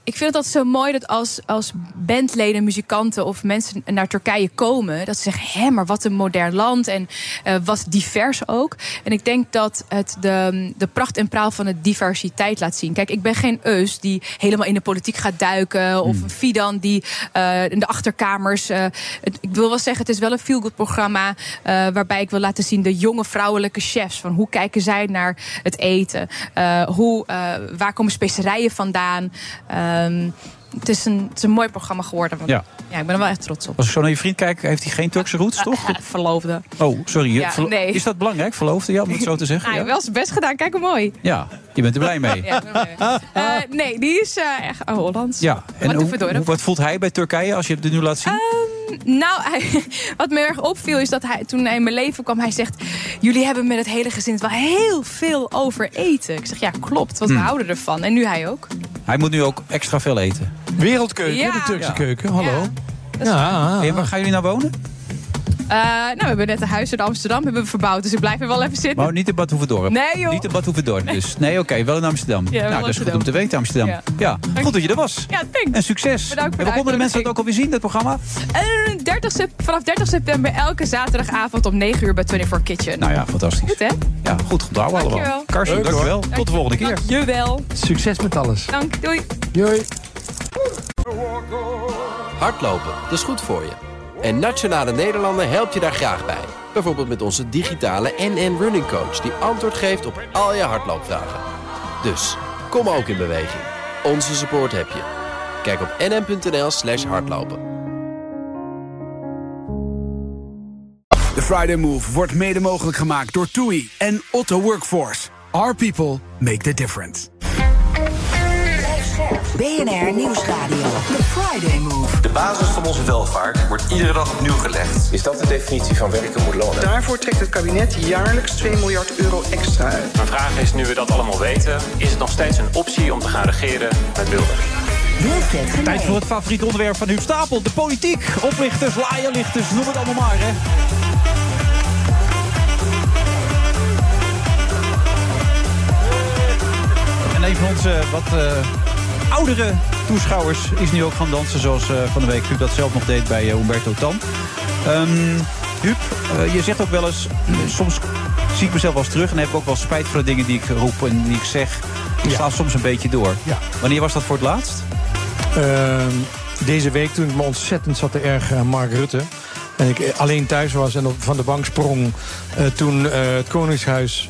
S16: ik vind het altijd zo mooi dat als, als bandleden, muzikanten of mensen naar Turkije komen, dat ze zeggen: hé, maar wat een modern land en eh, wat divers ook. En ik denk dat het de, de pracht en praal van de diversiteit laat zien. Kijk, ik ben geen Eus die helemaal in de politiek gaat duiken,
S8: Hmm.
S16: of een Fidan die eh, in de achterkamers. eh, het- ik wil wel zeggen, het is wel een feel-good programma eh, waarbij ik wil laten zien de jonge vrouwelijke chefs. Van hoe kijken zij naar het eten? Eh, hoe, eh, waar komen specerijen vandaan? Ehm, het is een, het is een mooi programma geworden. Want,
S8: Ja.
S16: ja. ik ben er wel echt trots op.
S8: Als ik zo naar je vriend kijk, heeft hij geen Turkse roots, toch?
S16: Eh, verloofde.
S8: Oh, sorry.
S16: Ja,
S8: Verlo-
S16: nee.
S8: Is dat belangrijk, verloofde? Ja, om het zo te zeggen.
S16: Ah, hij
S8: Ja,
S16: heeft wel zijn best gedaan. Kijk hoe mooi.
S8: ja je bent er blij mee.
S16: Ja, ik ben er blij mee. Eh, nee, die is eh, echt Hollands.
S8: Ja, en
S16: Wat
S8: hoe-
S16: even door, hè?
S8: hoe- wat voelt hij bij Turkije als je het nu laat zien?
S16: Nou, hij- wat me erg opviel is dat hij toen hij in mijn leven kwam, hij zegt: Jullie hebben met het hele gezin wel heel veel over eten. Ik zeg: Ja, klopt, want we
S8: Hmm.
S16: houden ervan. En nu hij ook.
S8: Hij moet nu ook extra veel eten.
S9: Wereldkeuken,
S16: Ja. de Turkse
S9: keuken. Hallo.
S16: is waar.
S8: En waar gaan jullie nou wonen?
S16: Eh, nou, we hebben net een huis in Amsterdam hebben we verbouwd, dus ik blijf er wel even zitten.
S8: Maar niet in Bad Hoeverdorp.
S16: Nee, joh.
S8: Niet in Bad Hoeverdorp dus. Nee, oké, wel in Amsterdam.
S16: wel
S8: nou, dat is goed
S16: Amsterdam.
S8: om te weten, Amsterdam. Ja,
S16: Ja.
S8: goed dat je er was.
S16: Ja, thanks.
S8: En succes.
S16: Bedankt
S8: en
S16: voor de
S8: waar konden de mensen
S16: uitnodiging.
S8: dat ook alweer zien, dat programma?
S16: En 30 sep- vanaf 30 september elke zaterdagavond om 9 uur bij 24 Kitchen.
S8: Nou ja, fantastisch.
S16: Goed hè?
S8: Ja, goed gedaan allemaal.
S16: Dankjewel.
S8: Karsten,
S9: Leuk, hoor.
S8: dankjewel. Tot de volgende keer.
S16: Jawel.
S9: Succes met alles.
S16: Dank, doei.
S9: Joi.
S10: Hardlopen, dat is goed voor je. En Nationale Nederlanden helpt je daar graag bij. Bijvoorbeeld met onze digitale NN Running Coach... die antwoord geeft op al je hardloopvragen. Dus, kom ook in beweging. Onze support heb je. Kijk op nn.nl slash hardlopen.
S3: De Friday Move wordt mede mogelijk gemaakt door TUI en Otto Workforce. Our people make the difference.
S4: BNR Nieuwsradio. The Friday Move.
S11: De basis van onze welvaart wordt iedere dag opnieuw gelegd.
S6: Is dat de definitie van werken moet lonen?
S12: Daarvoor trekt het kabinet jaarlijks 2 miljard euro extra uit.
S15: Mijn vraag is, nu we dat allemaal weten, is het nog steeds een optie om te gaan regeren met Wilders?
S8: Tijd voor het favoriete onderwerp van Huub Stapel. De politiek. Oplichters, laaierlichters, noem het allemaal maar. Hè. En een van onze wat eh, oudere toeschouwers is nu ook gaan dansen... zoals eh, van de week Huub dat zelf nog deed bij eh, Humberto Tan. Ehm Huub, eh, je zegt ook wel eens... soms zie ik mezelf wel eens terug en heb ik ook wel spijt voor de dingen die ik roep en die ik zeg. Ik sla soms een beetje door. Wanneer was dat voor het laatst?
S9: Ehm, deze week toen ik me ontzettend zat te ergeren aan Mark Rutte. En ik eh, alleen thuis was en op- van de bank sprong. eh, toen eh, het Koningshuis.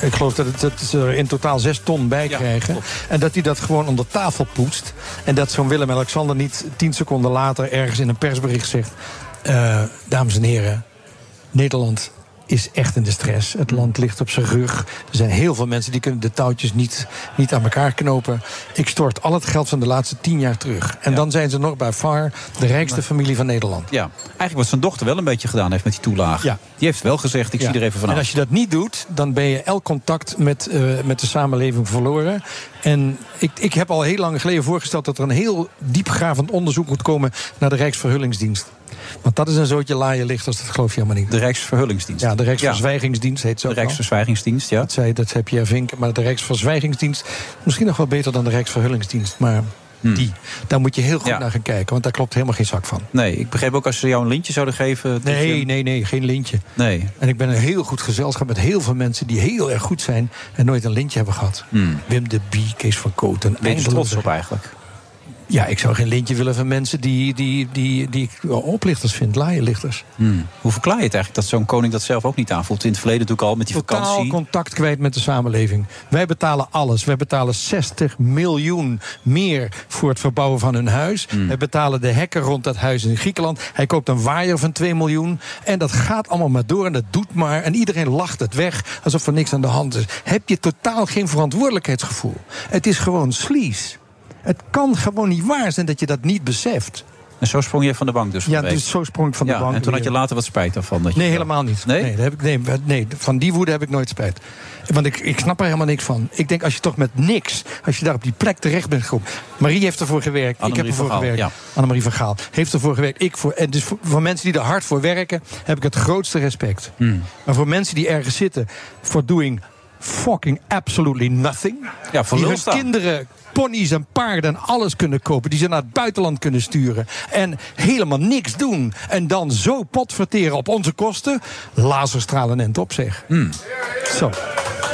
S9: eh, Ik geloof dat, het, dat ze er in totaal zes ton bij krijgen. En dat hij dat gewoon onder tafel poetst. En dat zo'n Willem-Alexander niet tien seconden later ergens in een persbericht zegt: eh, Dames en heren, Nederland is echt in de stress. Het land ligt op zijn rug. Er zijn heel veel mensen die kunnen de touwtjes niet, niet aan elkaar knopen. Ik stort al het geld van de laatste tien jaar terug. En dan zijn ze nog bij far de rijkste familie van Nederland.
S8: Ja, eigenlijk wat zijn dochter wel een beetje gedaan heeft met die toelage.
S9: Ja.
S8: Die heeft wel gezegd, ik
S9: Ja.
S8: zie er even
S9: En
S8: vanaf.
S9: als je dat niet doet, dan ben je elk contact met, eh, met de samenleving verloren. En ik, ik heb al heel lang geleden voorgesteld dat er een heel diepgravend onderzoek moet komen naar de Rijksverhullingsdienst. Want dat is een zootje laaien lichters, dat geloof je helemaal niet.
S8: De Rijksverhullingsdienst.
S9: Ja, de Rijksverzwijgingsdienst heet zo.
S8: De Rijksverzwijgingsdienst, ja.
S9: Dat zei, dat zei Pierre Vink. Maar de Rijksverzwijgingsdienst, misschien nog wel beter dan de Rijksverhullingsdienst. Maar
S8: Hmm.
S9: die, daar moet je heel goed naar gaan kijken. Want daar klopt helemaal geen zak van.
S8: Nee, ik begreep ook als ze jou een lintje zouden geven. dat
S9: Nee,
S8: je-
S9: nee, nee, geen lintje.
S8: Nee.
S9: En ik ben een heel goed gezelschap met heel veel mensen die heel erg goed zijn en nooit een lintje hebben gehad.
S8: Hmm.
S9: Wim de Bie, Kees van Kooten.
S8: Ben je er
S9: eindeloze-
S8: trots op eigenlijk?
S9: Ja, ik zou geen lintje willen van mensen die, die, die, die ik wel oplichters vind, laaienlichters.
S8: Hmm. Hoe verklaar je het eigenlijk dat zo'n koning dat zelf ook niet aanvoelt? In het verleden natuurlijk al met die
S9: Totaal
S8: vakantie.
S9: contact kwijt met de samenleving. Wij betalen alles. Wij betalen 60 miljoen meer voor het verbouwen van hun huis.
S8: Hmm.
S9: Wij betalen de hekken rond dat huis in Griekenland. Hij koopt een waaier van 2 miljoen. En dat gaat allemaal maar door en dat doet maar. En iedereen lacht het weg alsof er niks aan de hand is. Heb je totaal geen verantwoordelijkheidsgevoel? Het is gewoon sleaze. Het kan gewoon niet waar zijn dat je dat niet beseft.
S8: En zo sprong je van de bank dus van
S9: Ja,
S8: de week.
S9: dus zo sprong ik van de
S8: Ja,
S9: bank
S8: En toen had
S9: weer.
S8: je later wat spijt daarvan. Dat je
S9: Nee, helemaal niet.
S8: Nee?
S9: daar heb ik, nee, wa- nee, van die woede heb ik nooit spijt. Want ik, ik snap er helemaal niks van. Ik denk, als je toch met niks, als je daar op die plek terecht bent gekomen. Marie heeft ervoor gewerkt.
S8: Annemarie
S9: ik heb ervoor
S8: van Gaal,
S9: gewerkt.
S8: ja.
S9: Annemarie van Gaal heeft ervoor gewerkt. Ik voor, en dus voor, voor mensen die er hard voor werken, heb ik het grootste respect.
S4: Hmm.
S9: Maar voor mensen die ergens zitten voor doing fucking absolutely nothing.
S8: Ja, voor
S9: die
S8: lul
S9: hun
S8: staan.
S9: kinderen ponies en paarden en alles kunnen kopen. Die ze naar het buitenland kunnen sturen. En helemaal niks doen. En dan zo potverteren op onze kosten. Laserstralen en top zeg.
S8: Hmm.
S9: Zo.
S8: Nou,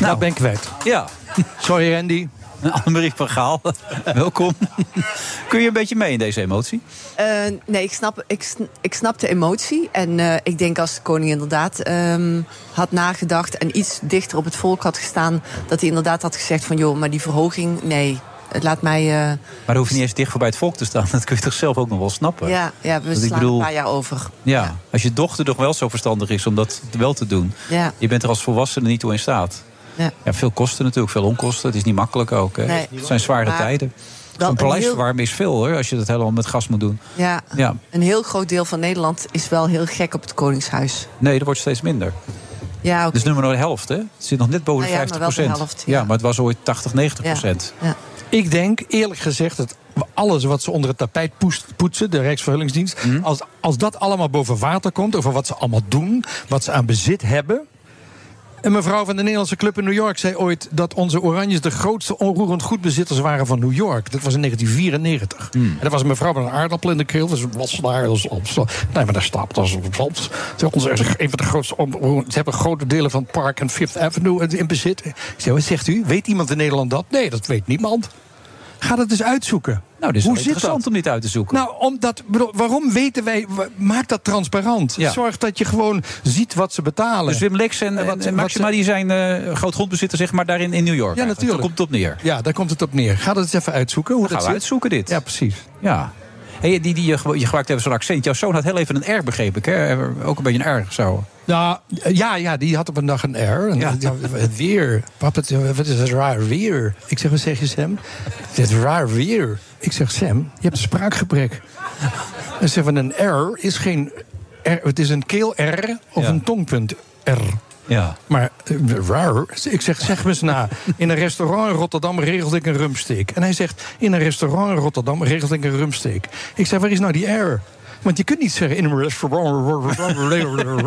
S17: Nou.
S9: Dat ben ik kwijt.
S8: Ja.
S9: Sorry Randy.
S8: Annemarie van Gaal, welkom. Kun je een beetje mee in deze emotie?
S17: Eh, nee, ik snap, ik, sn- ik snap de emotie. En eh, ik denk als de koning inderdaad ehm, had nagedacht... en iets dichter op het volk had gestaan... dat hij inderdaad had gezegd van... joh, maar die verhoging, nee, het laat mij... eh,
S8: Maar dan hoef je niet eens dicht voorbij het volk te staan. Dat kun je toch zelf ook nog wel snappen?
S17: ja, ja, we
S8: Want ik
S17: slaan
S8: bedoel-
S17: een paar jaar over.
S8: Ja, als je dochter toch wel zo verstandig is om dat wel te doen.
S17: Ja.
S8: Je bent er als volwassene niet toe in staat.
S17: Ja.
S8: veel kosten natuurlijk, veel onkosten. Het is niet makkelijk ook. Hè.
S17: Nee.
S8: het zijn zware
S17: Maar
S8: tijden.
S17: wel
S8: Een
S17: een
S8: paleisverwarming is veel hoor, als je dat helemaal met gas moet doen.
S17: Ja,
S8: Ja.
S17: een heel groot deel van Nederland is wel heel gek op het Koningshuis.
S8: Nee, dat wordt steeds minder.
S17: Ja, oké.
S8: Dus nummer nooit de helft, hè? Het zit nog net boven de
S17: Nou ja,
S8: 50
S17: maar wel de helft,
S8: ja. maar het was ooit 80, 90
S17: Ja.
S8: procent.
S9: Ik denk eerlijk gezegd dat alles wat ze onder het tapijt poest- poetsen, de Rijksverhullingsdienst,
S8: Hmm.
S9: als, als dat allemaal boven water komt, over wat ze allemaal doen, wat ze aan bezit hebben. Een mevrouw van de Nederlandse Club in New York zei ooit dat onze Oranjes de grootste onroerend goedbezitters waren van New York. Dat was in 1994.
S8: Hmm.
S9: En dat was een mevrouw met een aardappel in de keel. Dus was daar was op. zo. Nee, maar daar stapt als op zand. Ze onze- een van de grootste onroerend. Ze hebben grote delen van Park en Fifth Avenue in bezit. Ik zei, wat zegt u? Weet iemand in Nederland dat? Nee, dat weet niemand. Ga dat eens uitzoeken.
S8: Nou, dit is
S9: Hoe
S8: wel
S9: zit
S8: interessant
S9: dat?
S8: om dit uit te zoeken.
S9: Nou, omdat, bedoel, waarom weten wij... wa- Maak dat transparant.
S8: Ja.
S9: Zorg dat je gewoon ziet wat ze betalen.
S8: dus Wim Lex en, en,
S9: wat-
S8: en
S9: wat
S8: Maxima
S9: ze-
S8: die zijn eh grootgrondbezitter, zeg maar, daarin in New York.
S9: Ja,
S8: eigenlijk. Daar
S9: natuurlijk.
S8: komt het op neer.
S9: Ja, daar komt het op neer. Ga dat eens even uitzoeken. Hoe
S8: We gaan
S9: dat
S8: we
S9: zit.
S8: uitzoeken dit.
S9: Ja, precies.
S8: Ja. Hey, die, die je, ge- je gebruikt even zo'n accent. Jouw zoon had heel even een R, begreep ik. Hè? Ook een beetje een R zo.
S9: Nou, ja, ja, die had op een dag een R. En ja. Het weer. Papa, het- wat is het raar weer? Ik zeg, wat zeg je, Sam? Het is raar weer. Ik zeg, Sam, je hebt een spraakgebrek. En ze zegt, van een R is geen R. Het is een keel R of een tongpunt R.
S8: Ja.
S9: Maar eh, raar. Ik zeg, zeg me eens na. In een restaurant in Rotterdam regelde ik een rumsteak. En hij zegt, in een restaurant in Rotterdam regelde ik een rumsteak. Ik zeg, waar is nou die error? Want je kunt niet zeggen in een restaurant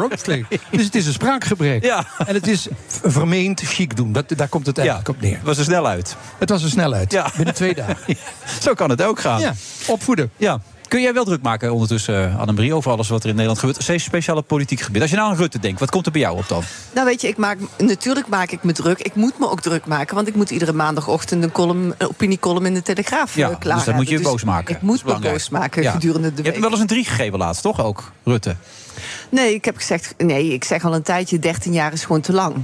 S9: rumsteak. Dus het is een spraakgebrek. En het is vermeend chic doen. Dat, daar komt het eigenlijk op neer.
S8: Het was er snel uit.
S9: Het was er snel uit.
S8: Ja.
S9: Binnen twee dagen.
S8: Zo kan het ook gaan.
S9: Ja, opvoeden.
S8: Ja. Kun jij wel druk maken ondertussen, eh, Annemarie, over alles wat er in Nederland gebeurt? Steeds speciale politiek gebied. Als je nou aan Rutte denkt, wat komt er bij jou op dan?
S17: Nou weet je, ik maak, natuurlijk maak ik me druk. Ik moet me ook druk maken, want ik moet iedere maandagochtend een, column, een opiniecolumn in de Telegraaf
S8: Ja,
S17: eh, klaar
S8: dus dat moet je
S17: hebben.
S8: boos maken.
S17: Ik moet
S8: Dat is
S17: me
S8: belangrijk.
S17: boos maken
S8: Ja.
S17: gedurende
S8: Je
S17: de
S8: hebt hem
S17: week.
S8: wel eens een drie gegeven laatst, toch ook, Rutte?
S17: Nee, ik heb gezegd, nee, ik zeg al een tijdje, 13 jaar is gewoon te lang.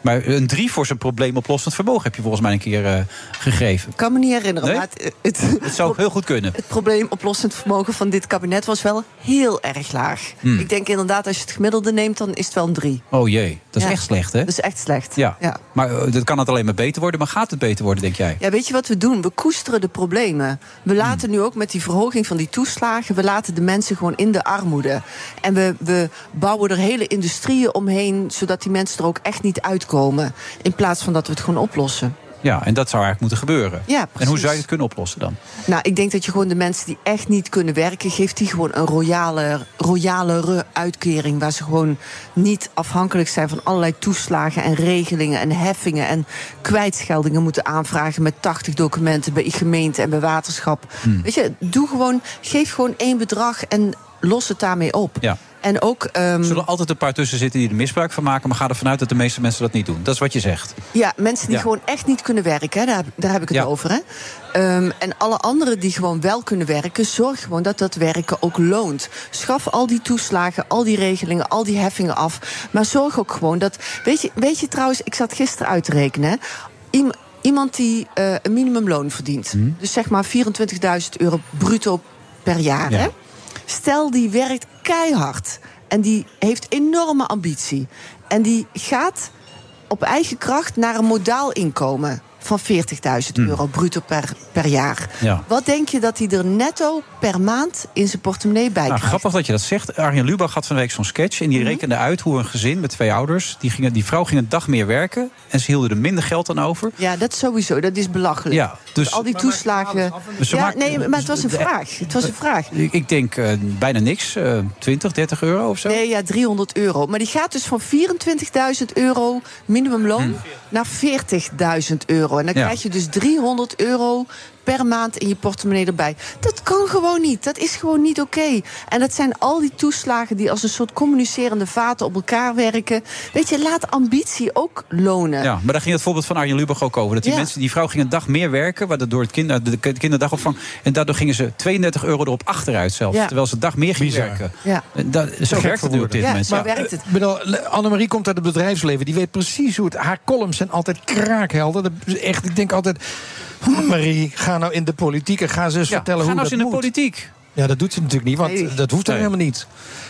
S8: Maar een drie voor zijn probleemoplossend vermogen heb je volgens mij een keer eh, gegeven.
S17: Ik kan me niet herinneren,
S8: Nee?
S17: maar het, het,
S8: Het zou ook heel goed kunnen.
S17: het probleemoplossend vermogen van dit kabinet was wel heel erg laag.
S8: Hmm.
S17: Ik denk inderdaad, als je het gemiddelde neemt, dan is het wel een 3.
S8: Oh jee, dat is
S17: Ja.
S8: echt slecht, hè?
S17: Dat is echt slecht.
S8: Ja.
S17: Ja.
S8: Maar eh, dat kan het alleen maar beter worden. Maar gaat het beter worden, denk jij?
S17: Ja, weet je wat we doen? We koesteren de problemen.
S8: Hmm.
S17: We laten nu ook met die verhoging van die toeslagen, we laten de mensen gewoon in de armoede. En we, we bouwen er hele industrieën omheen, zodat die mensen er ook echt niet uitkomen. In plaats van dat we het gewoon oplossen.
S8: Ja, en dat zou eigenlijk moeten gebeuren.
S17: Ja,
S8: en hoe
S17: precies.
S8: zou je het kunnen oplossen dan?
S17: Nou, ik denk dat je gewoon de mensen die echt niet kunnen werken, geeft die gewoon een royale, royalere uitkering. Waar ze gewoon niet afhankelijk zijn van allerlei toeslagen en regelingen en heffingen en kwijtscheldingen moeten aanvragen met 80 documenten bij gemeente en bij waterschap.
S8: Hmm.
S17: Weet je, doe gewoon, geef gewoon één bedrag en los het daarmee op.
S8: Ja.
S17: En ook. ehm,
S8: Er zullen altijd een paar tussen zitten die er misbruik van maken. Maar ga ervan uit dat de meeste mensen dat niet doen. Dat is wat je zegt.
S17: Ja, mensen die
S8: Ja.
S17: gewoon echt niet kunnen werken, hè, daar, daar heb ik het
S8: Ja.
S17: over. Hè? Ehm, en alle anderen die gewoon wel kunnen werken, zorg gewoon dat dat werken ook loont. Schaf al die toeslagen, al die regelingen, al die heffingen af. Maar zorg ook gewoon dat. Weet je, weet je trouwens, ik zat gisteren uit te rekenen. hè. Iem- iemand die eh, een minimumloon verdient,
S8: Mhm.
S17: dus zeg maar 24.000 euro bruto per jaar.
S8: Ja.
S17: Hè? Stel, die werkt keihard en die heeft enorme ambitie. En die gaat op eigen kracht naar een modaal inkomen van 40.000
S8: Hmm.
S17: euro bruto per, per jaar.
S8: Ja.
S17: Wat denk je dat hij er netto per maand in zijn portemonnee bij
S8: Nou,
S17: krijgt?
S8: grappig dat je dat zegt. Arjen Lubach had van de week zo'n sketch. En
S17: Mhm.
S8: die rekende uit hoe een gezin met twee ouders. Die, gingen, die vrouw ging een dag meer werken. En ze hielden er minder geld aan over.
S17: Ja, dat sowieso. Dat is belachelijk.
S8: Ja, dus-
S17: al die toeslagen.
S8: Ze dus
S17: Ja,
S8: maakt-
S17: nee, maar het was een vraag. Het was een vraag.
S8: Ik, ik denk eh, bijna niks. eh 20, 30 euro of zo.
S17: Nee, ja, 300 euro. Maar die gaat dus van 24.000 euro minimumloon naar 40.000 euro. En dan
S8: Ja.
S17: krijg je dus 300 euro per maand in je portemonnee erbij. Dat kan gewoon niet. Dat is gewoon niet oké. En dat zijn al die toeslagen die als een soort communicerende vaten op elkaar werken. Weet je, laat ambitie ook lonen.
S8: Ja, maar daar ging het voorbeeld van Arjen Lubach ook over. Dat die,
S17: Ja.
S8: mensen, die vrouw ging een dag meer werken, waardoor het kinder, de de kinderdagopvang... en daardoor gingen ze 32 euro erop achteruit zelfs.
S17: Ja.
S8: Terwijl ze een dag meer ging
S9: Bizar.
S8: werken.
S17: Ja.
S8: En dat- zo
S9: Gek
S8: werkt
S9: voor
S8: het nu op
S9: woorden.
S8: dit moment.
S17: zo
S8: Ja.
S17: werkt het.
S9: Ik bedoel, Le- Annemarie komt uit het bedrijfsleven. Die weet precies hoe het... Haar columns zijn altijd kraakhelder. Dat is Echt, ik denk altijd... Marie, ga nou in de politiek en ga ze eens
S8: Ja,
S9: vertellen
S8: ga
S9: hoe
S8: nou
S9: dat
S8: eens in de
S9: moet.
S8: politiek.
S9: Ja, dat doet ze natuurlijk niet, want
S17: eh,
S18: Nee.
S9: dat hoeft haar
S8: Nee.
S9: helemaal niet.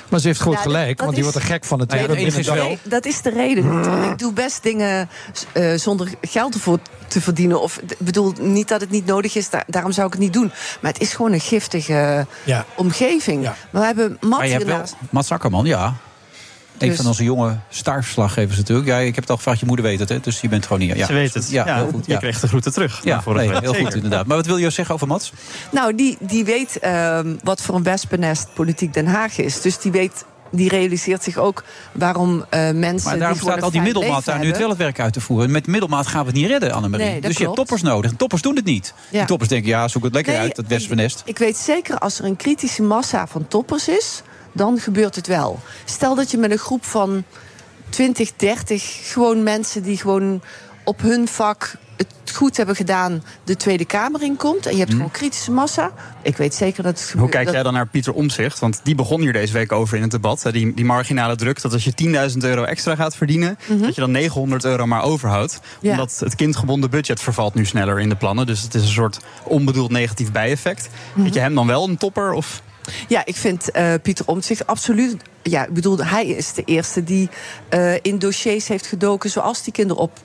S9: Maar ze heeft groot
S17: Ja, dat-
S9: gelijk,
S17: dat
S9: want die
S17: is-
S9: wordt er gek van het
S8: Nou ja,
S9: tweede
S8: het enige
S9: binnen-
S8: is wel-
S17: Dat is de reden. natuurlijk. Ik doe best dingen eh, zonder geld ervoor te verdienen. Of ik bedoel, niet dat het niet nodig is, daar- daarom zou ik het niet doen. Maar het is gewoon een giftige
S9: Ja.
S17: omgeving. Maar we hebben Matt
S8: Maar je hebt wel
S17: hiernaast.
S8: Mats Akkerman, ja. Een
S17: Dus-
S8: van onze jonge staarverslaggevers natuurlijk. Ja, ik heb het al gevraagd, je moeder weet het, hè? dus je bent gewoon hier. Ja,
S19: Ze weet het.
S8: Ja,
S19: Ja,
S8: heel goed.
S19: je kreeg de groeten terug
S8: Ja,
S19: van vorige
S8: nee,
S19: week.
S8: heel goed
S19: Zeker.
S8: inderdaad. Maar wat wil je zeggen over Mats?
S17: Nou, die, die weet ehm, wat voor een wespennest politiek Den Haag is. Dus die weet, die realiseert zich ook waarom eh, mensen.
S8: Maar daarom
S17: die gewoon
S8: staat al die
S17: een fijn
S8: middelmaat
S17: leven
S8: daar nu het wel
S17: hebben-
S8: het werk uit te voeren. Met middelmaat gaan we het niet redden, Annemarie.
S17: Nee, dat
S8: dus je hebt
S17: klopt.
S8: toppers nodig. En toppers doen het niet.
S17: Ja.
S8: Die toppers denken, ja, zoek het lekker
S17: Nee, eh,
S8: uit, dat wespennest.
S17: Ik weet zeker, als er een kritische massa van toppers is, dan gebeurt het wel. Stel dat je met een groep van 20, 30 gewoon mensen die gewoon op hun vak het goed hebben gedaan, de Tweede Kamer inkomt en je hebt gewoon kritische massa. Ik weet zeker dat het gebeurt.
S19: Mhm. Hoe kijk
S17: dat-
S19: jij dan naar Pieter Omzicht? Want die begon hier deze week over in het debat. hè, Die, die marginale druk dat als je 10.000 euro extra gaat verdienen, dat je dan 900 euro maar overhoudt.
S17: Mhm. Ja.
S19: Omdat het kindgebonden budget vervalt nu sneller in de plannen. Dus het is een soort onbedoeld negatief bijeffect. Vind
S17: Mhm.
S19: je hem dan wel een topper? Of
S17: Ja, ik vind eh, Pieter Omtzigt absoluut. Ja, ik bedoel, hij is de eerste die eh, in dossiers heeft gedoken, zoals die kinderop,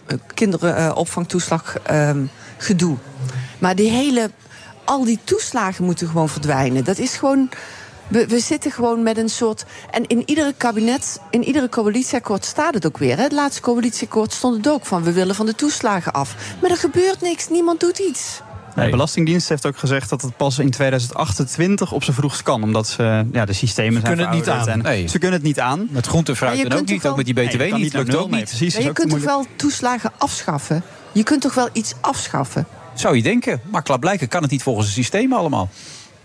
S17: eh, kinderopvangtoeslag ehm, gedoe. Maar die hele, al die toeslagen moeten gewoon verdwijnen. Dat is gewoon. We, we zitten gewoon met een soort. En in iedere kabinet, in iedere coalitieakkoord staat het ook weer. Hè? Het laatste coalitieakkoord stond het ook van: we willen van de toeslagen af. Maar er gebeurt niks, niemand doet iets.
S19: de eh, Belastingdienst heeft ook gezegd dat het pas in 2028 op zijn vroegst kan. Omdat ze eh, ja, de systemen zijn
S8: kunnen het niet
S19: verouderd
S8: aan.
S19: en-
S8: Nee.
S19: Ze kunnen het niet aan.
S8: Met groente en fruit
S17: Maar je
S8: en ook
S17: kunt
S8: niet.
S17: toch
S8: Ook met die
S19: wel-
S8: BTW
S19: Nee, je kan
S8: niet.
S19: niet
S8: Lukt
S19: naar
S8: ook
S19: nul,
S8: niet.
S19: nee, precies.
S17: Maar je kunt toch wel toeslagen afschaffen? Je kunt toch wel iets afschaffen?
S8: Zou je denken. Maar klaarblijken kan het niet volgens het systeem allemaal.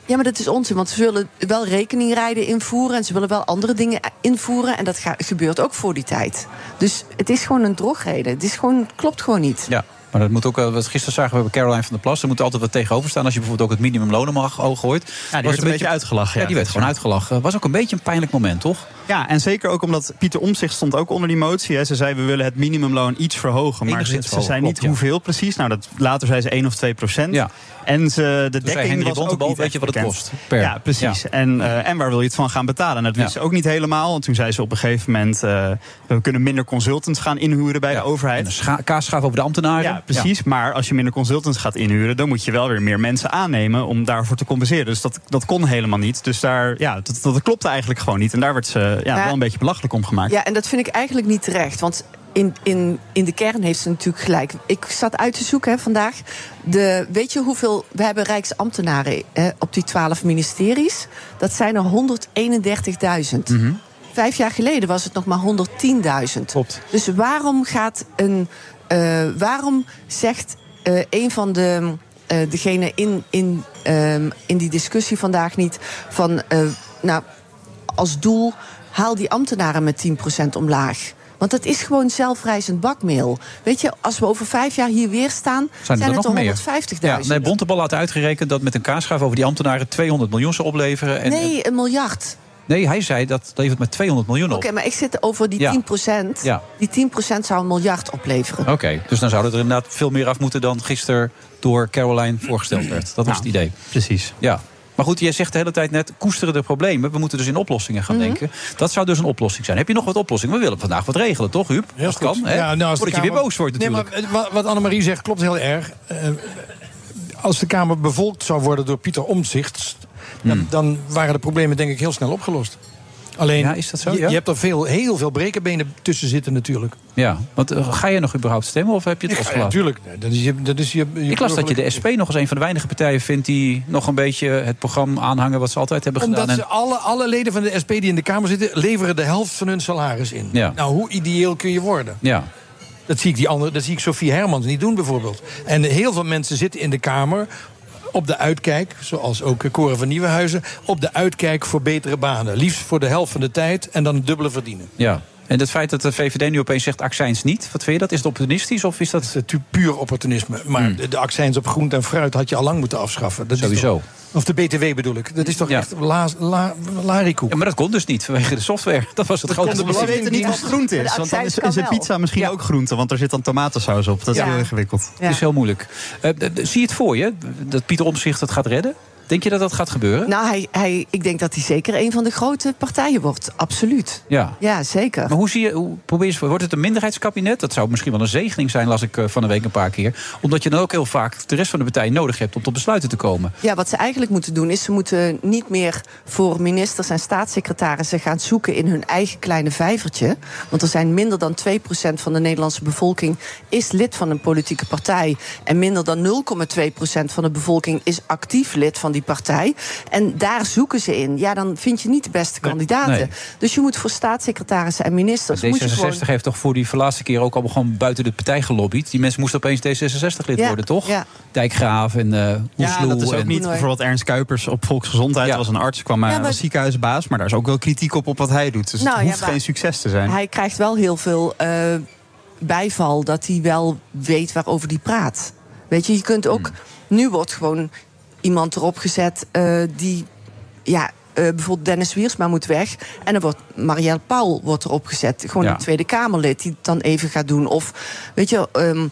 S17: Ja, maar dat is onzin, want ze willen wel rekeningrijden invoeren... en ze willen wel andere dingen invoeren... en dat ga- gebeurt ook voor die tijd. Dus het is gewoon een drogreden. Het is gewoon, het klopt gewoon niet.
S8: Ja. Maar dat moet ook, eh, wat gisteren zagen we bij Caroline van der Plas, er moet altijd wat tegenover staan. Als je bijvoorbeeld ook het minimumloon omhoog oog gooit. Ja,
S19: werd een beetje uitgelachen,
S8: Ja,
S19: ja,
S8: die werd
S19: gisteren.
S8: gewoon uitgelachen. Was ook een beetje een pijnlijk moment, toch?
S19: Ja, en zeker ook omdat Pieter Omtzigt stond ook onder die motie. Hè. Ze zei, we willen het minimumloon iets verhogen. Maar ze,
S8: Enigszins
S19: ze zei
S8: verhogen,
S19: niet
S8: klopt, ja.
S19: hoeveel precies. Nou, dat, later zei ze 1 of 2 procent. En ze, de
S8: zei
S19: dekking
S8: Henry
S19: was ook
S8: Bontebal,
S19: niet
S8: weet
S19: echt
S8: je wat het
S19: bekend.
S8: kost per-
S19: Ja, precies.
S8: Ja.
S19: En, eh, en waar wil je het van gaan betalen? En dat wist ze
S8: Ja.
S19: ook niet helemaal. En toen zei ze op een gegeven moment... eh, we kunnen minder consultants gaan inhuren bij de overheid.
S8: Ka kaasschaaf over de ambtenaren.
S19: Ja, precies. Maar als je minder consultants gaat inhuren, dan moet je wel weer meer mensen aannemen om daarvoor te compenseren. Dus dat, dat kon helemaal niet. Dus daar, ja, dat, dat klopte eigenlijk gewoon niet. En daar werd ze ja,
S17: Maar-
S19: wel een beetje belachelijk om gemaakt.
S17: Ja, en dat vind ik eigenlijk niet terecht. Want in, in, in de kern heeft ze natuurlijk gelijk. Ik zat uit te zoeken hè, vandaag. De, weet je hoeveel... We hebben rijksambtenaren hè, op die twaalf ministeries. Dat zijn er 131.000. Vijf jaar geleden was het nog maar 110.000. Dus waarom gaat een. eh, waarom zegt eh, een van de. eh, degene in, in, ehm, in die discussie vandaag niet van. eh, nou, als doel haal die ambtenaren met 10% omlaag. Want dat is gewoon zelfrijzend bakmeel. Weet je, als we over vijf jaar hier weer staan, zijn,
S8: Zijn er,
S17: het
S8: nog meer?
S17: er 150.000.
S8: Ja, nee, Bontebal had uitgerekend dat met een kaasschaaf over die ambtenaren 200 miljoen zou opleveren. En,
S17: nee, een miljard.
S8: nee, hij zei dat levert maar 200 miljoen op.
S17: Oké, maar ik zit over die
S8: Ja.
S17: 10%.
S8: Ja.
S17: Die 10% zou een miljard opleveren.
S8: Oké, dus dan zou er inderdaad veel meer af moeten dan gisteren door Caroline voorgesteld werd.
S9: Nou,
S8: Dat was het idee.
S19: Precies.
S8: Ja. Maar goed, jij zegt de hele tijd net, koesteren de problemen. We moeten dus in oplossingen
S9: Mhm.
S8: gaan denken. Dat zou dus een oplossing zijn. Heb je nog wat oplossingen? We willen vandaag wat regelen, toch, Huub?
S9: Heel
S8: als het
S9: goed.
S8: kan, hè?
S9: Ja, nou, als de
S8: Voordat je
S9: Kamer-
S8: weer boos wordt
S9: Nee,
S8: natuurlijk.
S9: maar, eh, wa- wat Annemarie zegt klopt heel erg. Eh, als de Kamer bevolkt zou worden door Pieter Omtzigt...
S8: Hmm.
S9: Dan, dan waren de problemen denk ik heel snel opgelost. Alleen,
S8: Ja, is dat zo?
S9: Je,
S8: Ja?
S9: je hebt er veel, heel veel brekenbenen tussen zitten natuurlijk.
S8: Ja, want eh, ga je nog überhaupt stemmen of heb je het
S9: Ik ga-
S8: opgelaten?
S9: natuurlijk. Dat is je, dat is je, je
S8: Ik las dat je de
S9: burgerlijke-
S8: SP nog als een van de weinige partijen vindt... die nog een beetje het programma aanhangen wat ze altijd hebben
S9: Omdat
S8: gedaan.
S9: ze
S8: En-
S9: alle, alle leden van de SP die in de Kamer zitten... leveren de helft van hun salaris in.
S8: Ja.
S9: Nou, hoe ideeel kun je worden?
S8: Ja,
S9: Dat zie ik, die andere, dat zie ik Sofie Hermans niet doen, bijvoorbeeld. En heel veel mensen zitten in de Kamer op de uitkijk, zoals ook eh, Cora van Nieuwenhuizen... op de uitkijk voor betere banen. Liefst voor de helft van de tijd en dan het dubbele verdienen.
S8: ja. En het feit dat de VVD nu opeens zegt accijns niet, wat vind je dat? Is het opportunistisch of is dat...
S9: eh,
S8: Hmm.
S9: puur opportunisme. Maar de, de accijns op groente en fruit had je al lang moeten afschaffen. Dat is
S8: Sowieso.
S9: toch- of de BTW bedoel ik. Dat is toch echt la, la, larikoek.
S8: Ja, maar dat kon dus niet vanwege de software. Dat dus was het grote
S19: Ze weten niet wat groente is. Want dan is, is een pizza misschien ook groente, want er zit dan tomatensaus op. Dat is
S8: Ja.
S19: heel ingewikkeld.
S8: Het is heel moeilijk. Eh, d- d- zie je het voor je, dat Pieter Omtzigt het gaat redden? Denk je dat dat gaat gebeuren?
S17: Nou, hij, hij, ik denk dat hij zeker een van de grote partijen wordt. Absoluut.
S8: Ja.
S17: Ja, zeker.
S8: Maar hoe zie je, hoe probeer je, wordt het een minderheidskabinet? Dat zou misschien wel een zegening zijn, las ik eh, van de week een paar keer. Omdat je dan ook heel vaak de rest van de partij nodig hebt om tot besluiten te komen.
S17: Ja, wat ze eigenlijk moeten doen is ze moeten niet meer voor ministers en staatssecretarissen gaan zoeken in hun eigen kleine vijvertje. Want er zijn minder dan 2% van de Nederlandse bevolking is lid van een politieke partij. En minder dan 0,2% van de bevolking is actief lid van die partij. En daar zoeken ze in. Ja, dan vind je niet de beste kandidaten.
S8: nee.
S17: Dus je moet voor staatssecretarissen en ministers.
S8: D66
S17: moet je gewoon...
S8: heeft toch voor die laatste keer ook allemaal gewoon buiten de partij gelobbyd. Die mensen moesten opeens D66-lid
S17: Ja,
S8: worden, toch?
S17: ja.
S8: Dijkgraaf en eh
S19: Ja,
S8: Hoesloe
S19: dat is ook
S8: en-
S19: niet bijvoorbeeld Ernst Kuipers op volksgezondheid. was een arts, kwam eh,
S17: Ja, maar-
S19: als ziekenhuisbaas. Maar daar is ook wel kritiek op op wat hij doet. Dus
S17: Nou, ja,
S19: het hoeft
S17: maar-
S19: geen succes te zijn.
S17: Hij krijgt wel heel veel eh, bijval dat hij wel weet waarover hij praat. Weet je, je kunt ook.
S19: Hmm.
S17: Nu wordt gewoon iemand erop gezet eh, die. Ja, eh, bijvoorbeeld Dennis Wiersma moet weg. En dan wordt Marielle Paul wordt erop gezet. Gewoon
S18: Ja.
S17: een Tweede Kamerlid die het dan even gaat doen. Of weet je. ehm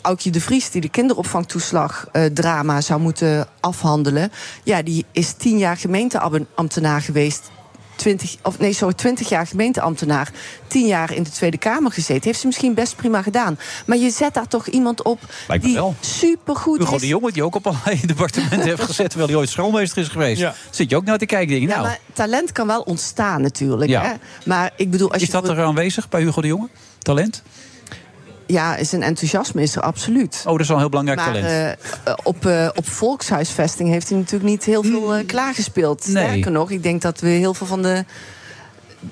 S17: Aukje de Vries, die de kinderopvangtoeslagdrama drama zou moeten afhandelen. Ja, die is tien jaar gemeenteambtenaar geweest. 20, of nee, sorry, 20 jaar gemeenteambtenaar, 10 jaar in de Tweede Kamer gezeten. Heeft ze misschien best prima gedaan. Maar je zet daar toch iemand op
S8: Lijkt me
S17: die
S8: wel.
S17: supergoed
S8: Hugo
S17: is.
S8: de Jonge, die ook op allerlei departementen heeft gezet... terwijl hij ooit schoolmeester is geweest. Zit je ook naar te kijken, denk je, nou...
S17: Maar talent kan wel ontstaan natuurlijk.
S8: Ja.
S17: Hè? Maar ik bedoel, als
S8: is
S17: je
S8: dat er aanwezig bij Hugo de Jonge? Talent?
S17: Ja, zijn enthousiasme is er absoluut.
S8: Oh, dat is al een heel belangrijk
S17: Maar
S8: talent.
S17: eh, eh, op, eh, op volkshuisvesting heeft hij natuurlijk niet heel veel eh, klaargespeeld.
S8: Hmm. Nee.
S17: Sterker nog, ik denk dat we heel veel van de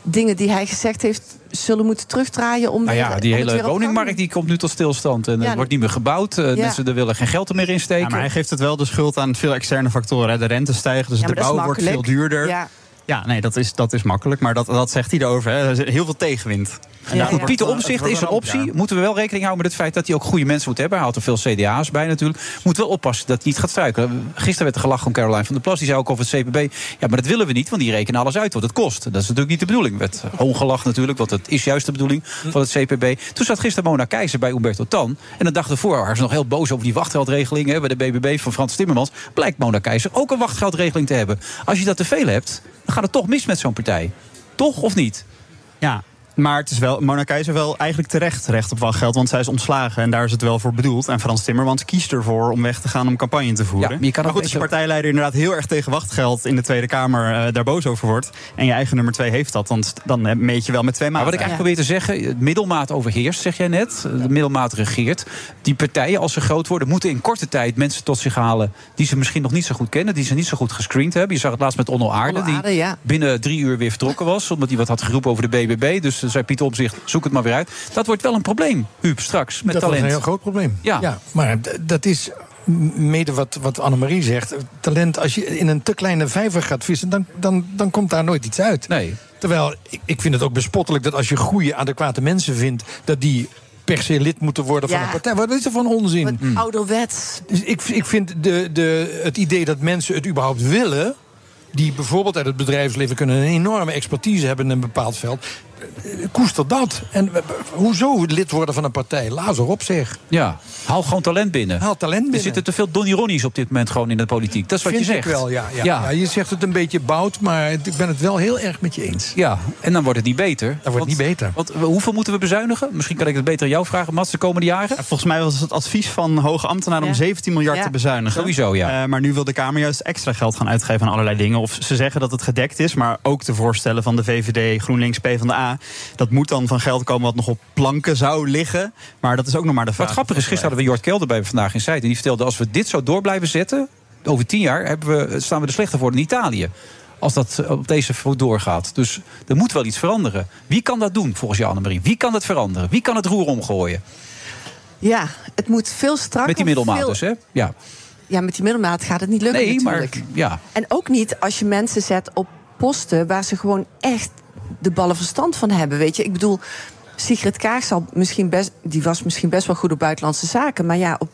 S17: dingen die hij gezegd heeft... zullen moeten terugdraaien om
S8: Nou ja,
S17: weer-
S8: die
S17: om het
S8: hele
S17: weer op gang
S8: woningmarkt die komt nu tot stilstand. En
S17: Ja,
S8: er wordt niet meer gebouwd. eh,
S17: Ja.
S8: Mensen er willen geen geld er meer in steken.
S19: Ja, maar hij geeft het wel de schuld aan veel externe factoren. hè. De rente stijgt, dus
S17: Ja,
S19: de
S17: maar dat is
S19: bouw wordt veel
S17: makkelijk.
S19: duurder.
S17: Ja.
S19: Ja, nee, dat is, dat is makkelijk. Maar dat, dat zegt hij erover. Hè. Er zit heel veel tegenwind. En daarom
S8: Ja, nou, goed,
S19: wordt-
S8: Pieter
S19: het
S8: Omzicht
S19: wordt
S8: is een optie.
S19: rampjaar.
S8: Moeten we wel rekening houden met het feit dat hij ook goede mensen moet hebben. Hij haalt er veel CDA's bij natuurlijk. Moet wel oppassen dat hij niet gaat struikelen. Gisteren werd er gelachen om Caroline van der Plas. Die zei ook over het CPB. Ja, maar dat willen we niet, want die rekenen alles uit wat het kost. Dat is natuurlijk niet de bedoeling. Er werd hoongelachen natuurlijk, want dat is juist de bedoeling van het CPB. Toen zat gisteren Mona Keizer bij Umberto Tan. En de dag ervoor waren ze nog heel boos over die wachtgeldregeling hè, bij de BBB van Frans Timmermans. Blijkt Mona Keizer ook een wachtgeldregeling te hebben. Als je dat te veel hebt, dan gaat het toch mis met zo'n partij. Toch of niet?
S19: Ja, maar het is wel, Mona Keizer wel eigenlijk terecht recht op wachtgeld. Want zij is ontslagen en daar is het wel voor bedoeld. En Frans Timmermans kiest ervoor om weg te gaan om campagne te voeren.
S8: Ja, maar je kan ook
S19: goed, als je
S8: beter-
S19: partijleider inderdaad heel erg tegen wachtgeld in de Tweede Kamer eh, daar boos over wordt. en je eigen nummer twee heeft dat, dan, dan eh, meet je wel met twee
S8: Maar
S19: maanden.
S8: wat ik eigenlijk probeer te zeggen, het middelmaat overheerst, zeg jij net. De middelmaat regeert. Die partijen, als ze groot worden, moeten in korte tijd mensen tot zich halen die ze misschien nog niet zo goed kennen, die ze niet zo goed gescreend hebben. Je zag het laatst met Onno Aarde,
S17: Onno Aarde,
S8: die
S17: ja.
S8: binnen drie uur weer vertrokken was, omdat hij wat had geroepen over de BBB. Dus toen zei Pieter Omzicht, zoek het maar weer uit. Dat wordt wel een probleem, Huub, straks met
S9: dat
S8: talent.
S9: is een heel groot probleem.
S8: Ja.
S9: maar d- dat is m- mede wat, wat Annemarie zegt. Talent, als je in een te kleine vijver gaat vissen, dan, dan, dan komt daar nooit iets uit.
S8: Nee.
S9: Terwijl, ik, ik vind het ook bespottelijk dat als je goede, adequate mensen vindt, dat die per se lid moeten worden
S17: Ja.
S9: van een partij. Wat is er van onzin?
S8: Mm.
S17: Hmm. Ouderwets.
S9: Dus ik, ik vind de, de, het idee dat mensen het überhaupt willen. die bijvoorbeeld uit het bedrijfsleven kunnen. een enorme expertise hebben in een bepaald veld. eh, koester dat. En eh, hoezo lid worden van een partij? Laat erop zeg.
S8: Ja, haal gewoon talent binnen.
S9: Haal talent binnen.
S8: Er zitten te veel Donny Ronnies op dit moment gewoon in de politiek. Dat is wat
S9: vind
S8: je zegt.
S9: Ik wel, ja, ja. Ja, je zegt het een beetje bout, maar het- ik ben het wel heel erg met je eens.
S8: Ja, en dan wordt het niet beter. Dan
S9: wordt het niet beter.
S8: Want eh, hoeveel moeten we bezuinigen? Misschien kan ik het beter aan jou vragen, Mats, de komende jaren.
S19: Volgens mij was het advies van hoge ambtenaren om
S8: Ja.
S19: 17 miljard
S8: Ja.
S19: te bezuinigen.
S8: Sowieso, ja.
S19: Eh, maar nu wil de Kamer juist extra geld gaan uitgeven aan allerlei dingen. Of ze zeggen dat het gedekt is, maar ook de voorstellen van de VVD, GroenLinks, PvdA. Dat moet dan van geld komen wat nog op planken zou liggen. Maar dat is ook nog maar de vraag.
S8: Wat grappig is, gisteren hadden we Jort Kelder bij vandaag in Zijt. En die vertelde, als we dit zo door blijven zetten... over tien jaar hebben we, staan we er slechter voor dan Italië. Als dat eh, op deze voet doorgaat. Dus er moet wel iets veranderen. Wie kan dat doen, volgens jou, Annemarie? Wie kan dat veranderen? Wie kan het roer omgooien?
S17: Ja, het moet veel strakker.
S8: Met die middelmaat
S17: veel-
S8: dus, hè? Ja.
S17: Ja, met die middelmaat gaat het niet lukken
S8: Nee, maar
S17: natuurlijk.
S8: ja.
S17: En ook niet als je mensen zet op posten waar ze gewoon echt de ballen verstand van hebben. Weet je, ik bedoel, Sigrid Kaag zal misschien best, die was misschien best wel goed op buitenlandse zaken, maar ja, op,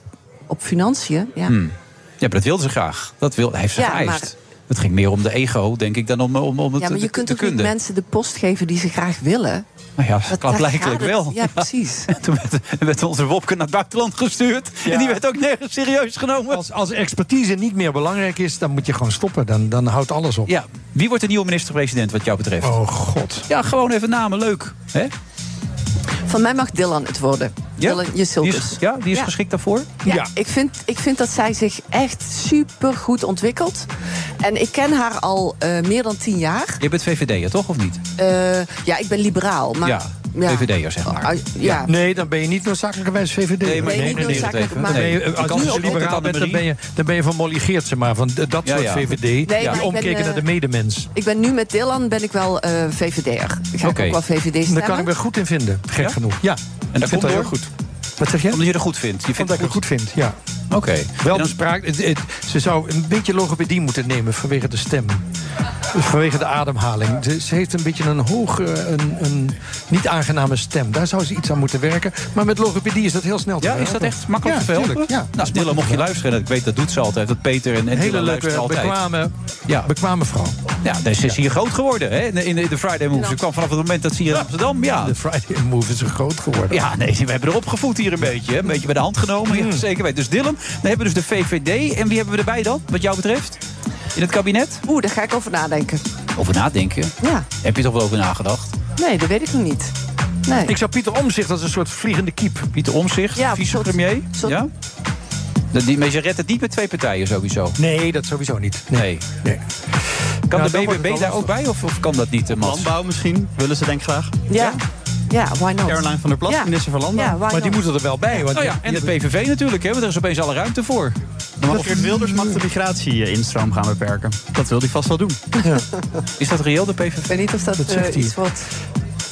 S17: op financiën. Ja.
S8: Hmm. Ja, maar dat wilde ze graag. Dat wil, heeft ze
S17: Ja,
S8: geëist.
S17: maar-
S8: Het ging meer om de ego, denk ik, dan om, om, om het
S17: ja, maar
S8: de,
S17: je kunt
S8: de
S17: ook niet
S8: kunde.
S17: mensen de post geven die ze graag willen.
S8: Nou ja,
S17: Dat- daar gaat
S8: klaarblijkelijk
S17: het.
S8: wel.
S17: Ja, precies.
S8: Toen werd, werd onze Wopke naar het buitenland gestuurd. En die werd ook nergens serieus genomen.
S9: Als, als expertise niet meer belangrijk is, dan moet je gewoon stoppen. Dan, dan houdt alles op.
S8: Ja, wie wordt de nieuwe minister-president wat jou betreft?
S9: Oh god.
S8: Ja, gewoon even namen, leuk. Hè?
S17: Van mij mag Dylan het worden. Dylan Jusilkus.
S8: Die is- ja, die is geschikt daarvoor?
S17: dus- Ja, Ik, vind, ik vind dat zij zich echt super goed ontwikkelt. En ik ken haar al eh, meer dan tien jaar.
S8: Je bent VVD'er, toch? Of niet?
S17: Eh, ja, ik ben liberaal. Maar,
S8: ja, VVD'er, zeg maar.
S17: Ah, ja.
S9: Nee, dan ben je niet noodzakelijkerwijs VVD.
S8: Nee, maar- Nee, niet noodzakelijk,
S9: nee,
S8: maar-
S9: Dan ben je-
S8: Nee, ik kan
S9: Als
S8: dus
S9: je
S8: ook
S9: liberaal
S8: altijd
S9: bent, dan ben
S8: Annemarie.
S9: je, dan ben je van Molly Geert, zeg maar. Van d- dat
S8: Ja,
S9: soort
S8: ja.
S9: VVD.
S17: maar ik
S9: Die
S17: ben,
S9: omkeken
S17: eh,
S9: naar de medemens.
S17: Ik ben nu met Dylan ben ik wel eh VVD'er. Ga
S9: Oké.
S17: ik ook wel VVD stemmen.
S9: Daar kan ik me goed in vinden, gek genoeg. Ja,
S8: En dat
S9: ik vind
S8: komt
S9: dat heel
S8: door?
S9: goed. Wat zeg je?
S8: Omdat je het goed vindt. Je vindt
S9: Omdat ik het goed vind, ja.
S8: Oké.
S9: Wel bespraak. het- het- Ze zou een beetje logopedie moeten nemen vanwege de stem. Vanwege de ademhaling. Ze, ze heeft een beetje een hoge, een, een niet aangename stem. Daar zou ze iets aan moeten werken. Maar met logopedie is dat heel snel te
S8: Ja, is dat
S9: verhelpen.
S8: echt makkelijk
S9: ja,
S8: te verhelpen?
S9: tuurlijk, ja.
S8: Nou, Dylan, mocht je luisteren, ik weet dat doet ze altijd. Dat Peter en, en
S9: Een hele
S8: Dylan
S9: leuke,
S8: luisteren altijd.
S9: bekwame,
S8: Ja.
S9: bekwame vrouw.
S8: Ja, deze is hier groot geworden hè? in de- in de, de Friday Move. Ze kwam vanaf het moment dat ze hier in Amsterdam... Ja,
S9: De Friday Move is er groot geworden. Hmm.
S8: ja nee, we hebben erop gevoed hier een beetje. hè. Een beetje bij de hand genomen, ja, zeker weten. Dus Dylan, dan hebben we dus de VVD. En wie hebben we erbij dan, wat jou betreft? In het kabinet?
S17: Oeh, daar ga ik over nadenken.
S8: Over nadenken?
S17: Ja.
S8: Heb je toch wel over nagedacht?
S17: Nee, dat weet ik nog niet. Nee.
S9: Ik zou Pieter Omzicht als een soort vliegende kiep.
S8: Pieter Omzicht, vicepremier? Ja? Dat Die, maar je redt het niet met twee partijen sowieso.
S9: Nee, dat sowieso niet.
S8: Nee. Kan
S9: Ja, dan wordt
S8: de
S9: het
S8: BBB
S9: wel
S8: daar ook bij of, of kan dat niet, eh, Mats?
S19: Landbouw misschien, willen ze denk ik graag.
S17: Ja. Ja, why not?
S19: Caroline van der Plas,
S17: Ja.
S19: minister van Landbouw.
S17: Ja, why
S9: Maar die
S17: not?
S9: moeten er wel bij. Want
S8: Oh ja, en de PVV natuurlijk, hè, want er is opeens alle ruimte voor.
S19: Maar Geert Wilders mag de migratie-instroom gaan beperken. Dat wil hij vast wel doen.
S8: Is dat reëel, de PVV?
S17: Ik weet niet of dat,
S9: Dat zegt
S17: eh,
S9: hij.
S17: iets wat...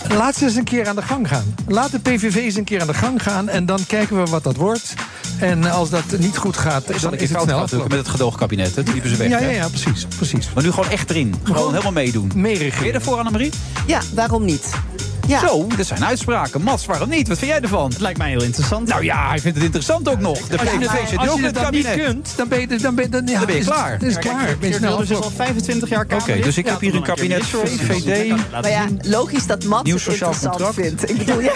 S9: Laat ze eens een keer aan de gang gaan. Laat de PVV eens een keer aan de gang gaan. En dan kijken we wat dat wordt. En als dat niet goed gaat,
S8: Er is al
S9: dan
S8: een
S9: is
S8: keer
S9: het
S8: fout
S9: snel
S8: gehad natuurlijk met
S9: afgelopen.
S8: het gedoogkabinet. hè, Toen liepen ze weg.
S9: Ja, ja,
S8: hè?
S9: ja, precies. precies.
S8: Maar nu gewoon echt erin. Gewoon helemaal meedoen.
S9: Meeregeren.
S8: Ben je ervoor, Annemarie?
S17: Ja, waarom niet? Ja.
S8: Zo, dat zijn uitspraken. Mats, waarom niet? Wat vind jij ervan?
S19: Lijkt mij heel interessant.
S8: Nou ja, hij vindt het interessant ook nog. De
S9: Als je,
S8: PVV
S9: het,
S8: zit ook
S9: als
S8: in
S9: je het
S8: het
S9: dan niet
S8: kabinet.
S9: kunt, Dus dan ben je, dan ben je, dan, ja, dus-
S8: Dan ben je
S9: is het-
S8: klaar.
S9: Het, is klaar. Ben je
S19: Geert
S9: snel
S19: Wilders dus is al
S9: afgelopen.
S19: 25 jaar
S8: Oké,
S19: Kamerlid.
S8: dus ik
S19: Ja,
S8: heb hier
S19: dan
S8: een
S19: keer
S8: kabinet
S19: minister worden.
S8: VVD.
S17: Maar ja, logisch dat Mats
S8: Nieuw
S17: het
S8: sociaal
S17: interessant
S8: contract.
S17: vindt. Ik bedoel, jij,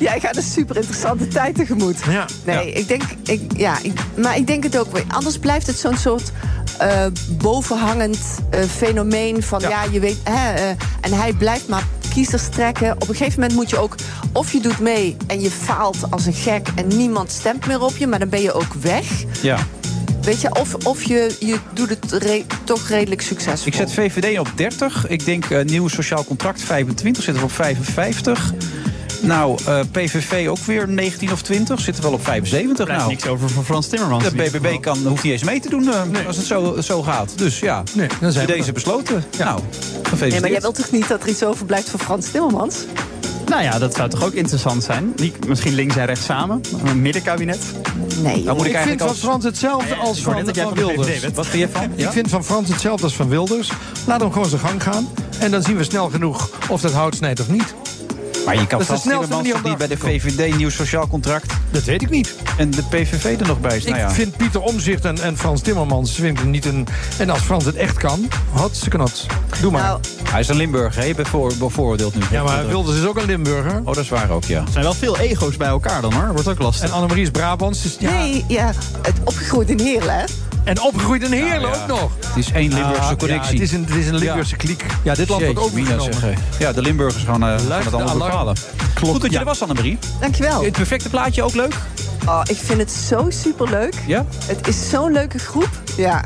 S17: jij gaat een super interessante tijd tegemoet.
S9: Ja.
S17: Nee, ik denk, ik, ja, ik- maar ik denk het ook. weer. Anders blijft het zo'n soort eh, bovenhangend eh, fenomeen van ja, je weet. Hè, eh, en hij blijft maar kiezers trekken. Op een gegeven moment moet je ook, of je doet mee en je faalt als een gek en niemand stemt meer op je, maar dan ben je ook weg.
S8: Ja,
S17: Weet je, of, of je, je doet het re- toch redelijk succesvol.
S8: ik zet VVD op 30. Ik denk eh, nieuw sociaal contract 25. Zitten we op 55. Nou, eh, PVV ook weer 19 of 20. Zitten we wel op 75.
S19: Er blijft
S8: Nou,
S19: niks over voor Frans Timmermans.
S8: de BBB kan, hoeft niet eens mee te doen eh, als het zo, zo gaat. Dus ja,
S9: Nee, dan zijn
S8: bij
S9: we
S8: deze
S9: er.
S8: besloten. Nou, gefeliciteerd.
S17: Nee, maar jij wilt toch niet dat er iets over blijft voor Frans Timmermans?
S19: Nou ja, dat zou toch ook interessant zijn. Die- Misschien links en rechts samen. Een middenkabinet.
S17: Nee.
S8: Dan moet ik
S9: Ik vind
S8: eigenlijk
S9: van
S8: als...
S9: Frans hetzelfde als
S19: ik hoor
S9: van,
S19: net dat jij
S9: van
S19: van de
S9: Wilders.
S19: VVD bent.
S8: Wat vind je van?
S9: Ik vind van Frans hetzelfde als van Wilders. Laat hem gewoon zijn gang gaan. En dan zien we snel genoeg of dat hout snijdt of niet.
S8: Maar je kan
S9: de
S8: Frans
S9: snelste
S8: Timmermans
S9: manier
S8: toch
S9: om
S8: niet bij de
S9: erachter
S8: VVD nieuw sociaal contract
S9: Dat weet ik niet.
S8: en de PVV er nog bij is. Nou
S9: Ik
S8: ja.
S9: vind Pieter Omzicht en, en Frans Timmermans vind ik niet een. En als Frans het echt kan, hartstikke not. Doe maar.
S17: Nou,
S8: Hij is een Limburger, hè? je bent voor, bevooroordeeld nu.
S9: ja, maar Wilders is ook een Limburger.
S8: Oh, dat is waar ook, ja.
S19: Er zijn wel veel ego's bij elkaar dan hoor. Wordt ook
S9: En
S19: lastig.
S9: Annemarie is Brabants. Dus ja.
S17: Nee, ja, het opgegroeid in Heerlen, hè?
S9: En opgegroeid in Heerlen
S8: Nou ja.
S9: ook nog.
S8: Het is één Limburgse
S9: Ah,
S8: connectie.
S9: ja, het, is een, het is een Limburgse kliek. Ja, dit land wordt
S8: Jeetje, mina
S9: overgenomen.
S8: zeggen. Ja, de Limburgers gaan, eh, gaan het
S9: de
S8: allemaal
S9: alarm.
S8: bepalen.
S9: Klopt,
S8: Goed dat je
S9: ja.
S8: er was, Annemarie.
S17: Dankjewel.
S8: Het perfecte plaatje ook leuk?
S17: Oh, ik vind het zo superleuk.
S8: Ja?
S17: Het is zo'n leuke groep. Ja.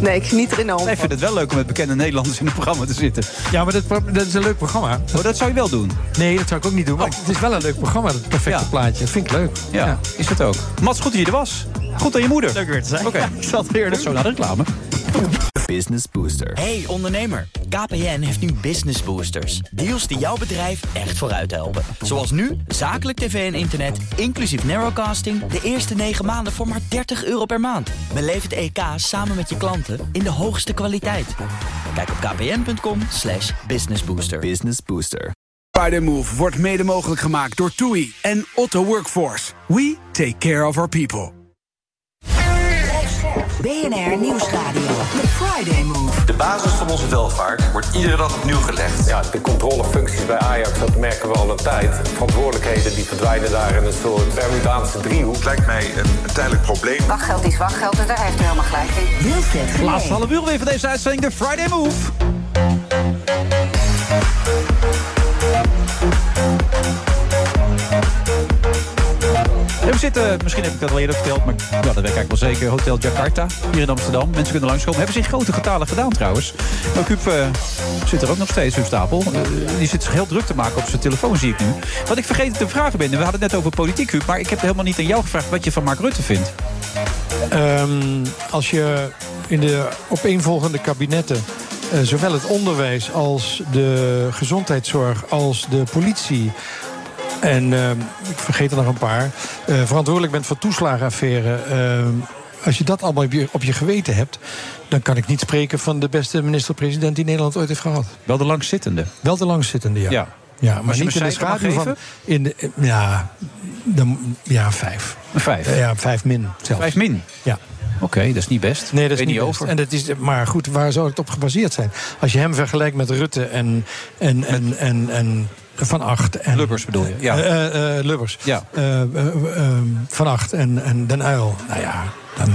S17: Nee, ik geniet er enorm
S8: Wij
S17: van.
S8: vinden het wel leuk om met bekende Nederlanders in het programma te zitten.
S9: Ja, maar dat, pro- dat is een leuk programma.
S8: Oh, dat zou je wel doen. Oh.
S9: Nee, dat zou ik ook niet doen. Maar het is wel een leuk programma, dat perfecte
S8: Ja.
S9: plaatje. Dat vind ik leuk.
S8: Ja, is dat ook. Mats, goed dat je er was. Goed aan je moeder.
S19: Leuk weer te zijn.
S8: Oké.
S19: Ik zal het weer
S8: Tot
S19: doen.
S8: zo naar de reclame.
S3: De
S2: Business Booster. Hey ondernemer, KPN heeft nu Business Boosters. Deals die jouw bedrijf echt vooruit helpen. Zoals nu, zakelijk tv en internet, inclusief narrowcasting... de eerste 9 maanden voor maar 30 euro per maand. Beleef het EK samen met je klanten in de hoogste kwaliteit. Kijk op kpn.com slash businessbooster. Business Booster.
S3: Friday Move wordt mede mogelijk gemaakt door TUI en Otto Workforce. We take care of our people.
S4: BNR Nieuwsradio. The Friday Move.
S11: De basis van onze welvaart wordt iedere dag opnieuw gelegd.
S6: Ja, de controlefuncties bij Ajax, dat merken we al een tijd. Verantwoordelijkheden die verdwijnen daar in een soort Bermudaanse driehoek.
S11: Het lijkt mij een, een tijdelijk probleem.
S7: Wachtgeld is wachtgeld, dus daar heeft u helemaal gelijk in.
S4: Wilfred
S8: Laatste halve uur weer van deze uitzending, de Friday Move. En we zitten, misschien heb ik dat al eerder verteld, maar ja, dat weet ik eigenlijk wel zeker. Hotel Jakarta, hier in Amsterdam. Mensen kunnen langskomen. Hebben zich grote getalen gedaan trouwens. Maar Cuub eh, zit er ook nog steeds, Huub Stapel. Eh, die zit zich heel druk te maken op zijn telefoon, zie ik nu. Wat ik vergeten te vragen ben, en we hadden het net over politiek, Huub. Maar ik heb helemaal niet aan jou gevraagd wat je van Mark Rutte vindt.
S9: Ehm, als je in de opeenvolgende kabinetten eh, zowel het onderwijs als de gezondheidszorg als de politie. En ehm, ik vergeet er nog een paar. eh, verantwoordelijk bent voor toeslagenaffaire. ehm, als je dat allemaal op je, op je geweten hebt, dan kan ik niet spreken van de beste minister-president die Nederland ooit heeft gehad.
S8: Wel de langzittende.
S9: Wel de langzittende, ja.
S8: Ja.
S9: Ja, maar
S8: Als je
S9: niet in
S8: een
S9: de
S8: cijfer mag
S9: schaduw van.
S8: geven?
S9: In de, ja, dan, ja, vijf.
S8: Een vijf?
S9: Ja, vijf min zelfs.
S8: Vijf min?
S9: Ja.
S8: Oké, dat is niet best.
S9: Nee, dat is
S8: Weet
S9: niet best.
S8: over.
S9: En dat is, maar goed, waar zou het op gebaseerd zijn? Als je hem vergelijkt met Rutte en, en, en, en, en Van Acht. En,
S8: Lubbers bedoel je? Ja.
S9: Eh, eh, eh, Lubbers.
S8: Ja.
S9: Eh, eh, eh, van Acht en, en Den Uil. Nou ja, dan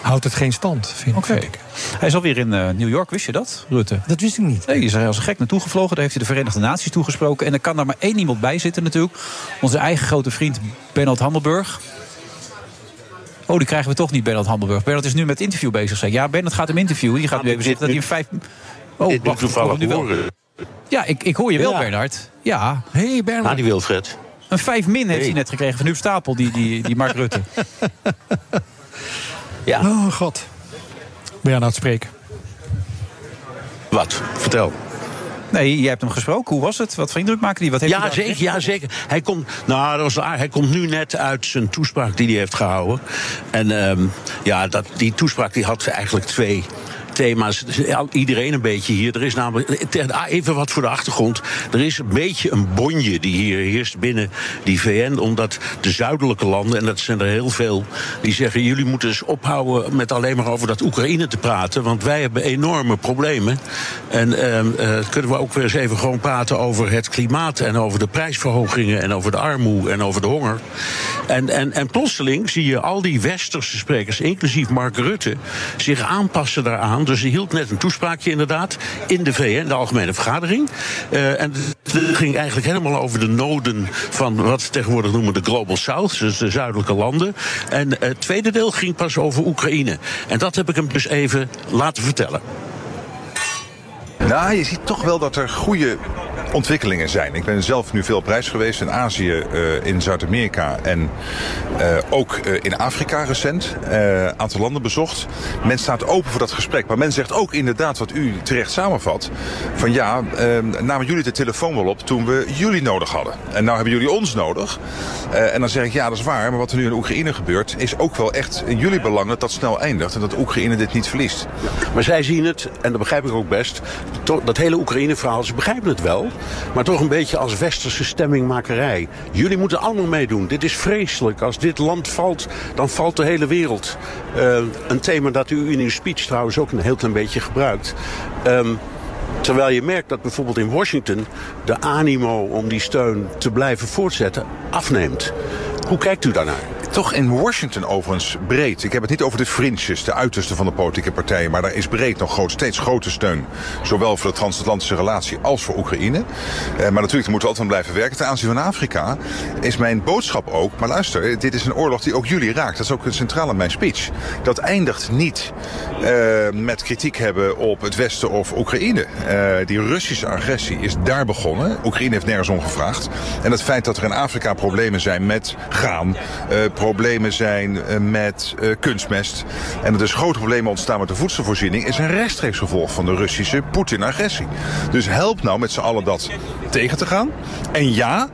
S9: houdt het geen stand, vind,
S8: Oké.
S9: vind ik.
S8: Hij is alweer in eh, New York, wist je dat, Rutte?
S9: Dat wist ik niet.
S8: Nee, hij is er als een gek naartoe gevlogen. Daar heeft hij de Verenigde Naties toegesproken. En er kan daar maar één iemand bij zitten natuurlijk. Onze eigen grote vriend Bernard Hammelburg. Oh, die krijgen we toch niet, Bernard Hammelburg. Bernard is nu met interview bezig. Zei. ik. Ja, Bernard gaat hem interviewen. Die gaat nu even zeggen dat hij in vijf... Oh,
S18: dit
S8: wacht,
S18: toevallig
S8: ik hoor hem nu wel.
S18: horen.
S8: Ja, ik, ik hoor je wel,
S18: Ja.
S8: Bernard. Ja.
S9: hey, Bernard.
S18: Ah, die Wilfred.
S8: Een vijf min heeft hij net gekregen van Huub Stapel, die, die, die Mark Rutte.
S18: Ja.
S9: Oh, god. Bernard, spreek.
S18: Wat? Vertel.
S8: Nee, jij hebt hem gesproken. Hoe was het? Wat voor indruk maakte die? Wat heeft hij
S18: Ja
S8: daar
S18: zeker,
S8: gezegd?
S18: ja, zeker. Hij komt, nou, dat was aardig. Hij komt nu net uit zijn toespraak die hij heeft gehouden. En ehm, ja, dat, die toespraak die had eigenlijk twee thema's. Iedereen een beetje hier. Er is namelijk, ter- ah, even wat voor de achtergrond. Er is een beetje een bonje die hier heerst binnen die VN. Omdat de zuidelijke landen, en dat zijn er heel veel... die zeggen, jullie moeten eens ophouden met alleen maar over dat Oekraïne te praten. Want wij hebben enorme problemen. En ehm, eh, kunnen we ook weer eens even gewoon praten over het klimaat en over de prijsverhogingen en over de armoede en over de honger. En, en, en plotseling zie je al die westerse sprekers, inclusief Mark Rutte, zich aanpassen daaraan. Dus hij hield net een toespraakje inderdaad in de VN, de Algemene Vergadering. Eh, en het ging eigenlijk helemaal over de noden van wat ze tegenwoordig noemen de Global South, dus de zuidelijke landen. En het tweede deel ging pas over Oekraïne. En dat heb ik hem dus even laten vertellen.
S20: Nou, je ziet toch wel dat er goede ontwikkelingen zijn. Ik ben zelf nu veel op reis geweest in Azië, eh, in Zuid-Amerika en eh, ook eh, in Afrika recent. Eh, Een aantal landen bezocht. Men staat open voor dat gesprek. Maar men zegt ook inderdaad wat u terecht samenvat. Van ja, eh, namen jullie de telefoon wel op toen we jullie nodig hadden. En nou hebben jullie ons nodig. Eh, en dan zeg ik ja, dat is waar. Maar wat er nu in Oekraïne gebeurt is ook wel echt in jullie belang dat dat snel eindigt. En dat Oekraïne dit niet verliest.
S18: Maar zij zien het, en dat begrijp ik ook best, to- dat hele Oekraïne-verhaal, ze begrijpen het wel, maar toch een beetje als westerse stemmingmakerij. Jullie moeten allemaal meedoen. Dit is vreselijk. Als dit land valt, dan valt de hele wereld. Eh, een thema dat u in uw speech trouwens ook een heel klein beetje gebruikt. Ehm, Terwijl je merkt dat bijvoorbeeld in Washington de animo om die steun te blijven voortzetten afneemt. Hoe kijkt u daarnaar?
S20: Toch in Washington overigens breed. Ik heb het niet over de fringes, de uiterste van de politieke partijen. Maar daar is breed nog groot, steeds grote steun. Zowel voor de transatlantische relatie als voor Oekraïne. Eh, maar natuurlijk, daar moeten we altijd aan blijven werken. Ten aanzien van Afrika is mijn boodschap ook. Maar luister, dit is een oorlog die ook jullie raakt. Dat is ook het centrale in mijn speech. Dat eindigt niet eh, met kritiek hebben op het Westen of Oekraïne. Eh, die Russische agressie is daar begonnen. Oekraïne heeft nergens om gevraagd. En het feit dat er in Afrika problemen zijn met gaan. Eh, problemen zijn eh, met eh, kunstmest. En dat is grote problemen ontstaan met de voedselvoorziening. Is een rechtstreeks gevolg van de Russische Poetin-agressie. Dus help nou met z'n allen dat tegen te gaan. En ja,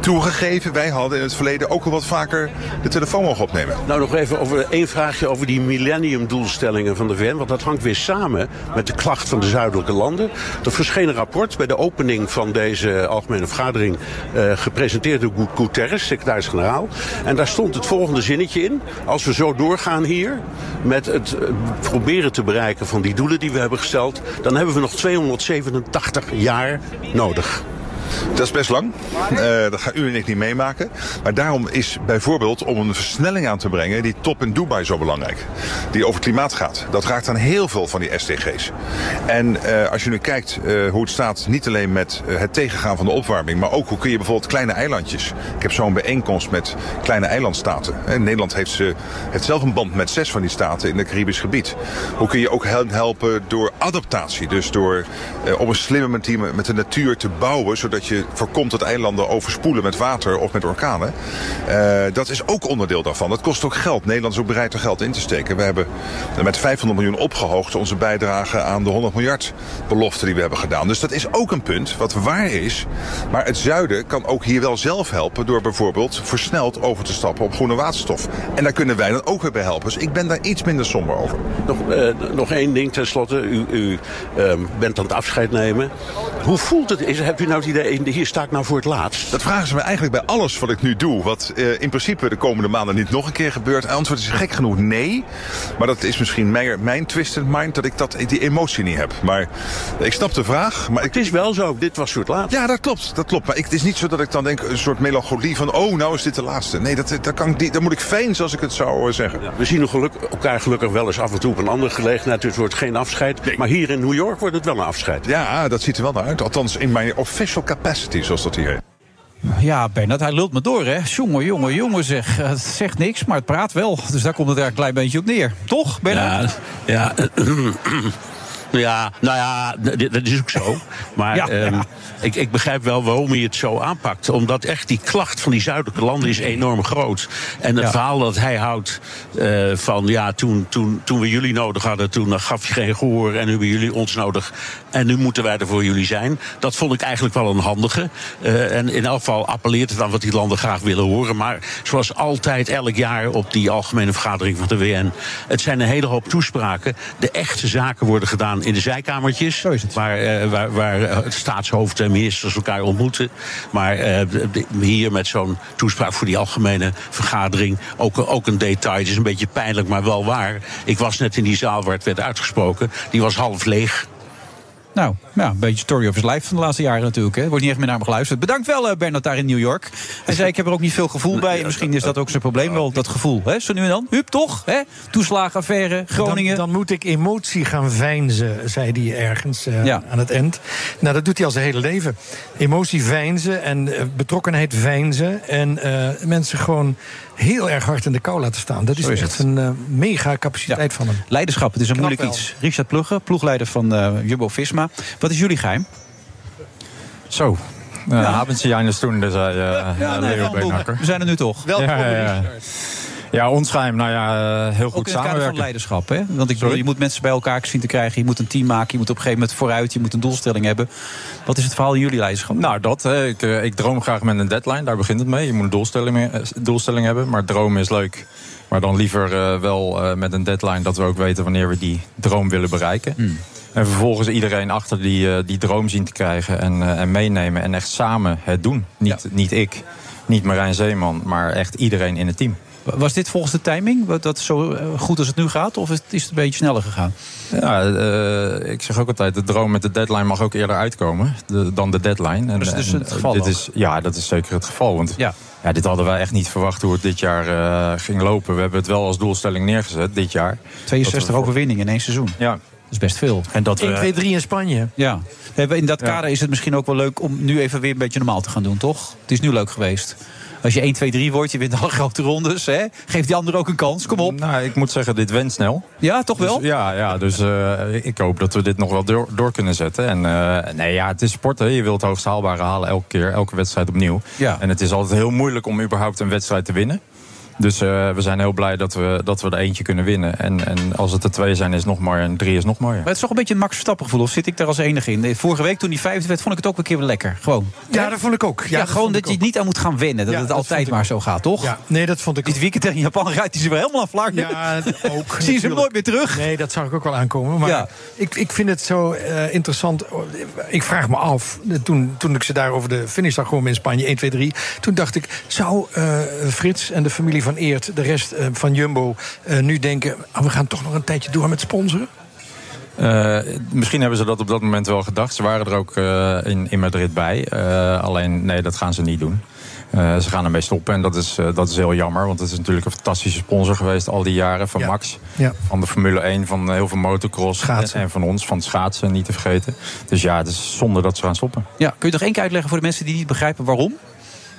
S20: toegegeven, wij hadden in het verleden ook al wat vaker de telefoon mogen opnemen.
S18: Nou, nog even over één vraagje over die millenniumdoelstellingen van de VN. Want dat hangt weer samen met de klacht van de zuidelijke landen. Er verscheen een rapport bij de opening van deze algemene vergadering. eh, gepresenteerd door Gu- Guterres, secretaris-generaal. En daar stond het volgende zinnetje in. Als we zo doorgaan hier. met het eh, proberen te bereiken van die doelen die we hebben gesteld. dan hebben we nog 287 jaar nodig.
S20: Dat is best lang. Eh, dat gaan u en ik niet meemaken. Maar daarom is bijvoorbeeld om een versnelling aan te brengen die top in Dubai zo belangrijk. Die over klimaat gaat. Dat raakt aan heel veel van die SDG's. En eh, als je nu kijkt eh, hoe het staat, niet alleen met eh, het tegengaan van de opwarming, maar ook hoe kun je bijvoorbeeld kleine eilandjes. Ik heb zo'n bijeenkomst met kleine eilandstaten. En Nederland heeft, ze, heeft zelf een band met zes van die staten in het Caribisch gebied. Hoe kun je ook hel- helpen door adaptatie? Dus door eh, op een slimme manier met de natuur te bouwen, zodat je voorkomt dat eilanden overspoelen met water of met orkanen. Eh, dat is ook onderdeel daarvan. Dat kost ook geld. Nederland is ook bereid er geld in te steken. We hebben met 500 miljoen opgehoogd onze bijdrage aan de 100 miljard belofte die we hebben gedaan. Dus dat is ook een punt wat waar is. Maar het zuiden kan ook hier wel zelf helpen door bijvoorbeeld versneld over te stappen op groene waterstof. En daar kunnen wij dan ook weer bij helpen. Dus ik ben daar iets minder somber over.
S18: Nog, eh, nog één ding tenslotte. U, u ehm, bent aan het afscheid nemen. Hoe voelt het? Is, hebt u nou het idee, hier sta ik nou voor het laatst?
S20: Dat vragen ze me eigenlijk bij alles wat ik nu doe. Wat eh, in principe de komende maanden niet nog een keer gebeurt. En antwoord is gek genoeg nee. Maar dat is misschien mijn, mijn twisted mind dat ik dat, die emotie niet heb. Maar ik snap de vraag. Maar het
S18: is wel zo. Dit was voor het laatst.
S20: Ja, dat klopt. Dat klopt. Maar ik, het is niet zo dat ik dan denk een soort melancholie van... oh, nou is dit de laatste. Nee, dat, dat, kan ik, niet- dat moet ik fijn zoals ik het zou eh, zeggen.
S18: We zien nog geluk, elkaar gelukkig wel eens af en toe op een andere gelegenheid. Dus het wordt geen afscheid. Maar hier in New York wordt het wel een afscheid.
S20: Ja, dat ziet er wel naar uit. Althans, in mijn official capacity, zoals dat hier heet.
S8: Ja, Bernard, hij lult me door, hè? Jongen, jongen, jongen, zeg. Het zegt niks, maar het praat wel. Dus daar komt het daar een klein beetje op neer. Toch, Bernard?
S18: Ja, Ja, nou ja, d- d- dat is ook zo. Maar ehm, Ik, ik begrijp wel waarom hij het zo aanpakt. Omdat echt die klacht van die zuidelijke landen is enorm groot. En het verhaal dat hij houdt eh, van... ja, toen, toen, toen we jullie nodig hadden, toen eh, gaf je geen gehoor... en nu hebben jullie ons nodig en nu moeten wij er voor jullie zijn. Dat vond ik eigenlijk wel een handige. Eh, en in elk geval appelleert het aan wat die landen graag willen horen. Maar zoals altijd elk jaar op die algemene vergadering van de WN... het zijn een hele hoop toespraken. De echte zaken worden gedaan in de zijkamertjes... Waar, eh, waar, waar eh, het staatshoofd en ministers elkaar ontmoeten. Maar eh, de- de- hier met zo'n toespraak voor die algemene vergadering... ook, ook een detail, het is een beetje pijnlijk, maar wel waar. Ik was net in die zaal waar het werd uitgesproken. Die was half leeg.
S8: Nou, ja, een beetje story of his life van de laatste jaren natuurlijk. Hè. Wordt niet echt meer naar hem geluisterd. Bedankt wel, eh, Bernard, daar in New York. Hij zei, ik heb er ook niet veel gevoel bij. En Misschien is dat ook zijn probleem wel, dat gevoel. Hè? Zo nu en dan. Hup, toch? Hè? Toeslagenaffaire, Groningen.
S9: Dan, dan moet ik emotie gaan veinzen, zei hij ergens eh,
S8: Ja.
S9: aan het eind. Nou, dat doet hij al zijn hele leven. Emotie veinzen en eh, betrokkenheid veinzen. En eh, mensen gewoon heel erg hard in de kou laten staan. Dat is,
S8: Zo is
S9: echt
S8: het.
S9: een eh, mega capaciteit van hem.
S8: Leiderschap, het is een
S9: Knap
S8: moeilijk
S9: wel.
S8: iets. Richard Plugge, ploegleider van eh Jumbo-Visma. Wat is jullie geheim?
S21: Zo. Ja, haben Sie eine Stunde, zei eh,
S8: nee,
S21: Leo
S8: wel een
S21: Beenhakker.
S8: boek. We zijn er nu toch. Wel
S21: ja, ja,
S8: een
S21: ja. ja, ons geheim. Nou ja, eh, heel
S8: Ook
S21: goed
S8: in het kader van
S21: samenwerken.
S8: leiderschap. Hè? Want ik bedoel,
S21: Sorry?
S8: je moet mensen bij elkaar zien te krijgen. Je moet een team maken. Je moet op een gegeven moment vooruit. Je moet een doelstelling hebben. Wat is het verhaal in jullie leiderschap?
S21: Nou, dat. Hè. Ik, eh, ik droom graag met een deadline. Daar begint het mee. Je moet een doelstelling, eh, doelstelling hebben. Maar dromen is leuk. Maar dan liever eh, wel eh, met een deadline dat we ook weten wanneer we die droom willen bereiken.
S8: Hmm.
S21: En vervolgens iedereen achter die, eh, die droom zien te krijgen en, eh, en meenemen. En echt samen het doen. Niet, niet ik, niet Marijn Zeeman, maar echt iedereen in het team.
S8: Was dit volgens de timing? Wat- Dat zo eh, goed als het nu gaat? Of is is het een beetje sneller gegaan?
S21: Ja, eh, ik zeg ook altijd, de droom met de deadline mag ook eerder uitkomen de- dan de deadline. En,
S8: Dat is dus
S21: en eh,
S8: het geval
S21: Dit
S8: ook.
S21: is, ja, dat is zeker het geval. Want ja. dit hadden wij echt niet verwacht hoe het dit jaar eh, ging lopen. We hebben het wel als doelstelling neergezet dit jaar. Dat
S8: 62
S21: we-
S8: overwinningen in één seizoen.
S21: Ja.
S8: Dat is best veel.
S21: En dat
S9: 1, 2,
S8: we...
S9: 3 in Spanje.
S8: Ja. Nee, In dat kader is het misschien ook wel leuk om nu even weer een beetje normaal te gaan doen, toch? Het is nu leuk geweest. Als je 1, 2, 3 wordt, je wint alle grote rondes. Hè? Geef die ander ook een kans, kom op.
S21: Nou, ik moet zeggen, dit went snel.
S8: Ja, toch wel?
S21: Dus, ja, ja, dus eh, ik hoop dat we dit nog wel door, door kunnen zetten. En eh, nee, ja, het is sport. Hè. Je wilt het hoogst haalbare halen elke keer, elke wedstrijd opnieuw.
S8: Ja.
S21: En het is altijd heel moeilijk om überhaupt een wedstrijd te winnen. Dus eh, we zijn heel blij dat we, dat we er eentje kunnen winnen. En, en als het er twee zijn, is het nog mooier. En drie is nog mooier.
S8: Maar het is toch een beetje een Max Verstappen gevoel, of zit ik daar als enige in? Vorige week toen die vijfde werd, vond ik het ook een keer wel lekker. Gewoon.
S9: Ja, dat vond ik ook.
S8: Ja, gewoon dat je het niet aan moet gaan wennen. Dat
S9: Ja,
S8: het
S9: dat
S8: altijd
S9: vond ik
S8: maar zo gaat, toch?
S9: Ja, nee, dat vond ik
S8: Dit weekend tegen Japan rijdt hij ze wel helemaal aan vlak.
S9: Ja, ook.
S8: Zie ze hem nooit meer terug.
S9: Nee, dat zag ik ook wel aankomen. Maar ik, ik vind het zo eh, interessant. Ik vraag me af, eh, toen, toen ik ze daar over de finish zag komen in Spanje, 1, 2, 3. Toen dacht ik, zou eh, Frits en de familie van Eert, de rest eh, van Jumbo, eh, nu denken... "Ah, we gaan toch nog een tijdje door met sponsoren?
S21: Eh, misschien hebben ze dat op dat moment wel gedacht. Ze waren er ook eh, in, in Madrid bij. Eh, alleen, nee, dat gaan ze niet doen. Eh, ze gaan ermee stoppen en dat is, eh, dat is heel jammer. Want het is natuurlijk een fantastische sponsor geweest al die jaren van Max.
S9: Ja.
S21: Van de Formule 1, van eh, heel veel motocross.
S9: Schaatsen.
S21: En, en van ons, van het schaatsen, niet te vergeten. Dus ja, het is zonde dat ze gaan stoppen.
S8: Ja, kun je toch één keer uitleggen voor de mensen die niet begrijpen waarom?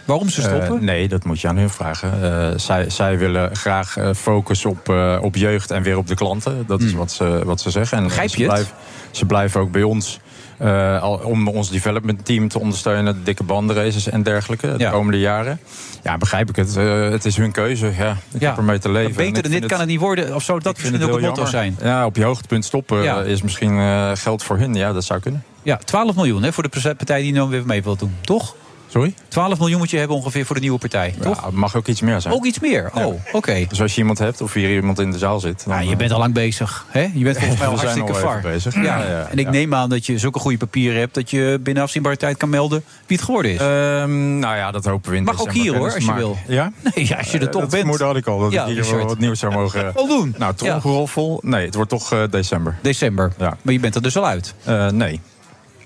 S8: Waarom ze stoppen?
S21: Eh, nee, dat moet je aan hun vragen. Eh, zij, zij willen graag eh, focus op, eh, op jeugd en weer op de klanten. Dat is wat ze, wat ze zeggen. En
S8: Begrijp
S21: ze
S8: Hmm. je het?
S21: blijven, Ze blijven ook bij ons. eh, al- om ons development team te ondersteunen, de dikke bandenraces en dergelijke, de komende jaren. Ja, begrijp ik het. Eh, het is hun keuze. Ja, ik heb ermee te leven. En ik
S8: Beter dan
S21: vind
S8: dit kan het niet worden. Of zou dat
S21: ik vind
S8: misschien ook het
S21: heel
S8: motto zijn?
S21: jammer. Ja, op je hoogtepunt stoppen
S8: Ja.
S21: eh, is misschien eh, geld voor hun. Ja, dat zou kunnen.
S8: Ja, 12 miljoen hè, voor de partij die nou weer mee wil doen, toch?
S21: Sorry?
S8: 12 miljoen moet je hebben ongeveer voor de nieuwe partij, toch?
S21: Ja, mag ook iets meer zijn.
S8: Ook iets meer? Oh, oké.
S21: Dus als je iemand hebt of hier iemand in de zaal zit. Dan, eh,
S8: je bent al lang bezig. Hè? Je bent volgens mij al
S21: We zijn
S8: hartstikke
S21: al
S8: var.
S21: even bezig.
S8: Ja.
S21: Ja, ja,
S8: en ik
S21: ja.
S8: neem aan dat je zulke goede papieren hebt... dat je binnen afzienbare tijd kan melden wie het geworden is.
S21: nou ja, dat hopen we in
S8: Mag ook
S21: december
S8: hier hoor,
S21: kennis
S8: als je
S21: maken.
S8: wil.
S21: Ja?
S8: Nee, ja, als je er
S21: Eh,
S8: toch
S21: dat
S8: bent.
S21: vermoeden had ik al, dat
S8: Ja,
S21: ik hier wel
S8: Richard.
S21: wat nieuws zou mogen...
S8: Al doen.
S21: Nou, tromgeroffel. Nee, het wordt toch eh, december.
S8: December.
S21: Ja. Eh,
S8: Maar je bent er dus al uit?
S21: nee.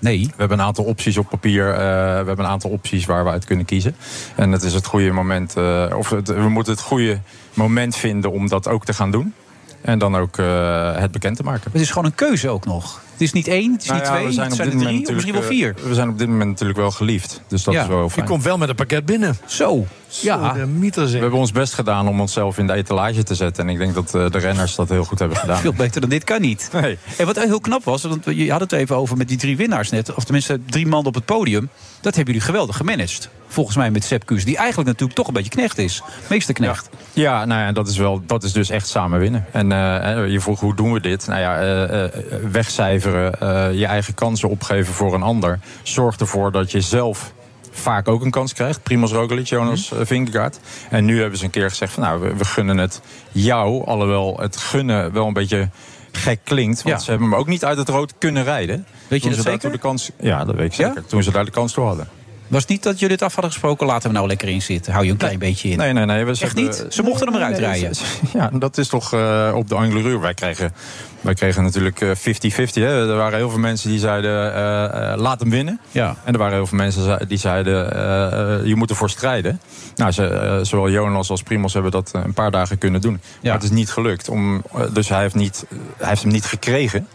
S8: Nee? We
S21: hebben een aantal opties op papier. eh, we hebben een aantal opties waar we uit kunnen kiezen. En het is het goede moment... eh, of het, we moeten het goede moment vinden om dat ook te gaan doen. En dan ook eh, het bekend te maken.
S8: Het is gewoon een keuze ook nog. Het is niet één, het is
S21: Nou
S8: niet
S21: ja,
S8: twee,
S21: we zijn
S8: het
S21: op
S8: zijn er
S21: dit moment
S8: drie, of misschien wel
S21: natuurlijk,
S8: vier.
S21: eh, we zijn op dit moment natuurlijk wel geliefd. Dus dat
S8: Ja.
S21: is wel heel
S8: Je
S21: fijn.
S9: komt wel met een pakket binnen.
S8: Zo.
S9: Ja. De
S21: We hebben ons best gedaan om onszelf in de etalage te zetten. En ik denk dat eh, de renners dat heel goed hebben gedaan.
S8: Veel beter dan dit kan niet. En wat heel knap was, want je had het even over met die drie winnaars net. Of tenminste drie man op het podium. Dat hebben jullie geweldig gemanaged. Volgens mij met Sepp Kuss, die eigenlijk natuurlijk toch een beetje knecht is. Meesterknecht.
S21: Ja, nou ja, dat is, wel, dat is dus echt samen winnen. En eh, je vroeg hoe doen we dit? Nou ja, eh, eh, wegcijferen, eh, je eigen kansen opgeven voor een ander. Zorg ervoor dat je zelf vaak ook een kans krijgt. Primoz Roglic, Jonas
S8: Mhm.
S21: eh, Vingegaard. En nu hebben ze een keer gezegd van nou, we, we gunnen het jou. Alhoewel het gunnen wel een beetje gek klinkt. Want
S8: Ja.
S21: ze hebben hem ook niet uit het rood kunnen rijden.
S8: Weet
S21: Toen
S8: je dat
S21: ze daar
S8: zeker?
S21: toen De kans, ja, dat weet ik zeker. Toen ze daar de kans toe hadden.
S8: Was niet dat jullie het af hadden gesproken, laten we nou lekker in zitten. Hou je een klein beetje in.
S21: Nee, nee, nee. We
S8: Echt
S21: zeggen-
S8: niet? Ze mochten hem
S21: Nee,
S8: eruit
S21: nee,
S8: rijden.
S21: ze- ze- Ja, dat is toch eh, op de Angleruur. Wij kregen, wij kregen natuurlijk eh, 50-50. hè. Er waren heel veel mensen die zeiden, eh, eh, laat hem winnen.
S8: Ja.
S21: En er waren heel veel mensen ze- die zeiden, eh, eh, je moet ervoor strijden. Nou, ze, eh, zowel Jonas als Primos hebben dat eh, een paar dagen kunnen doen. Maar het is niet gelukt. Om, eh, dus hij heeft, niet, hij heeft hem niet gekregen.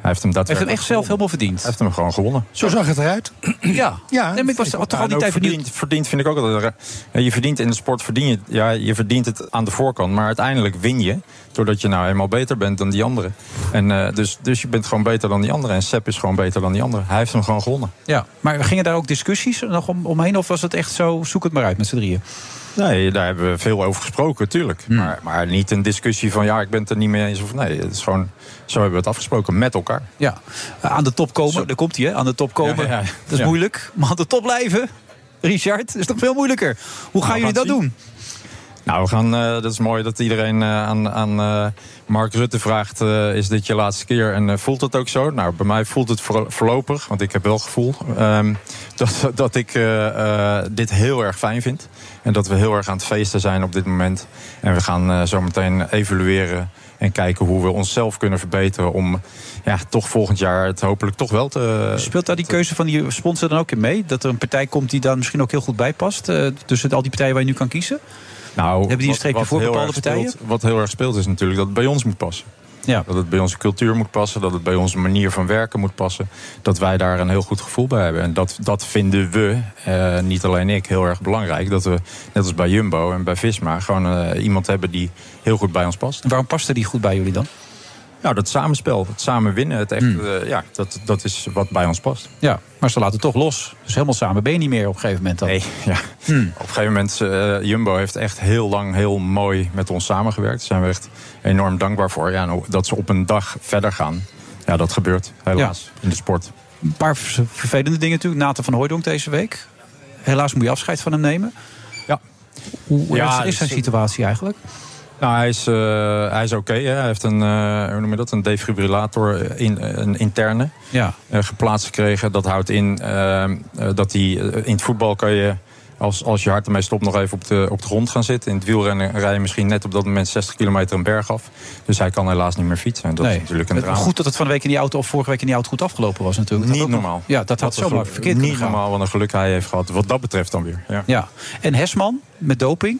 S21: Hij heeft hem
S8: Hij heeft hem
S21: daadwerkelijk
S8: echt zelf helemaal verdiend.
S21: Hij heeft hem gewoon gewonnen.
S9: Zo zag het eruit.
S8: Ja,
S9: ja.
S8: Nee, maar ik was
S21: Ja,
S8: toch al
S21: en
S8: die
S21: ook
S8: tijd vernieuwd.
S21: verdiend, verdiend vind ik ook altijd. raar. Ja, je verdient in de sport verdien je, ja, je verdient het aan de voorkant, maar uiteindelijk win je doordat je nou eenmaal beter bent dan die anderen. En eh, dus, dus je bent gewoon beter dan die anderen. En Sepp is gewoon beter dan die anderen. Hij heeft hem gewoon gewonnen.
S8: Ja, maar gingen daar ook discussies nog om, omheen? Of was het echt zo, zoek het maar uit met z'n drieën?
S21: Nee, daar hebben we veel over gesproken, tuurlijk.
S8: Hmm.
S21: Maar, maar niet een discussie van ja, ik ben het er niet mee eens of nee. Het is gewoon, zo hebben we het afgesproken met elkaar.
S8: Ja, aan de top komen, daar komt hij hè, aan de top komen.
S21: Ja, ja, ja.
S8: Dat is
S21: Ja.
S8: moeilijk, maar aan de top blijven, Richard, dat is toch veel moeilijker. Hoe
S21: Nou,
S8: gaan jullie dat
S21: gaan
S8: doen?
S21: Nou, we gaan, eh, dat is mooi dat iedereen eh, aan, aan eh, Mark Rutte vraagt... eh, is dit je laatste keer en eh, voelt het ook zo? Nou, bij mij voelt het voor- voorlopig, want ik heb wel gevoel... ehm, dat, dat ik eh, eh, dit heel erg fijn vind. En dat we heel erg aan het feesten zijn op dit moment. En we gaan eh, zo meteen evalueren en kijken hoe we onszelf kunnen verbeteren... om ja, toch volgend jaar het hopelijk toch wel te...
S8: Speelt daar die keuze van die sponsor dan ook in mee? Dat er een partij komt die daar misschien ook heel goed bij past? eh, tussen al die partijen waar je nu kan kiezen?
S21: Nou,
S8: Hebben die een
S21: wat-
S8: streepje
S21: wat
S8: voor
S21: heel
S8: bepaalde
S21: erg
S8: partijen?
S21: Speelt, wat heel erg speelt is natuurlijk dat het bij ons moet passen. Dat het bij onze cultuur moet passen, dat het bij onze manier van werken moet passen. Dat wij daar een heel goed gevoel bij hebben. En dat, dat vinden we, eh, niet alleen ik, heel erg belangrijk. Dat we, net als bij Jumbo en bij Visma, gewoon eh, iemand hebben die heel goed bij ons past.
S8: waarom paste die goed bij jullie dan? Hmm.
S21: Nou, dat samenspel, het samen winnen, het echt, eh, ja, dat, dat is wat bij ons past.
S8: Ja, maar ze laten toch los. Dus helemaal samen ben je niet meer op een gegeven moment dan. Hmm.
S21: Nee, ja. Op een gegeven moment, eh, Jumbo heeft echt heel lang heel mooi met ons samengewerkt. Daar zijn we echt enorm dankbaar voor. Ja, en dat ze op een dag verder gaan, ja, dat gebeurt helaas in de sport.
S8: Een paar ver- vervelende dingen natuurlijk. Nathan van Hooijdonk deze week. Helaas moet je afscheid van hem nemen.
S21: Ja.
S8: Hoe
S21: Ja,
S8: ernstig
S21: dus-
S8: is zijn situatie eigenlijk?
S21: Nou, hij is, eh, hij is oké. hè. hij heeft een, eh, hoe noem je dat, een defibrillator, in, een interne,
S8: Ja.
S21: eh, geplaatst gekregen. Dat houdt in eh, eh, dat hij eh, in het voetbal kan je, als, als je hart ermee stopt, nog even op de, op de grond gaan zitten. In het wielrennen rij je misschien net op dat moment 60 kilometer een berg af. Dus hij kan helaas niet meer fietsen. En dat is natuurlijk een
S8: Het-
S21: drama.
S8: Eh, Goed dat het van de week in die auto of vorige week in die auto goed afgelopen was natuurlijk.
S21: Niet normaal.
S8: Ja, dat
S21: was
S8: had zomaar
S21: geluk-
S8: verkeerd kunnen
S21: Niet
S8: gaan.
S21: normaal wat een geluk hij heeft gehad. Wat dat betreft dan weer. Ja.
S8: Ja. En Hesman met doping,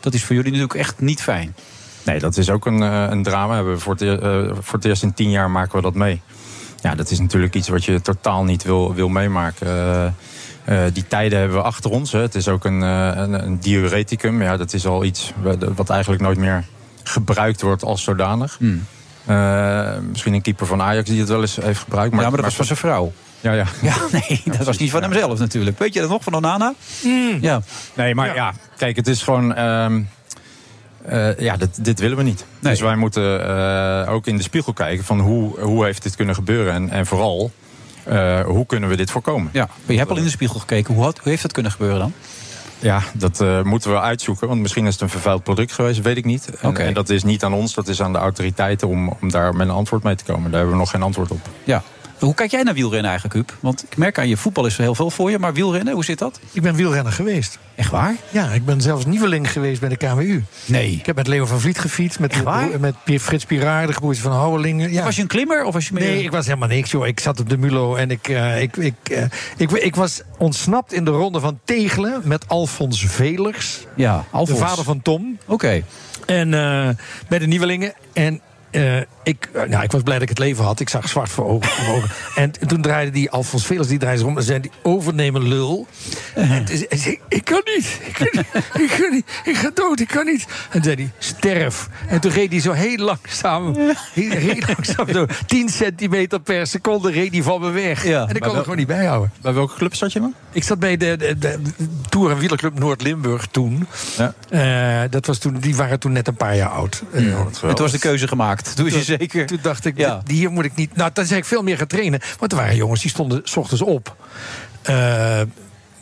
S8: dat is voor jullie natuurlijk echt niet fijn.
S21: Nee, dat is ook een, eh, een drama. Hebben we voor, het, eer- eh, voor het eerst in tien jaar maken we dat mee. Ja, dat is natuurlijk iets wat je totaal niet wil, wil meemaken. Eh, eh, die tijden hebben we achter ons. Hè. Het is ook een, eh, een, een diureticum. Ja, dat is al iets wa- wat eigenlijk nooit meer gebruikt wordt als zodanig.
S8: Hmm.
S21: Eh, misschien een keeper van Ajax die het wel eens heeft gebruikt. Maar,
S8: Ja, maar dat was van zijn vrouw.
S21: Ja, ja.
S8: Ja, nee, dat was niet van hemzelf natuurlijk. Weet je dat nog van Onana? Ja.
S21: Nee, maar ja. kijk, het is gewoon. ehm, eh, ja, dit, dit willen we niet. Dus wij moeten eh, ook in de spiegel kijken van hoe, hoe heeft dit kunnen gebeuren en, en vooral eh, hoe kunnen we dit voorkomen.
S8: Ja, maar je hebt al in de spiegel gekeken. Hoe, had, hoe heeft dat kunnen gebeuren dan?
S21: Ja, dat eh, moeten we uitzoeken. Want misschien is het een vervuild product geweest, weet ik niet. En,
S8: Oké.
S21: en dat is niet aan ons, dat is aan de autoriteiten om, om daar met een antwoord mee te komen. Daar hebben we nog geen antwoord op.
S8: Ja. Hoe kijk jij naar wielrennen eigenlijk, Huub? Want ik merk aan je voetbal is er heel veel voor je, maar wielrennen, hoe zit dat?
S9: Ik ben wielrenner geweest.
S8: Echt waar?
S9: Ja, ik ben zelfs nieuweling geweest bij de KWU.
S8: Nee.
S9: Ik heb met Leo van Vliet gefietst. Met, met Pier- Frits Piraar, de geboorte van Houwelingen. Ja.
S8: Was je een klimmer of was je meer...
S9: Nee, ik was helemaal niks, joh. Ik zat op de Mulo en ik, eh, ik, ik, eh, ik, ik was ontsnapt in de ronde van Tegelen met Alfons Velers.
S8: Ja, Alfons.
S9: De vader van Tom.
S8: Oké.
S9: En eh, bij de Nieuwelingen. En eh, ik, eh, nou, ik was blij dat ik het leven had. Ik zag zwart voor ogen. voor ogen. En t- toen draaide die Alfons Velers die draaide zich om en zei: die overnemen lul.
S8: Eh.
S9: En toen zei- hij zei, ik kan niet. Ik kan niet. Ik kan niet. Ik ga dood. Ik kan niet. En toen zei hij: sterf. En toen reed hij zo heel langzaam. Heel, heel langzaam door. 10 centimeter per seconde reed hij van me weg.
S21: Ja,
S9: en
S21: maar
S9: ik kon
S21: wel-
S9: er gewoon niet bijhouden.
S21: Bij welke club zat je dan?
S9: Ik zat bij de, de, de Tour- en Wielerclub Noord-Limburg toen. Eh, dat was toen. Die waren toen net een paar jaar oud. Eh,
S8: En toen was de keuze gemaakt. Toen is je zeker...
S9: Toen dacht ik,
S8: Ja.
S9: dit- die hier moet ik niet... Nou, dan zei ik veel meer gaan trainen. Want er waren jongens, die stonden s ochtends op. Eh,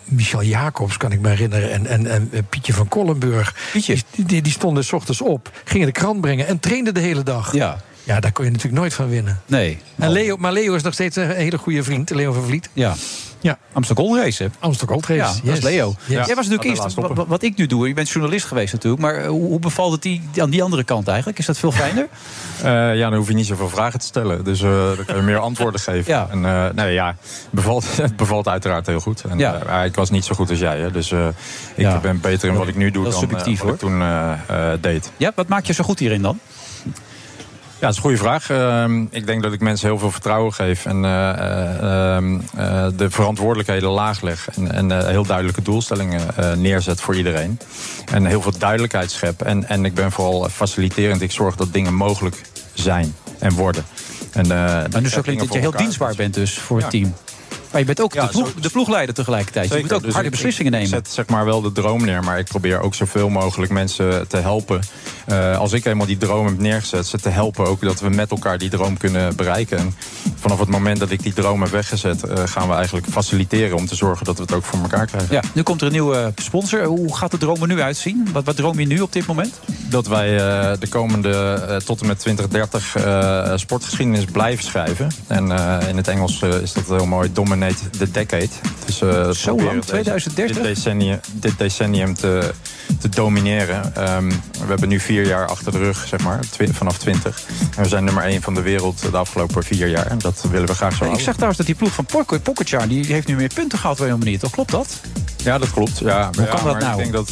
S9: Michel Jacobs, kan ik me herinneren. En, en, en eh, Pietje van Kollenburg. Die, die, die stonden s ochtends op. Gingen de krant brengen en trainden de hele dag.
S8: Ja.
S9: Ja, daar kon je natuurlijk nooit van winnen.
S8: Nee.
S9: En Leo, maar Leo is nog steeds een hele goede vriend. Leo van Vliet.
S8: Ja.
S9: Ja.
S8: Amsterdam Gold Race, hè?
S9: Amsterdam Gold Race,
S8: Ja, dat
S9: yes.
S8: is Leo.
S9: Yes.
S8: Jij was
S9: Laat
S8: natuurlijk
S9: de
S8: eerst
S9: laatste op.
S8: wat, wat ik nu doe. Je bent journalist geweest natuurlijk. Maar eh, hoe, hoe bevalt het die, aan die andere kant eigenlijk? Is dat veel fijner?
S21: Eh, ja, dan hoef je niet zoveel vragen te stellen. Dus eh dan kan je meer antwoorden geven. En eh, nee, ja, bevalt, het bevalt uiteraard heel goed. En,
S8: Ja.
S21: eh, ik was niet zo goed als jij. Hè, dus eh, ik
S8: Ja.
S21: ben beter in wat ik nu doe
S8: Dat
S21: dan
S8: is
S21: eh,
S8: subjectief,
S21: wat ik toen eh, eh, deed.
S8: ja, wat maak je zo goed hierin dan?
S21: Ja, dat is een goede vraag. Ehm, ik denk dat ik mensen heel veel vertrouwen geef en eh, eh, ehm, eh, de verantwoordelijkheden laag leg. En, en eh, heel duidelijke doelstellingen eh, neerzet voor iedereen. En heel veel duidelijkheid schep. En, en ik ben vooral faciliterend. Ik zorg dat dingen mogelijk zijn en worden. En, eh,
S8: En dus zo klinkt dat je heel dienstbaar bent dus voor het
S21: Ja.
S8: team. Maar je bent ook de, ploeg,
S21: zo-
S8: de ploegleider tegelijkertijd. je moet ook
S21: dus
S8: harde
S21: ik-
S8: beslissingen
S21: ik
S8: nemen.
S21: zet zeg maar wel de droom neer, maar ik probeer ook zoveel mogelijk mensen te helpen. Eh, als ik eenmaal die droom heb neergezet, ze te helpen ook dat we met elkaar die droom kunnen bereiken. En vanaf het moment dat ik die droom heb weggezet, eh, gaan we eigenlijk faciliteren om te zorgen dat we het ook voor elkaar krijgen.
S8: Ja, nu komt er een nieuwe eh, sponsor. Hoe gaat de droom er nu uitzien? Wat, wat droom je nu op dit moment?
S21: dat wij eh, de komende eh, tot en met 2030 eh, sportgeschiedenis blijven schrijven. En eh, in het Engels eh, is dat heel mooi dominate the decade. Dus, eh, proberen
S8: lang?
S21: deze-
S8: 2030?
S21: Dit decennium, dit decennium te, te domineren. Ehm, we hebben nu vier jaar achter de rug, zeg maar, twi- vanaf 20. En we zijn nummer één van de wereld de afgelopen vier jaar. En dat willen we graag zo
S8: Ik
S21: houden.
S8: zag trouwens dat die ploeg van Porco- Pocketjar... die heeft nu meer punten gehad op een of andere manier. Toch klopt dat?
S21: Ja, dat klopt. Ja,
S8: Hoe
S21: ja,
S8: kan dat
S21: maar
S8: nou?
S21: Ik denk dat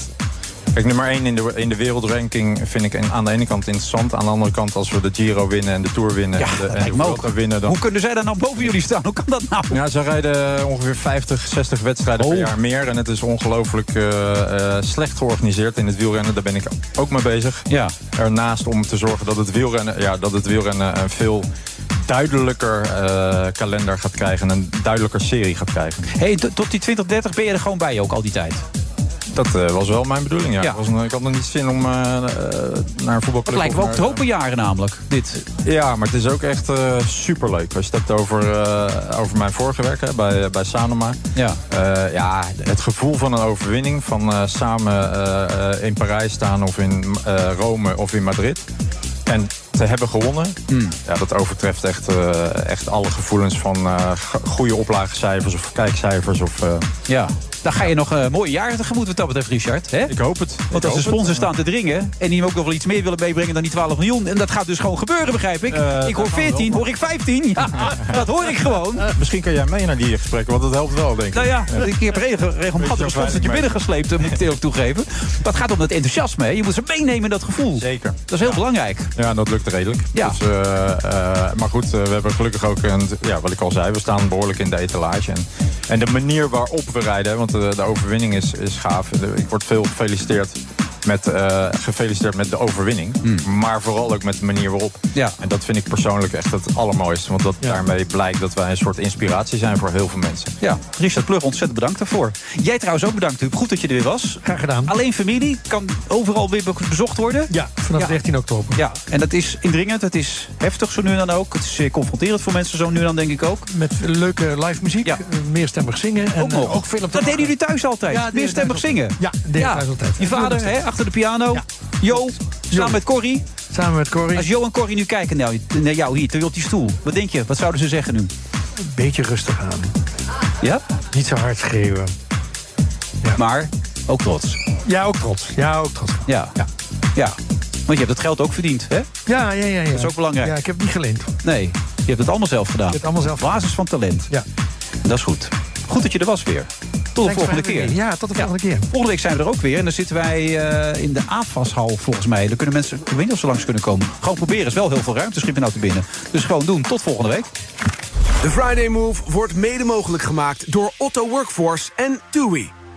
S21: Kijk, nummer 1 in de, in de wereldranking vind ik aan de ene kant interessant. Aan de andere kant, als we de Giro winnen en de Tour winnen
S8: Ja,
S21: en de,
S8: dat
S21: en de
S8: lijkt me ook.
S21: Vuelta winnen... Dan...
S8: Hoe kunnen zij daar nou boven jullie staan? Hoe kan dat nou? Oh.
S21: Ja, ze rijden eh, ongeveer 50, 60 wedstrijden per jaar meer. En het is ongelooflijk eh, eh, slecht georganiseerd in het wielrennen. Daar ben ik ook mee bezig.
S8: Ja.
S21: Ernaast om te zorgen dat het wielrennen, ja, dat het wielrennen een veel duidelijker eh, kalender gaat krijgen. en Een duidelijker serie gaat krijgen.
S8: Hey, t- tot die 2030 ben je er gewoon bij ook al die tijd.
S21: Dat eh, was wel mijn bedoeling, ja.
S8: Ja.
S21: Het Was een- ik had nog niet zin om eh, eh, naar een voetbalclub...
S8: Het lijkt me ook
S21: tropen
S8: tropenjaren namelijk, dit.
S21: Ja, maar het is ook echt eh, superleuk. Als je het hebt over, eh, over mijn vorige werk hè, bij, bij Sanoma.
S8: Ja.
S21: Eh, ja, het gevoel van een overwinning. Van eh, samen eh, eh, in Parijs staan of in eh, Rome of in Madrid. En te hebben gewonnen.
S8: Hmm.
S21: Ja, dat overtreft echt, eh, echt alle gevoelens van eh, go- goede oplagecijfers of kijkcijfers. Of, eh,
S8: Ja. Daar ga je nog een mooie jaren tegemoet wat dat betreft, Richard. Hè? Ik
S21: hoop het.
S8: Want als de
S21: hoop
S8: sponsors
S21: het.
S8: staan te dringen en die hem ook nog wel iets meer willen meebrengen dan die 12 miljoen. En dat gaat dus gewoon gebeuren, begrijp
S21: Eh,
S8: ik. ik hoor 14, hoor ik 15. Ja, dat hoor ik gewoon.
S21: Misschien kan jij mee naar die gesprekken, want dat helpt wel, denk ik.
S8: Nou ja, ik heb regel- regelmatig een sponsortje binnengesleept, eh, moet ik eerlijk toegeven. Maar het gaat om dat enthousiasme. hè. Je moet ze meenemen in dat gevoel.
S21: Zeker.
S8: Dat is heel belangrijk.
S21: Ja, en dat lukt redelijk.
S8: Ja.
S21: Dus, eh, eh, maar goed, eh, we hebben gelukkig ook, een, ja, wat ik al zei, we staan behoorlijk in de etalage. En, en de manier waarop we rijden, hè, want eh, de overwinning is, is gaaf. De- Ik word veel gefeliciteerd met, eh, gefeliciteerd met de overwinning. Maar vooral ook met de manier waarop.
S8: Hmm. Ja.
S21: En dat vind ik persoonlijk echt het allermooiste. Want dat, daarmee blijkt dat wij een soort inspiratie zijn voor heel veel mensen.
S8: Ja, Richard Plug, ontzettend bedankt daarvoor. Jij trouwens ook bedankt, Huub. Goed dat je er weer was. Graag gedaan. Alleen familie kan overal weer be- bezocht worden. Ja,
S9: Vanaf 13 oktober.
S8: Ja, en dat is indringend, het is heftig zo nu en dan ook. Het is zeer confronterend voor mensen zo nu en dan, denk ik ook.
S9: Met leuke live muziek, eh, meerstemmig zingen. En,
S8: Ook nog.
S9: eh, ook veel op de
S8: dat deden jullie thuis altijd.
S9: Ja, dat deden we
S8: Meerstemmig
S9: thuis
S8: zingen.
S9: altijd. Ja, dat deden we thuis altijd.
S8: Je vader hè, achter de piano. Jo, samen met Corrie.
S9: Samen met Corrie.
S8: Als Jo en Corrie nu kijken nou, naar jou hier, op die stoel. Wat denk je? Wat zouden ze zeggen nu?
S9: Een beetje rustig aan.
S8: Ja?
S9: Niet zo hard schreeuwen.
S8: Maar ook trots.
S9: Ja, ook trots. Ja, ook trots.
S8: Ja. ja. Want je hebt het geld ook verdiend, hè?
S9: Ja, ja, ja. ja.
S8: Dat is ook belangrijk.
S9: Ja, ik heb het niet geleend.
S8: Nee, je hebt het allemaal zelf gedaan.
S9: Ik heb het allemaal zelf
S8: Basis van talent.
S9: Ja.
S8: Dat is goed. Goed dat je er was weer. Tot
S9: Thanks
S8: de
S9: for
S8: volgende keer.
S9: having me. Ja, tot de volgende keer.
S8: Volgende week zijn we er ook weer. En dan zitten wij eh, in de AFAS-hal volgens mij. Dan kunnen mensen, ik weet niet of ze langs kunnen komen. Gewoon proberen. Is wel heel veel ruimte, schiet me nou te binnen. Dus gewoon doen. Tot volgende week.
S3: De Friday Move wordt mede mogelijk gemaakt door Otto Workforce en TUI.